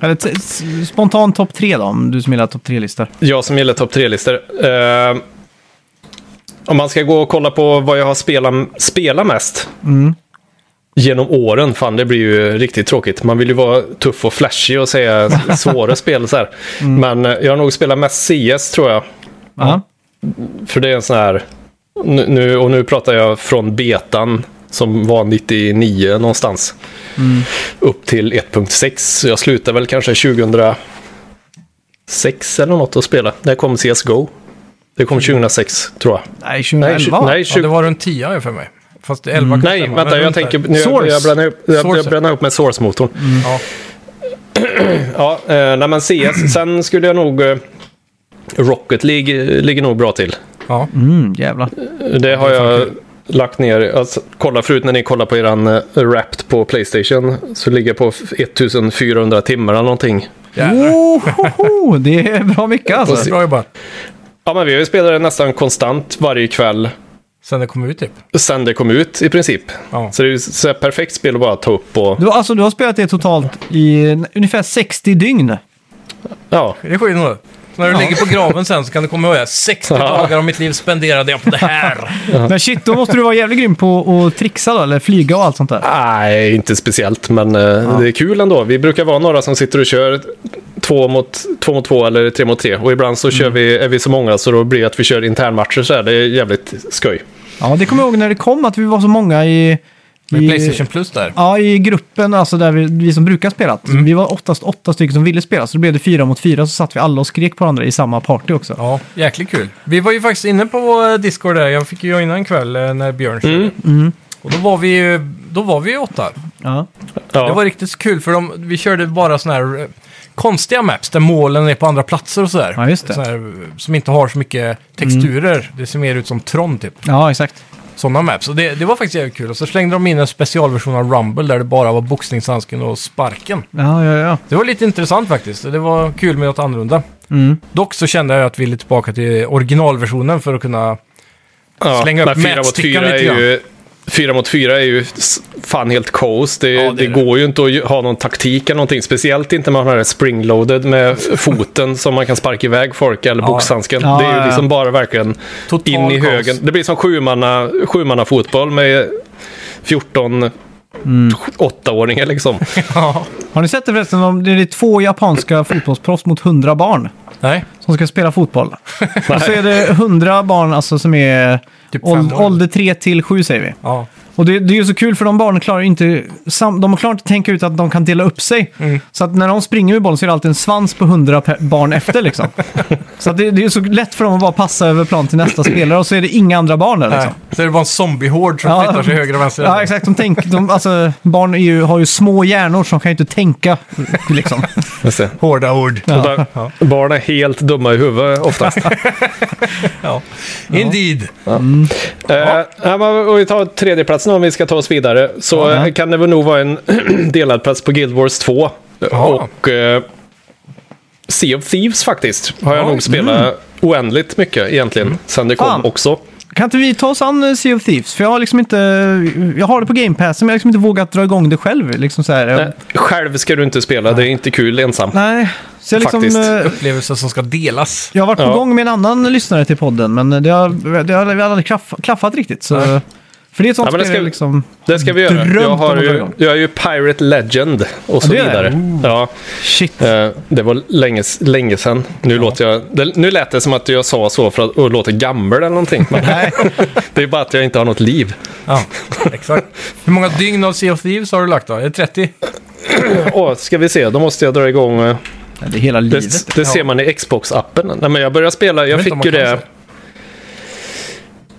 Speaker 1: Eller t- s- spontan topp tre då, om du som gillar topp tre-listor.
Speaker 3: Jag som gillar topp tre-listor. Eh, om man ska gå och kolla på vad jag har spelat, spelat mest genom åren, fan det blir ju riktigt tråkigt. Man vill ju vara tuff och flashig och säga svåra spel så här. Men eh, jag har nog spelat mest CS tror jag.
Speaker 1: Ja.
Speaker 3: För det är en sån här, nu- nu, och nu pratar jag från betan som var 99 någonstans.
Speaker 2: Mm.
Speaker 3: Upp till 1.6, så jag slutade väl kanske 2006 eller något att spela. När kom CSGO? Det kom 2006 tror jag.
Speaker 1: Nej,
Speaker 3: Nej,
Speaker 1: 2011
Speaker 3: tju- nej,
Speaker 2: Mm. Ja, det
Speaker 3: 20,
Speaker 2: var runt 10 har jag för mig. Fast 11 kan
Speaker 3: Mm. nej
Speaker 2: stämma, men
Speaker 3: vänta, jag
Speaker 2: runt
Speaker 3: tänker,
Speaker 2: där.
Speaker 3: nu, Mm.
Speaker 1: Source.
Speaker 3: jag bränner upp, jag, jag
Speaker 2: Source. Mm.
Speaker 3: bränner upp med Source-motorn.
Speaker 2: Ja.
Speaker 3: Ja, eh, nej men CS, sen skulle jag nog... Eh, Rocket League eh, ligger nog bra till.
Speaker 2: Ja.
Speaker 1: Mm, jävlar.
Speaker 3: Det har jag lagt ner. Alltså, kolla förut när ni kollar på eran eh, Wrapped på Playstation så ligger jag på f- 1400 timmar eller någonting.
Speaker 2: Jävlar.
Speaker 1: Ohoho, det är bra mycket
Speaker 2: Det är
Speaker 3: Mm.
Speaker 1: alltså.
Speaker 2: bra jobbat.
Speaker 3: Ja, men vi har ju spelat det nästan konstant varje kväll
Speaker 2: Sen det kom ut typ.
Speaker 3: sen det kom ut i princip.
Speaker 2: Ja.
Speaker 3: Så det är ju så här perfekt spel att bara ta upp och...
Speaker 1: Du, alltså, du har spelat det totalt i n- ungefär 60 dygn.
Speaker 3: Ja,
Speaker 2: Det är skit nog. Så när du ligger på graven sen så kan du komma ihåg det. 60 dagar av mitt liv spenderade jag på det här.
Speaker 1: Men shit, då måste du vara jävligt grym på att trixa då, eller flyga och allt sånt där.
Speaker 3: nej, inte speciellt, men eh, det är kul ändå. Vi brukar vara några som sitter och kör två mot två, mot två eller tre mot tre. Och ibland så
Speaker 2: Mm.
Speaker 3: kör vi, är vi så många så då blir det att vi kör internmatcher så här. Det är jävligt skoj.
Speaker 1: Ja, det kommer jag ihåg när det kom att vi var så många i...
Speaker 2: Med
Speaker 1: i-
Speaker 2: Playstation Plus där.
Speaker 1: Ja, i gruppen, alltså där vi, vi som brukar spela. Vi var oftast åtta stycken som ville spela, så då blev det fyra mot fyra, så satt vi alla och skrek på varandra i samma party också.
Speaker 2: Ja, jäkligt kul. Vi var ju faktiskt inne på vår Discord där. Jag fick ju joina en kväll eh, när Björn körde.
Speaker 3: Mm.
Speaker 2: Och då var vi ju då var vi ju åtta.
Speaker 1: Ja.
Speaker 3: Ja.
Speaker 2: Det var riktigt kul för de, vi körde bara sådana här eh, konstiga maps där målen är på andra platser och sådär.
Speaker 1: Ja, just det. Mm.
Speaker 2: Såna här, eh, som inte har så mycket texturer. Det ser mer ut som Tron typ.
Speaker 1: ja, exakt.
Speaker 2: Sådana maps. Och det, det var faktiskt jävligt kul. Och så slängde de in en specialversion av Rumble där det bara var boxningshandsken och sparken.
Speaker 1: Ja, ja, ja.
Speaker 2: Det var lite intressant faktiskt. Det var kul med något annorlunda.
Speaker 1: Mm.
Speaker 2: Dock så kände jag att vi ville tillbaka till originalversionen för att kunna...
Speaker 3: Ja,
Speaker 2: Slänga upp
Speaker 3: men fyra mot
Speaker 2: mätstickan
Speaker 3: fyra är
Speaker 2: lite grann.
Speaker 3: ju Fyra mot fyra är ju s- fan helt kaos. Det,
Speaker 2: det är det.
Speaker 3: det, går ju inte att ju- ha någon taktik eller någonting. Speciellt inte när man har det springloaded med foten som man kan sparka iväg folk eller
Speaker 2: Ja.
Speaker 3: boxhandsken.
Speaker 1: Ja,
Speaker 3: det är
Speaker 1: ja, ja.
Speaker 3: ju liksom bara verkligen
Speaker 2: Total
Speaker 3: in i
Speaker 2: kaos.
Speaker 3: högen. Det blir som sjumanna, sjumanna fotboll med 14
Speaker 2: Mm.
Speaker 3: åttaåringar liksom.
Speaker 2: Ja.
Speaker 1: Har ni sett det förresten? om Det är två japanska fotbollsproffs mot 100 barn
Speaker 2: Nej.
Speaker 1: som ska spela fotboll. och så är det 100 barn alltså, som är
Speaker 2: Typ fem
Speaker 1: åld-
Speaker 2: år.
Speaker 1: ålder 3 till 7 säger vi.
Speaker 2: Ja.
Speaker 1: Och det, det är ju så kul för de barnen klarar ju inte, sam, de klarar inte att tänka ut att de kan dela upp sig. Så att när de springer med bollen så är det alltid en svans på 100 per barn efter liksom. så att det, det är ju så lätt för dem att bara passa över plan till nästa spelare och så är det inga andra barn där liksom.
Speaker 2: Nej. Så är det bara en zombiehord som flyttar sig höger och vänster.
Speaker 1: Ja, exakt. De tänk, de, alltså, barn är ju, har ju små hjärnor som kan ju inte tänka. Liksom.
Speaker 3: Just det.
Speaker 2: Hårda ord.
Speaker 3: Och där- Barn är helt dumma i huvudet oftast.
Speaker 2: Ja. Indeed.
Speaker 3: Eh, ja. men om vi tar tredjeplatsen om vi ska ta oss vidare. Så
Speaker 1: Ja.
Speaker 3: eh, kan det väl nog vara en delad plats på Guild Wars 2.
Speaker 2: Ja.
Speaker 3: Och eh, Sea of Thieves faktiskt. Har jag
Speaker 2: Ja,
Speaker 3: nog spelat oändligt mycket egentligen. Sen det kom
Speaker 1: Fan.
Speaker 3: också.
Speaker 1: Kan inte vi ta oss an eh, Sea of Thieves? För jag har liksom inte... Jag har det på Game Pass, men jag har liksom inte vågat dra igång det själv. Liksom så här.
Speaker 3: Nej, Själv ska du inte spela, det är inte kul ensam.
Speaker 1: Nej. Så jag, liksom,
Speaker 3: Faktiskt.
Speaker 1: eh,
Speaker 2: Upplevelser som ska delas.
Speaker 1: jag har varit på
Speaker 3: Ja.
Speaker 1: gång med en annan lyssnare till podden, men det har, det har, vi har aldrig klaff, klaffat riktigt. Så.
Speaker 2: Nej.
Speaker 1: För det är ett sånt
Speaker 3: Ja, men det
Speaker 1: spel
Speaker 3: ska-
Speaker 1: liksom...
Speaker 3: Det ska vi göra.
Speaker 1: Drömt
Speaker 3: Jag, har
Speaker 1: om att dra
Speaker 3: ju,
Speaker 1: igång.
Speaker 3: jag är ju Pirate Legend och så
Speaker 1: det är Mm. det.
Speaker 3: vidare. Ja,
Speaker 1: Shit.
Speaker 3: eh, det var länge, länge sedan. Nu, låter jag, det, nu lät det som att jag sa så för att, och låter gammal eller någonting. Men
Speaker 1: Nej.
Speaker 3: det är bara att jag inte har något liv.
Speaker 2: Ja, exakt. Hur många dygn av Sea of Thieves har du lagt då? Är det 30?
Speaker 3: Åh, ska vi se, då måste jag dra igång. eh,
Speaker 1: Ja, Det är hela livet.
Speaker 3: Det, det ser man i Xbox-appen. Nej, men jag började spela, jag
Speaker 2: vet inte
Speaker 3: fick
Speaker 2: om
Speaker 3: ju
Speaker 2: man kan
Speaker 3: det...
Speaker 2: så.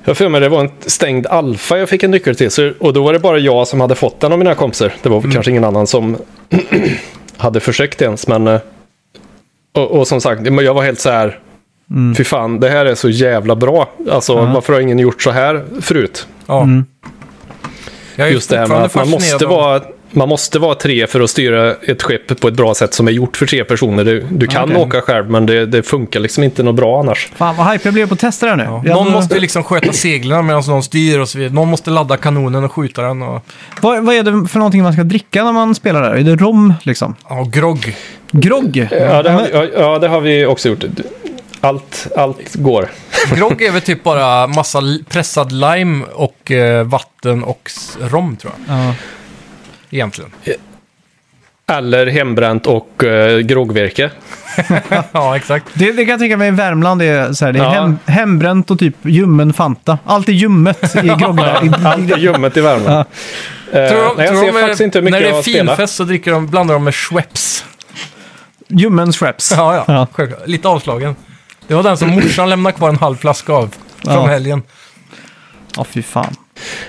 Speaker 3: Jag har för mig det var en stängd alfa jag fick en nyckel till. Så, och då var det bara jag som hade fått den av mina kompisar. Det
Speaker 2: Mm.
Speaker 3: var väl kanske ingen annan som hade försökt ens. Men, eh, och, och som sagt, men jag var helt så här...
Speaker 2: Mm.
Speaker 3: Fy fan, det här är så jävla bra. Alltså, varför har ingen gjort så här förut?
Speaker 2: Ja. Jag är
Speaker 3: Just det här med
Speaker 2: fortfarande
Speaker 3: att man måste,
Speaker 2: fascinerad av-
Speaker 3: vara, man måste vara tre för att styra ett skepp på ett bra sätt som är gjort för tre personer. Du, du kan
Speaker 1: Okej.
Speaker 3: åka själv, men det, det funkar liksom inte något bra annars.
Speaker 1: Fan vad hype jag blev på att testa det här nu.
Speaker 2: Ja.
Speaker 1: Jag
Speaker 2: Någon
Speaker 1: hade-
Speaker 2: måste ju liksom sköta seglen medan någon styr och så vidare. Någon måste ladda kanonen och skjuta den och...
Speaker 1: vad, vad är det för någonting man ska dricka när man spelar där? Är det rom liksom?
Speaker 2: Ja, och grogg.
Speaker 1: Grogg?
Speaker 3: Ja, det har,
Speaker 1: Men-
Speaker 3: ja, ja, det har vi också gjort. Allt, allt går.
Speaker 2: Grogg är väl typ bara massa li- pressad lime och eh, vatten och s- rom tror jag.
Speaker 1: ja.
Speaker 2: Egentligen.
Speaker 3: Eller hembränt och eh, groggvirke.
Speaker 2: Ja, exakt.
Speaker 3: Eh,
Speaker 1: Det, det kan jag tänka mig i Värmland, det är, så här, det är
Speaker 3: Ja.
Speaker 1: hem, hembränt och typ ljummen Fanta. Allt är ljummet i groggar.
Speaker 3: Allt är ljummet i Värmland. Eh,
Speaker 2: Tror de-
Speaker 3: nej, jag
Speaker 2: tror
Speaker 3: ser
Speaker 2: de är-
Speaker 3: faktiskt inte hur
Speaker 2: När
Speaker 3: mycket
Speaker 2: det
Speaker 3: jag
Speaker 2: är
Speaker 3: har spelat.
Speaker 2: finfest så dricker de, blandar de med Schweppes.
Speaker 1: Ljummen Schweppes.
Speaker 2: Ja, ja.
Speaker 1: Ja.
Speaker 2: Självklart. Lite avslagen. Det var den som morsan lämnade kvar en halv flaska av från
Speaker 1: Ja.
Speaker 2: helgen.
Speaker 1: Ja, fy fan.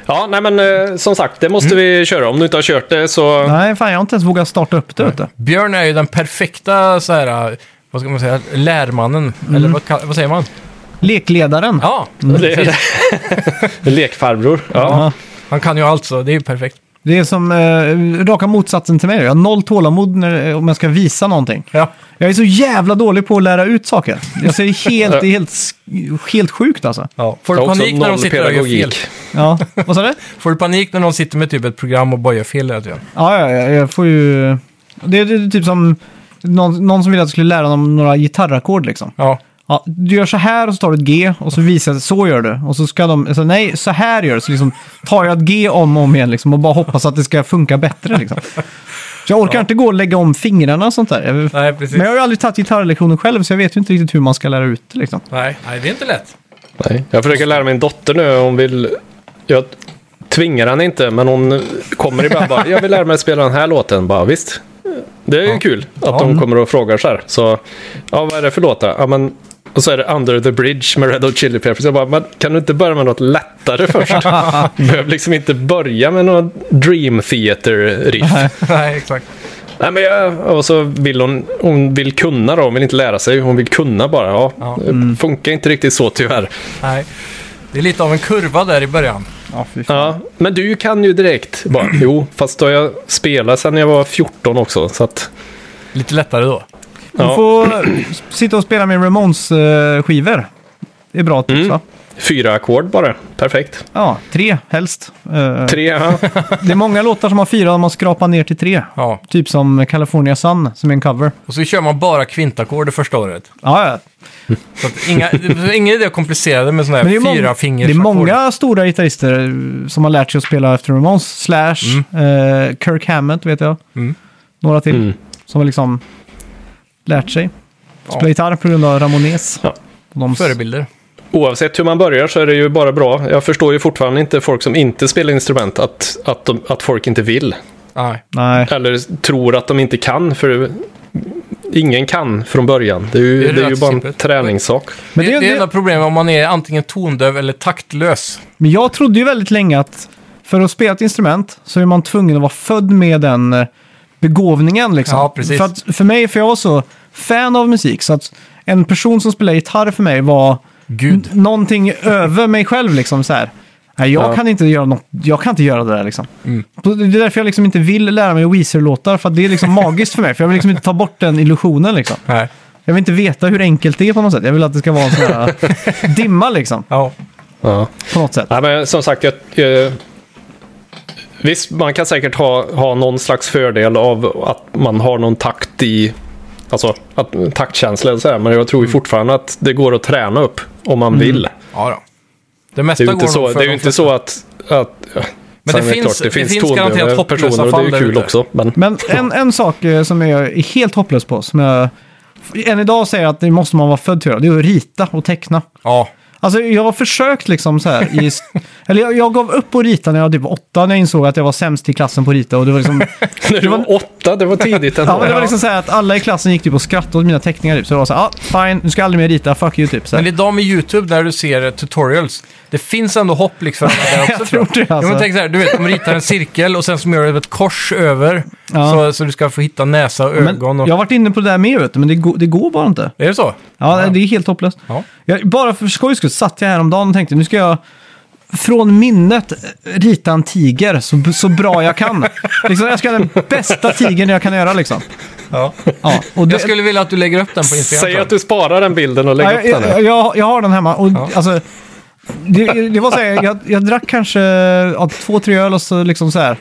Speaker 3: Ja, nej, men eh, som sagt, det
Speaker 2: Mm.
Speaker 3: måste vi köra. Om du inte har kört det så...
Speaker 1: Nej, fan jag har inte ens vågat starta upp det. Vet du.
Speaker 2: Björn är ju den perfekta så här, vad ska man säga, lärmannen.
Speaker 3: Mm.
Speaker 2: Eller vad, kall- vad säger man?
Speaker 1: Lekledaren.
Speaker 2: Ja,
Speaker 3: Det, lekfarbror. Ja.
Speaker 1: Ja.
Speaker 2: han kan ju allt så det är ju perfekt.
Speaker 1: Det är som eh, raka motsatsen till mig. Jag har noll tålamod när, eh, om jag ska visa någonting.
Speaker 2: Ja.
Speaker 1: Jag är så jävla dålig på att lära ut saker. Jag ser helt, det är helt, sk- helt sjukt alltså.
Speaker 2: Ja. Får
Speaker 3: Jag
Speaker 2: du
Speaker 3: har också
Speaker 2: panik när de
Speaker 3: noll
Speaker 2: sitter där och gör fel?
Speaker 3: pedagogik.
Speaker 1: Ja, vad sa du?
Speaker 2: Får du panik när någon sitter med typ ett program och bara gör fel hela tiden?
Speaker 1: Ja, ja, ja, jag får ju... Det är, det är typ som någon, någon som ville att jag skulle lära honom några gitarrackord liksom.
Speaker 2: Ja.
Speaker 1: Ja, du gör så här och så tar du ett G och så visar jag så gör du. Och så ska de, så, nej, så här gör du. Så liksom tar jag ett G om och om igen liksom, och bara hoppas att det ska funka bättre. Liksom. Så jag orkar inte gå och lägga om fingrarna och sånt där. Jag,
Speaker 2: Nej, precis.
Speaker 1: men jag har ju aldrig tagit gitarrlektioner själv så jag vet ju inte riktigt hur man ska lära ut det, liksom.
Speaker 2: Nej. Nej, det är inte lätt.
Speaker 3: Nej. Jag försöker lära min dotter nu. Hon vill... Jag tvingar henne inte, men hon kommer ibland bara. Jag vill lära mig att spela den här låten. Bara, visst, det är ju kul att
Speaker 2: Mm.
Speaker 3: de kommer och frågar så här. Så, ja, vad är det för låt då? Ja, men... Och så är det Under the Bridge med Red Hot Chili Peppers. Jag bara, men kan du inte börja med något lättare först? Du behöver liksom inte börja med någon Dream Theater-riff.
Speaker 2: Nej, exakt.
Speaker 3: Nej, men jag, och så vill hon, hon vill kunna då, hon vill inte lära sig, hon vill kunna bara. Ja,
Speaker 2: Ja. Mm.
Speaker 3: Det funkar inte riktigt så tyvärr.
Speaker 2: Nej. Det är lite av en kurva där i början.
Speaker 1: Ja, fy fan.
Speaker 3: Ja, men du kan ju direkt bara, jo, fast då har jag spelat sedan jag var 14 också, så att...
Speaker 2: Lite lättare då.
Speaker 1: Du
Speaker 3: Ja.
Speaker 1: får sitta och spela med Ramones-skivor. Det är bra tips
Speaker 3: Mm.
Speaker 1: va?
Speaker 3: Fyra ackord bara, perfekt.
Speaker 1: Ja, tre helst. Eh,
Speaker 3: Tre, ja.
Speaker 1: Det är många låtar som har fyra om man skrapar ner till tre.
Speaker 2: Ja.
Speaker 1: Typ som California Sun, som är en cover.
Speaker 2: Och så kör man bara kvintackord det första året.
Speaker 1: Ja, ja.
Speaker 2: Så att inga, det är ingen idé att komplicera det med sådana
Speaker 1: Men det är,
Speaker 2: här
Speaker 1: mång-
Speaker 2: fyra
Speaker 1: det är många stora gitarrister eh, som har lärt sig att spela efter Ramones. Slash, eh, Kirk Hammett vet jag.
Speaker 2: Mm.
Speaker 1: Några till.
Speaker 3: Mm.
Speaker 1: Som har liksom lärt sig spela
Speaker 2: Ja.
Speaker 1: gitarr på grund av Ramones.
Speaker 3: Ja.
Speaker 1: De s-
Speaker 2: förebilder.
Speaker 3: Oavsett hur man börjar så är det ju bara bra. Jag förstår ju fortfarande inte folk som inte spelar instrument, att, att, de, att folk inte vill.
Speaker 2: Nej.
Speaker 1: Nej.
Speaker 3: Eller tror att de inte kan, för ingen kan från början. Det är ju,
Speaker 2: Det är
Speaker 3: det är ju bara en
Speaker 2: relativt.
Speaker 3: träningssak.
Speaker 1: Men,
Speaker 2: det,
Speaker 1: det,
Speaker 2: det, är
Speaker 1: det,
Speaker 2: enda problemet om man är antingen tondöv eller taktlös.
Speaker 1: men jag trodde ju väldigt länge att för att spela ett instrument så är man tvungen att vara född med den eh, begåvningen. Liksom.
Speaker 2: Ja, precis.
Speaker 1: För, att, för mig, för jag var så fan av musik, så att en person som spelade gitarr för mig var
Speaker 2: Gud.
Speaker 1: någonting över mig själv liksom så här. Nej, jag
Speaker 3: Ja.
Speaker 1: kan inte göra något, jag kan inte göra det där liksom. Så Det är därför jag liksom inte vill lära mig Weezer-låtar, för att det är liksom magiskt för mig. För jag vill liksom inte ta bort den illusionen liksom.
Speaker 2: Nej.
Speaker 1: Jag vill inte veta hur enkelt det är på något sätt. Jag vill att det ska vara en sån här dimma liksom.
Speaker 2: Ja.
Speaker 3: Ja.
Speaker 1: på något sätt.
Speaker 3: Nej, men som sagt, jag, eh, visst, man kan säkert ha, ha någon slags fördel av att man har någon takt i, alltså att, taktkänsla eller så här, men jag
Speaker 2: Mm.
Speaker 3: tror ju fortfarande att det går att träna upp om man vill.
Speaker 2: Ja, då. Det
Speaker 3: Det
Speaker 2: mesta
Speaker 3: är ju inte
Speaker 2: Mm. går nog
Speaker 3: så,
Speaker 2: för
Speaker 3: det är ju
Speaker 2: de
Speaker 3: inte
Speaker 2: flesta.
Speaker 3: så att, att
Speaker 2: Men
Speaker 3: sen
Speaker 2: det
Speaker 3: är
Speaker 2: finns- det finns garanterat
Speaker 3: tondöva
Speaker 2: hopplösa
Speaker 3: personer och
Speaker 2: fall
Speaker 3: Det
Speaker 2: där
Speaker 3: är ju kul
Speaker 2: ute.
Speaker 3: också. Men,
Speaker 1: Men en, en sak eh, som jag är helt hopplös på, som jag än idag säger att det måste man vara född till att göra, det är att rita och teckna.
Speaker 2: Ja.
Speaker 1: Alltså jag har försökt liksom så här, i, eller jag, jag gav upp på att rita när jag var typ åtta, när jag insåg att jag var sämst i klassen på att rita. Och det var liksom,
Speaker 3: när du var åtta, det var tidigt ändå.
Speaker 1: ja, men det var liksom så här att alla i klassen gick typ och skrattade åt mina teckningar typ. Så det var så här, ah, fine, du ska aldrig mer rita, fuck you typ. Så här.
Speaker 2: Men idag med YouTube, när du ser eh, tutorials, det finns ändå hopp liksom. Där också,
Speaker 1: jag tror det
Speaker 2: Ja, men
Speaker 1: alltså.
Speaker 2: tänk så här, du vet, de ritar en cirkel och sen så gör de ett kors över.
Speaker 1: Ja.
Speaker 2: Så, så du ska få hitta näsa och
Speaker 1: Men
Speaker 2: ögon. Och...
Speaker 1: jag har varit inne på det där med vet du, men det, går- det går bara inte.
Speaker 2: Är det så?
Speaker 1: Ja, det är helt hopplöst.
Speaker 2: Ja.
Speaker 1: Jag, bara för skojs skull satt jag häromdagen och tänkte nu ska jag från minnet rita en tiger så, så bra jag kan. liksom, jag ska göra den bästa tigern jag kan göra liksom.
Speaker 2: Ja.
Speaker 1: Ja, och det,
Speaker 2: Jag skulle vilja att du lägger upp den på Instagram.
Speaker 3: Säg
Speaker 2: tror jag.
Speaker 3: att du sparar den bilden och
Speaker 1: Ja,
Speaker 3: lägger upp
Speaker 1: jag,
Speaker 3: den. här.
Speaker 1: jag, jag, jag har den hemma och alltså, det, det var så här, jag, jag drack kanske ja, två, tre öl och så liksom så här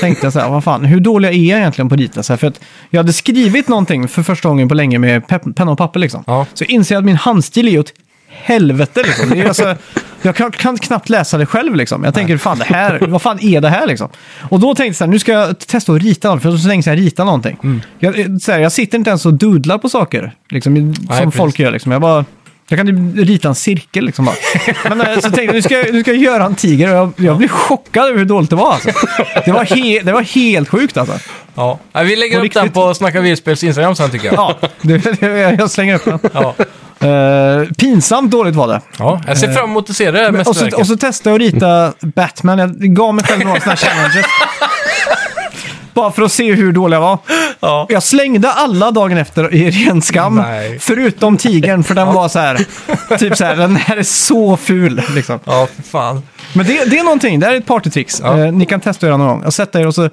Speaker 1: tänkte jag så här, vad fan, hur dålig är jag egentligen på att rita? Så här, för att jag hade skrivit någonting för första gången på länge med pep- penna och papper liksom.
Speaker 2: Ja.
Speaker 1: Så inser jag att min handstil är åt helvete liksom. Det är alltså, jag kan, kan knappt läsa det själv liksom. Jag tänker, fan det här, vad fan är det här liksom? Och då tänkte jag så här, nu ska jag testa att rita, något, för det var så länge sedan jag ritade någonting.
Speaker 3: Mm.
Speaker 1: Jag, så här, jag sitter inte ens och dudlar på saker, liksom, i- som
Speaker 2: precis.
Speaker 1: folk gör liksom. Jag bara... Jag kan ju rita en cirkel liksom bara. Men eh, så tänkte jag, nu ska, jag- nu ska jag göra en tiger och jag, jag blev chockad över hur dåligt det var alltså. Det var, he, det var helt sjukt alltså.
Speaker 2: Ja. Nej, vi lägger
Speaker 1: På
Speaker 2: upp
Speaker 1: riktigt.
Speaker 2: den på Snacka Videospels Instagram sen tycker jag.
Speaker 1: Ja, det, det, jag slänger upp den.
Speaker 2: Ja.
Speaker 1: Eh, pinsamt dåligt var det.
Speaker 2: Ja, jag ser fram emot att se det här
Speaker 1: Eh, Och så, och
Speaker 2: mästerverket.
Speaker 1: så testade jag att rita Batman. Jag gav mig själv några sådana här challenges. Bara för att se hur dålig jag var.
Speaker 2: Ja.
Speaker 1: Jag slängde alla dagen efter i ren skam.
Speaker 2: Nej.
Speaker 1: Förutom tigern, för den var så här. Typ så här, den här är så ful. Liksom.
Speaker 2: Ja, för fan.
Speaker 1: Men det, det är någonting, det här är ett partytrix.
Speaker 2: Ja.
Speaker 1: Eh, ni kan testa att göra någon gång. Jag sätter er och så eh,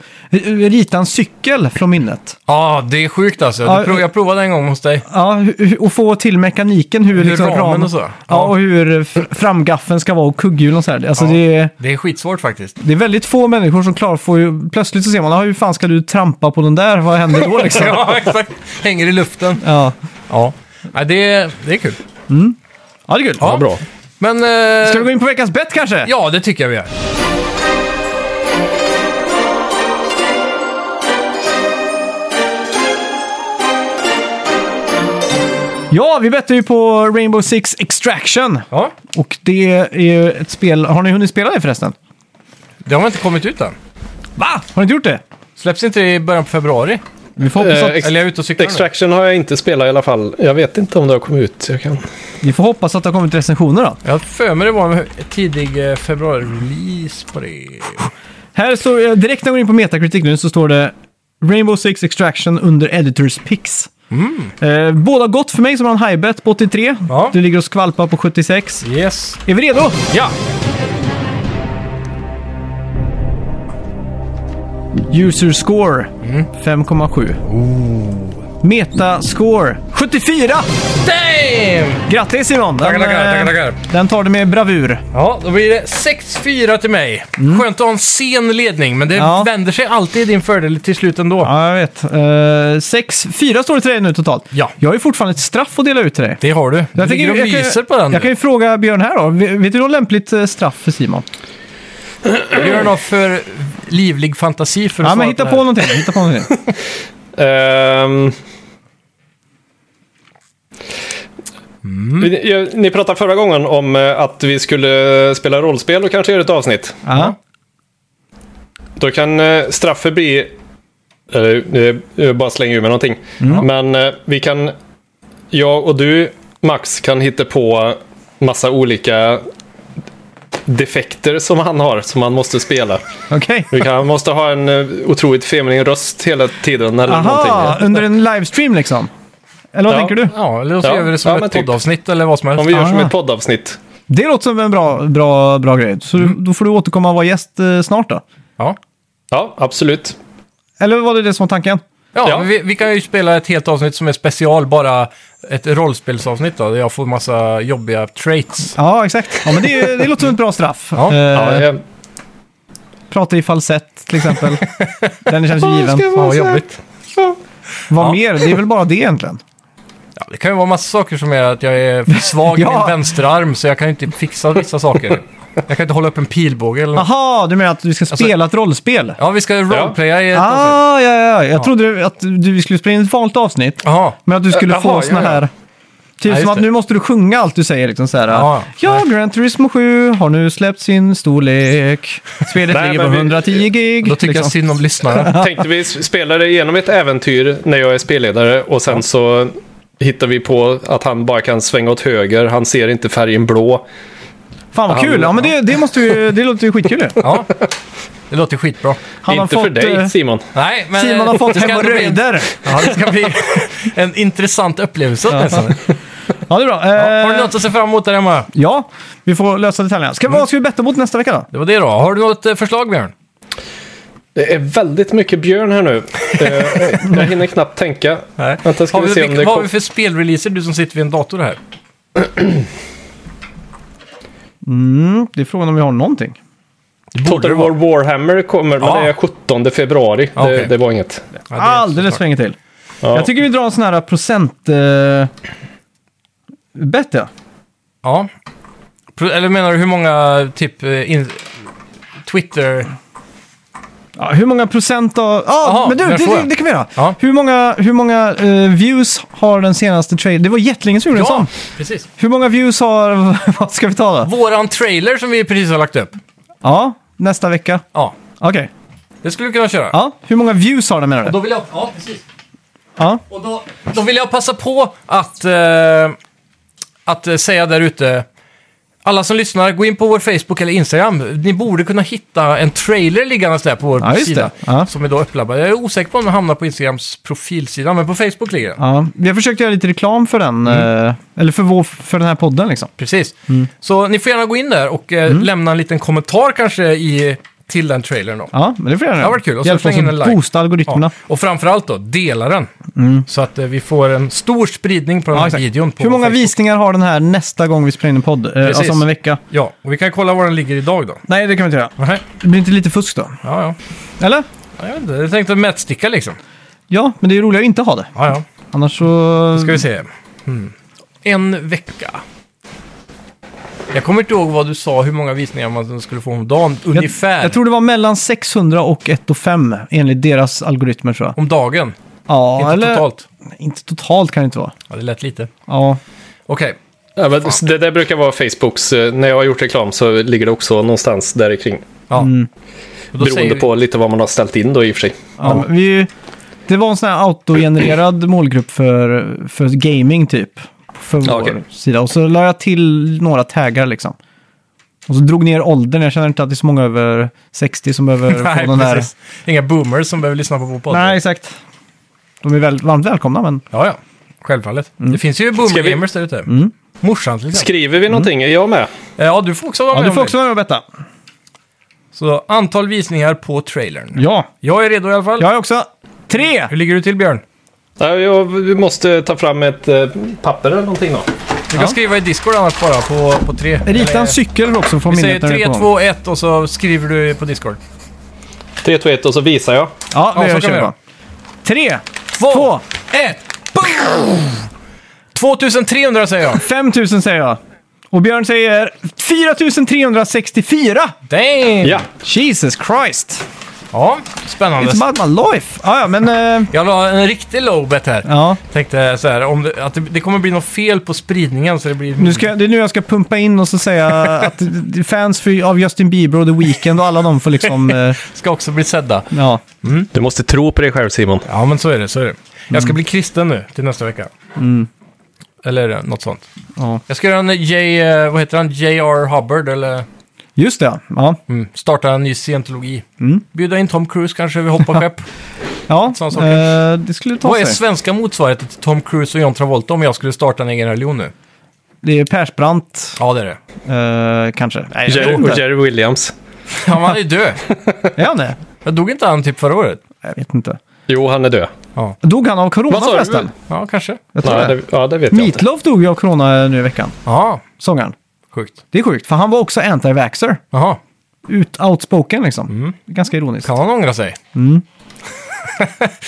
Speaker 1: rita en cykel från minnet.
Speaker 2: Ja, det är sjukt alltså.
Speaker 1: Ja,
Speaker 2: Du prov, jag provade en gång hos dig.
Speaker 1: Ja, hu- hu- och få till mekaniken hur, liksom,
Speaker 2: ramen och så.
Speaker 1: Ja.
Speaker 2: Ja.
Speaker 1: och hur fr- framgaffeln ska vara och kugghjulen och så här. Alltså,
Speaker 2: Ja.
Speaker 1: det är...
Speaker 2: Det är skitsvårt faktiskt.
Speaker 1: Det är väldigt få människor som klarar får ju, Plötsligt så ser man, "Ah, hur fan ska du trampa på den där? Vad händer då liksom?
Speaker 2: ja, exakt. Hänger i luften.
Speaker 1: ja.
Speaker 2: Ja, ja det, är, det är kul.
Speaker 1: ja, det är kul.
Speaker 2: Ja.
Speaker 3: Ja, bra.
Speaker 2: Men... Eh,
Speaker 1: Ska vi gå in på veckans bett kanske?
Speaker 2: Ja, det tycker jag vi gör.
Speaker 1: Ja, vi bettar ju på Rainbow Six Extraction.
Speaker 2: Ja,
Speaker 1: Och det är ju ett spel, har ni hunnit spela det förresten?
Speaker 2: det har väl inte kommit ut än.
Speaker 1: Va? Har ni inte gjort det?
Speaker 2: Släpps inte det i början på februari?
Speaker 1: Vi får hoppas
Speaker 3: Eh,
Speaker 1: att,
Speaker 3: ex-
Speaker 2: Eller är jag ute och cyklar nu?
Speaker 3: Extraction har jag inte spelat i alla fall. Jag vet inte om det har kommit ut. Jag kan...
Speaker 1: vi får hoppas att det har kommit recensioner då.
Speaker 2: Jag har för mig det var en tidig eh, februari-release på det.
Speaker 1: Här står, eh, direkt när jag går in på Metacritic nu så står det Rainbow Six Extraction under Editors Picks. Eh, båda gott för mig som har en high bet på 83.
Speaker 2: Mm. Ja.
Speaker 1: Du ligger och skvalpar på 76.
Speaker 2: Yes.
Speaker 1: Är vi redo?
Speaker 2: Ja!
Speaker 1: User score
Speaker 2: Mm.
Speaker 1: 5,7.
Speaker 2: Oh.
Speaker 1: Meta score 74!
Speaker 2: Damn!
Speaker 1: Grattis Simon! Den,
Speaker 2: Tackar, tackar,
Speaker 1: eh,
Speaker 2: tackar, tackar.
Speaker 1: den tar du med bravur.
Speaker 2: Ja, då blir det 6-4 till mig. Skönt att ha en sen ledning, men det
Speaker 1: Mm. Ja.
Speaker 2: vänder sig alltid i din fördel till slut ändå.
Speaker 1: Ja, jag vet. Eh, sex, fyra står det till dig nu totalt.
Speaker 2: Ja.
Speaker 1: Jag har ju fortfarande ett straff att dela ut till dig.
Speaker 2: Det har du. Du
Speaker 1: Jag
Speaker 2: ligger
Speaker 1: tänker-
Speaker 2: och
Speaker 1: jag kan-
Speaker 2: myser på den.
Speaker 1: Jag kan ju fråga Björn här då. Vet vet du något lämpligt eh, straff för Simon?
Speaker 2: Du gör något för livlig fantasi för att
Speaker 1: Ja,
Speaker 2: svara
Speaker 1: men hitta
Speaker 2: det
Speaker 1: på,
Speaker 2: här.
Speaker 1: någonting. Hitta på någonting.
Speaker 3: Ehm. Vi- jag- Ni pratade förra gången om eh, att vi skulle eh, spela rollspel och kanske göra ett avsnitt.
Speaker 1: Ja.
Speaker 3: Då kan eh, straffet bli... Eller, eh, jag bara slänga ur mig någonting. Men eh, vi kan... Jag och du, Max, kan hitta på massa olika defekter som han har, som han måste spela.
Speaker 1: Okej.
Speaker 3: Vi kan, han måste ha en eh, otroligt feminin röst hela tiden eller
Speaker 1: Aha,
Speaker 3: någonting.
Speaker 1: under en livestream liksom? Eller vad
Speaker 3: Ja.
Speaker 1: tänker du?
Speaker 2: Ja, eller så
Speaker 3: Ja,
Speaker 2: gör vi det som
Speaker 3: ja, men
Speaker 2: ett
Speaker 3: typ.
Speaker 2: poddavsnitt eller vad som helst.
Speaker 3: Om vi gör som
Speaker 1: Ah.
Speaker 3: ett poddavsnitt.
Speaker 1: Det låter som en bra, bra, bra grej. Så du,
Speaker 3: Mm.
Speaker 1: då får du återkomma och vara gäst eh, snart då.
Speaker 2: Ja.
Speaker 3: Ja, absolut.
Speaker 1: Eller var det det som var tanken?
Speaker 2: Ja,
Speaker 3: Ja.
Speaker 2: men Vi, vi kan ju spela ett helt avsnitt som är special, bara ett rollspelsavsnitt då, där jag får massa jobbiga traits.
Speaker 1: Ja, exakt. Ja, men det, är ju- det låter som ett bra straff.
Speaker 2: Ja.
Speaker 1: Eh,
Speaker 3: Ja, jag,
Speaker 1: Prata i falsett till exempel. Den känns ju given.
Speaker 2: Fan vad jobbigt.
Speaker 1: Vad mer? Det är väl bara det egentligen.
Speaker 2: Ja, det kan ju vara massa saker som är att jag är för svag i
Speaker 1: Ja.
Speaker 2: min vänsterarm, så jag kan ju inte fixa vissa saker. Jag kan inte hålla upp en pilbåge eller något.
Speaker 1: Aha, du menar att du ska
Speaker 2: Alltså-
Speaker 1: spela ett rollspel?
Speaker 2: Ja, vi ska roleplaya i ett avsnitt.
Speaker 1: Ah, ja, ja. Jag trodde att du skulle spela in ett vanligt avsnitt.
Speaker 2: Jaha.
Speaker 1: Men att du skulle
Speaker 3: Jaha,
Speaker 1: få
Speaker 3: ja,
Speaker 1: såna
Speaker 3: ja.
Speaker 1: här... Typ
Speaker 2: Ja,
Speaker 1: som
Speaker 2: just
Speaker 1: att
Speaker 2: det.
Speaker 1: nu måste du sjunga allt du säger. Liksom så här,
Speaker 2: Ja,
Speaker 1: ja, Gran Turismo 7 har nu släppt sin storlek. Spelet
Speaker 3: Nej,
Speaker 1: ligger
Speaker 3: men
Speaker 1: på
Speaker 3: vi-
Speaker 1: 110 gig. liksom.
Speaker 2: Då tycker jag synd om lyssnaren.
Speaker 3: tänkte vi spelade igenom ett äventyr när jag är spelledare och sen så hittar vi på att han bara kan svänga åt höger. Han ser inte färgen blå.
Speaker 1: Fan vad kul! Ja, men det, det, måste ju, det låter ju skitkul ju.
Speaker 2: Ja, det låter skitbra.
Speaker 1: Han
Speaker 3: inte för dig
Speaker 1: eh,
Speaker 3: Simon.
Speaker 2: Nej, men...
Speaker 1: Simon har
Speaker 2: eh,
Speaker 1: fått
Speaker 2: det ska ändå bli en-
Speaker 1: hemorrojder.
Speaker 2: Ja, det ska bli en intressant upplevelse åtminstone.
Speaker 1: Ja, det är bra. Eh,
Speaker 2: Har du något att se fram emot där hemma?
Speaker 1: Ja, vi får lösa detaljerna. Ska, Vad ska vi betta mot nästa vecka då?
Speaker 2: Det var det då. Har du något eh, förslag, Björn?
Speaker 3: Det är väldigt mycket björn här nu. Eh, jag hinner knappt tänka.
Speaker 2: Nej.
Speaker 3: Vänta, ska
Speaker 2: har
Speaker 3: vi,
Speaker 2: vi,
Speaker 3: se om det
Speaker 2: vad har vi
Speaker 3: kom...
Speaker 2: för spelreleaser, du som sitter vid en dator här?
Speaker 1: Mm, det är frågan om vi har någonting.
Speaker 3: Total War Warhammer kommer, men
Speaker 2: Ja.
Speaker 3: det är 17 februari.
Speaker 2: Ja,
Speaker 3: Det,
Speaker 2: okej.
Speaker 3: det var inget.
Speaker 2: Ja, det är
Speaker 1: Alldeles
Speaker 2: såklart.
Speaker 1: för länge till.
Speaker 3: Ja.
Speaker 1: Jag tycker vi drar en sån här procent... Eh, bett ja.
Speaker 2: Ja. Pro- Eller menar du hur många, typ, eh, in... Twitter...
Speaker 1: Ja, hur många procent av... Ja,
Speaker 2: Jaha,
Speaker 1: men du, det,
Speaker 2: där får
Speaker 1: det,
Speaker 2: jag.
Speaker 1: det kan vi göra.
Speaker 2: Ja.
Speaker 1: Hur många, hur många eh, views har den senaste trailern? Det var jättelänge som gjorde en sån.
Speaker 2: Ja, precis.
Speaker 1: Hur många views har... vad ska vi ta då?
Speaker 2: Våran trailer som vi precis har lagt upp.
Speaker 1: Ja, nästa vecka.
Speaker 2: Ja,
Speaker 1: Okej.
Speaker 2: det skulle du kunna köra.
Speaker 1: Ja, hur många views har den menar du?
Speaker 2: Då vill jag... Ja, precis.
Speaker 1: Ja.
Speaker 2: Och då, då vill jag passa på att, eh, att eh, säga där ute, alla som lyssnar, gå in på vår Facebook eller Instagram. Ni borde kunna hitta en trailer liggandes där på vår
Speaker 1: Ja, just
Speaker 2: sida.
Speaker 1: det. Ja.
Speaker 2: Som är då upplabbad. Jag är osäker på om den hamnar på Instagrams profilsida, men på Facebook ligger den.
Speaker 1: Ja, vi har försökt göra lite reklam för den,
Speaker 2: Mm.
Speaker 1: eh, eller för, vår, för den här podden liksom.
Speaker 2: Precis. Så ni får gärna gå in där och eh,
Speaker 1: Mm.
Speaker 2: lämna en liten kommentar kanske i, till den trailern då.
Speaker 1: Ja, men det får jag göra.
Speaker 2: Det har varit kul. Och så
Speaker 1: Hjälp
Speaker 2: släng
Speaker 1: oss
Speaker 2: in en
Speaker 1: att
Speaker 2: like.
Speaker 1: boosta algoritmerna.
Speaker 2: Ja. Och framförallt då, dela den. Så att eh, vi får en stor spridning på
Speaker 1: Mm.
Speaker 2: den
Speaker 1: Ja,
Speaker 2: här
Speaker 1: exakt.
Speaker 2: videon. På
Speaker 1: Hur många
Speaker 2: Facebook.
Speaker 1: visningar har den här nästa gång vi spelar in en podd? Eh,
Speaker 2: Precis.
Speaker 1: alltså om en vecka?
Speaker 2: Ja, och vi kan kolla var den ligger idag då.
Speaker 1: Nej, det kan vi inte göra.
Speaker 2: Nej.
Speaker 1: Det blir inte lite fusk då?
Speaker 2: Ja, ja.
Speaker 1: Eller?
Speaker 2: Ja, Jag vet inte, jag tänkte mätsticka liksom.
Speaker 1: Ja, men det är roligare att inte ha det.
Speaker 2: Ja, ja.
Speaker 1: Annars så...
Speaker 2: Ska vi se. Mm. En vecka. Jag kommer inte ihåg vad du sa, hur många visningar man skulle få om dagen. Ungefär.
Speaker 1: Jag, jag tror det var mellan 600 och 1 och 5 enligt deras algoritmer tror jag.
Speaker 2: Om dagen.
Speaker 1: Ja,
Speaker 2: inte
Speaker 1: eller...
Speaker 2: totalt.
Speaker 1: Inte totalt kan det inte vara.
Speaker 2: Ja, det lät lite.
Speaker 1: Ja,
Speaker 2: Okej.
Speaker 3: Ja, men det där brukar vara Facebooks. eh, När jag har gjort reklam så ligger det också någonstans där kring.
Speaker 2: Ja.
Speaker 1: Mm.
Speaker 2: Och då säger
Speaker 3: Beroende
Speaker 2: vi-
Speaker 3: på lite vad man har ställt in då i och för sig.
Speaker 1: ja. men Vi, det var en sån här autogenererad målgrupp för, för gaming typ. För vår
Speaker 3: Ja, okej.
Speaker 1: sida. Och så la jag till några taggar liksom. Och så drog ner åldern. Jag känner inte att det är så många över 60 som behöver
Speaker 2: Nej,
Speaker 1: få den där.
Speaker 2: precis. Inga boomers som behöver lyssna på vår podd.
Speaker 1: Nej, exakt. De är väl, varmt välkomna, men...
Speaker 2: Ja, ja. Självfallet.
Speaker 1: Mm.
Speaker 2: Det finns ju
Speaker 3: Ska vi-
Speaker 2: boomer-gamers där ute. Morsan till exempel.
Speaker 3: Skriver vi någonting? Är jag med?
Speaker 2: Eh, Ja, du får också vara
Speaker 1: Ja,
Speaker 2: med
Speaker 1: du
Speaker 2: om
Speaker 1: får
Speaker 2: det.
Speaker 1: också vara med och betta.
Speaker 2: Så antal visningar på trailern.
Speaker 1: Ja.
Speaker 2: Jag är redo i alla fall.
Speaker 1: Jag är också. Tre!
Speaker 2: Hur ligger du till Björn?
Speaker 3: Ja, jag, vi måste ta fram ett eh, papper eller någonting då.
Speaker 2: Du kan skriva i Discord annars bara på, på tre.
Speaker 1: Rita en
Speaker 2: Eller- eh,
Speaker 1: cykel också från
Speaker 2: Vi säger
Speaker 1: minnet när du är
Speaker 2: 3,
Speaker 1: på gång.
Speaker 2: 2, 1 och så skriver du på Discord.
Speaker 3: 3, 2, 1 och så visar jag.
Speaker 1: Ja,
Speaker 2: Ja,
Speaker 1: det
Speaker 2: så
Speaker 1: jag
Speaker 2: kan vi
Speaker 1: kör
Speaker 2: göra.
Speaker 1: på. Tre,
Speaker 2: 2,
Speaker 1: två,
Speaker 2: 1, boom! 2300 säger jag.
Speaker 1: 5000 säger jag. Och Björn säger 4364!
Speaker 2: Damn!
Speaker 3: Ja,
Speaker 1: Jesus Christ!
Speaker 2: Ja, spännande.
Speaker 1: It's about my life! Ja, ja, men... eh,
Speaker 2: Jag la en riktig low bet här.
Speaker 1: ja.
Speaker 2: Tänkte så här, om det, att det, det kommer bli något fel på spridningen så det blir...
Speaker 1: Nu ska, det är nu jag ska pumpa in och så säga att fans för, av Justin Bieber och The Weeknd och alla de får liksom... eh,
Speaker 2: ska också bli sedda.
Speaker 1: ja.
Speaker 3: du måste tro på dig själv Simon.
Speaker 2: Ja, men så är det. Så är det. Jag ska bli kristen nu till nästa vecka. Mm. Eller något sånt.
Speaker 1: ja.
Speaker 2: Jag ska göra en J... eh, Vad heter han? J.R. Hubbard eller...
Speaker 1: Just det, ja.
Speaker 2: Mm, starta en ny scientologi. Bjuda in Tom Cruise kanske, vi hoppar skepp.
Speaker 1: Ja,
Speaker 2: Sån sak.
Speaker 1: eh, det skulle ta
Speaker 2: Vad är
Speaker 1: sig.
Speaker 2: svenska motsvarigheten till Tom Cruise och John Travolta om jag skulle starta en egen religion nu?
Speaker 1: Det är Persbrandt,
Speaker 2: Ja, det är det.
Speaker 1: eh, kanske. Nej, jag
Speaker 3: Jerry,
Speaker 1: vet
Speaker 3: och
Speaker 1: inte.
Speaker 3: Jerry Williams.
Speaker 2: Han är ju död.
Speaker 1: Är han det?
Speaker 2: Jag dog inte han typ förra året?
Speaker 1: Jag vet inte.
Speaker 3: Jo, han är död.
Speaker 2: Ja,
Speaker 1: Dog han av corona
Speaker 3: Vad sa du?
Speaker 1: förresten?
Speaker 2: ja kanske.
Speaker 1: Jag tror
Speaker 3: Nej,
Speaker 1: det.
Speaker 3: det, ja, det vet jag inte.
Speaker 1: Meatloaf dog ju av corona nu i veckan,
Speaker 2: Ja,
Speaker 1: sångaren.
Speaker 2: sjukt.
Speaker 1: Det är sjukt, för han var också anti-vaxxer.
Speaker 2: Jaha,
Speaker 1: Ut, outspoken liksom. Ganska ironiskt.
Speaker 2: kan han ångra sig?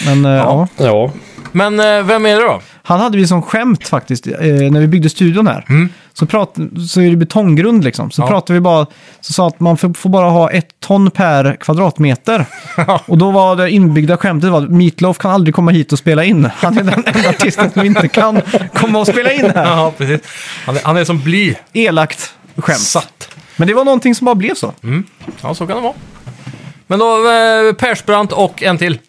Speaker 1: Men eh, ja.
Speaker 3: Ja,
Speaker 2: Men eh, vem är det då?
Speaker 1: Han hade vi som skämt faktiskt, eh, när vi byggde studion här. Så, prat, så är det betonggrund liksom. Så
Speaker 2: Mm. Ja.
Speaker 1: pratade vi bara, så sa att man får, får bara ha ett ton per kvadratmeter. och då var det inbyggda skämtet var att Meatloaf kan aldrig komma hit och spela in. Han är den enda artisten som inte kan komma och spela in här.
Speaker 2: Ja, precis. Han är, han är som bly.
Speaker 1: Elakt skämt.
Speaker 2: Satt. Mm.
Speaker 1: Men det var någonting som bara blev så.
Speaker 2: Ja, så kan det vara. Men då, eh, Persbrandt och en till.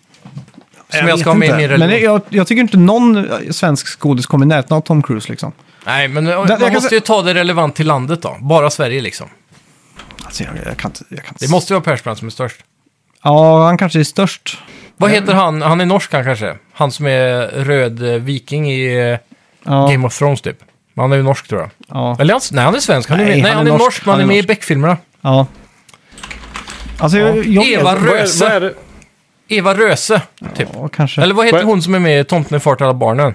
Speaker 2: Som jag,
Speaker 1: vet
Speaker 2: ska ha med i
Speaker 1: inte.
Speaker 2: min
Speaker 1: Men
Speaker 2: religion.
Speaker 1: jag, jag tycker inte någon svensk skådis kommer i närheten av Tom Cruise liksom.
Speaker 2: Nej, men eh,
Speaker 1: jag
Speaker 2: man
Speaker 1: kan
Speaker 2: måste
Speaker 1: se-
Speaker 2: ju ta det relevant till landet då. Bara Sverige liksom.
Speaker 1: Alltså jag, jag kan inte... Jag kan inte...
Speaker 2: Det måste ju vara Persbrandt som är störst.
Speaker 1: Ja, han kanske är störst.
Speaker 2: Vad heter han? Han är norsk han kanske? Han som är röd eh, viking i eh,
Speaker 1: Ja,
Speaker 2: Game of Thrones typ. Men han är ju norsk tror jag.
Speaker 1: ja.
Speaker 2: Eller han, nej, han är svensk. Han är, nej, nej, han är, norsk, men han är med i Beck-filmerna.
Speaker 1: Ja. Alltså, jag, jag vet-
Speaker 2: Eva
Speaker 3: vad är, vad är
Speaker 2: Röse.
Speaker 3: det?
Speaker 2: Eva Röse, typ.
Speaker 1: Ja, kanske.
Speaker 2: Eller vad heter
Speaker 3: Vad-
Speaker 2: hon som är med i Tomten är far till alla barnen?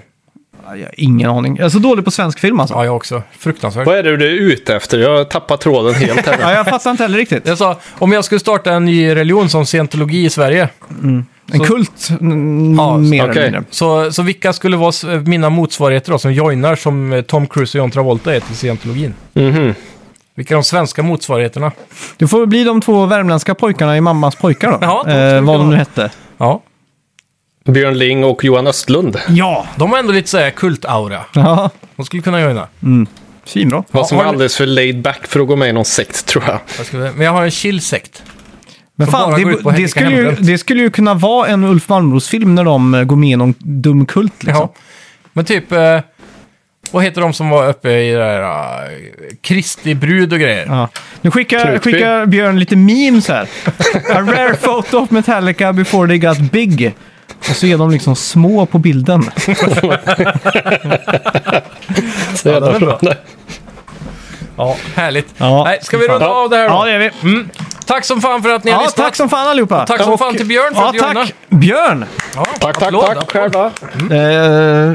Speaker 1: Ja, jag har ingen aning. Jag är så dålig på svensk film alltså.
Speaker 2: Ja, jag också. Fruktansvärt.
Speaker 3: Vad är det du är ute efter? Jag tappar tråden helt här.
Speaker 1: Ja, jag fattar inte heller riktigt.
Speaker 2: Jag sa, om jag skulle starta en ny religion som scientologi i Sverige,
Speaker 1: En kult, mm,
Speaker 2: Ja,
Speaker 1: mer eller
Speaker 3: okej.
Speaker 1: mindre.
Speaker 2: så, så vilka skulle vara s- eh, mina motsvarigheter då, som joinar som eh, Tom Cruise och John Travolta är till scientologin?
Speaker 3: Mhm.
Speaker 2: Vilka är de svenska motsvarigheterna?
Speaker 1: Det får väl bli de två värmländska pojkarna i Mammas pojkar då.
Speaker 2: Ja, de skulle
Speaker 1: eh, vad de
Speaker 2: kunna-
Speaker 1: nu hette.
Speaker 2: Ja,
Speaker 3: Björn Ling och Johan Östlund.
Speaker 1: Ja!
Speaker 2: de har ändå lite såhär kultaura.
Speaker 1: Ja,
Speaker 2: De skulle kunna joina.
Speaker 1: svinbra.
Speaker 3: Vad som
Speaker 2: har
Speaker 3: är
Speaker 2: ni-
Speaker 3: alldeles för laid back för att gå med i någon sekt tror jag.
Speaker 2: Jag skulle, men jag har en chill sekt.
Speaker 1: Men
Speaker 2: Så
Speaker 1: fan,
Speaker 2: bara gå
Speaker 1: det,
Speaker 2: ut på
Speaker 1: det,
Speaker 2: Henrika
Speaker 1: skulle ju,
Speaker 2: Hembrant.
Speaker 1: det skulle ju kunna vara en Ulf Malmros-film när de eh, går med i någon dum kult liksom.
Speaker 2: Ja. Men typ, eh, vad heter de som var uppe i det där eh, Kristi brud och grejer?
Speaker 1: Ja. Nu skickar,
Speaker 3: Knutby.
Speaker 1: skickar Björn lite memes här. A rare photo of Metallica before they got big. Och så är de liksom små på bilden.
Speaker 3: Det är
Speaker 2: är bra.
Speaker 3: Nej.
Speaker 2: Ja, härligt.
Speaker 1: Ja.
Speaker 2: Nej, ska vi runda
Speaker 3: Ja.
Speaker 2: av det här då?
Speaker 1: Ja, det är vi.
Speaker 2: Mm. Tack som fan för att ni har
Speaker 1: Ja,
Speaker 2: lyssnat.
Speaker 1: tack som fan allihopa.
Speaker 2: Tack som fan till Björn för
Speaker 1: ja,
Speaker 2: att du
Speaker 1: tack. Björn!
Speaker 2: Ja,
Speaker 3: Tack, tack,
Speaker 2: applåd,
Speaker 3: tack.
Speaker 2: applåd.
Speaker 3: Själva.
Speaker 1: Eh,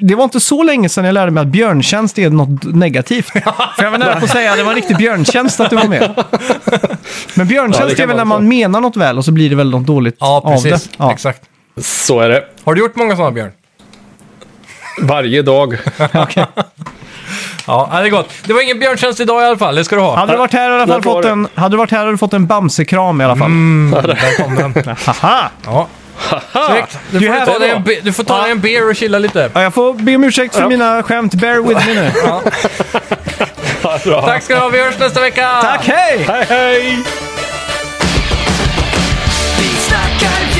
Speaker 1: det var inte så länge sedan jag lärde mig att björntjänst är något negativt. För jag var nära på att säga att det var en riktig björntjänst att du var med. Men
Speaker 3: Ja, det
Speaker 1: björntjänst
Speaker 3: kan
Speaker 1: är väl
Speaker 3: vara
Speaker 1: när
Speaker 3: så.
Speaker 1: man menar något väl och så blir det väl något dåligt
Speaker 2: Ja,
Speaker 1: av
Speaker 2: precis.
Speaker 1: det. Ja.
Speaker 2: Exakt.
Speaker 3: Så är det.
Speaker 2: Har du gjort många sådana, Björn?
Speaker 3: Varje dag.
Speaker 2: Ja, det är gott. Det var ingen björntjänst idag i alla fall, det ska du ha.
Speaker 1: Hade du varit här i alla fall
Speaker 3: Låt vara
Speaker 1: fått
Speaker 3: det.
Speaker 1: en, hade du varit här hade du fått en Bamse-kram i alla fall.
Speaker 2: Där kom den.
Speaker 1: Haha!
Speaker 2: Ja. Snyggt. Du
Speaker 1: Du är
Speaker 2: får
Speaker 1: här
Speaker 2: ta dig
Speaker 1: då.
Speaker 2: en, be- du får ta dig en beer och chilla lite.
Speaker 1: Ja, jag får be om ursäkt för mina skämt. Bear with me nu.
Speaker 2: Tack ska du ha, vi hörs nästa vecka!
Speaker 1: Tack, hej!
Speaker 3: Hej, hej!
Speaker 4: Vi snackar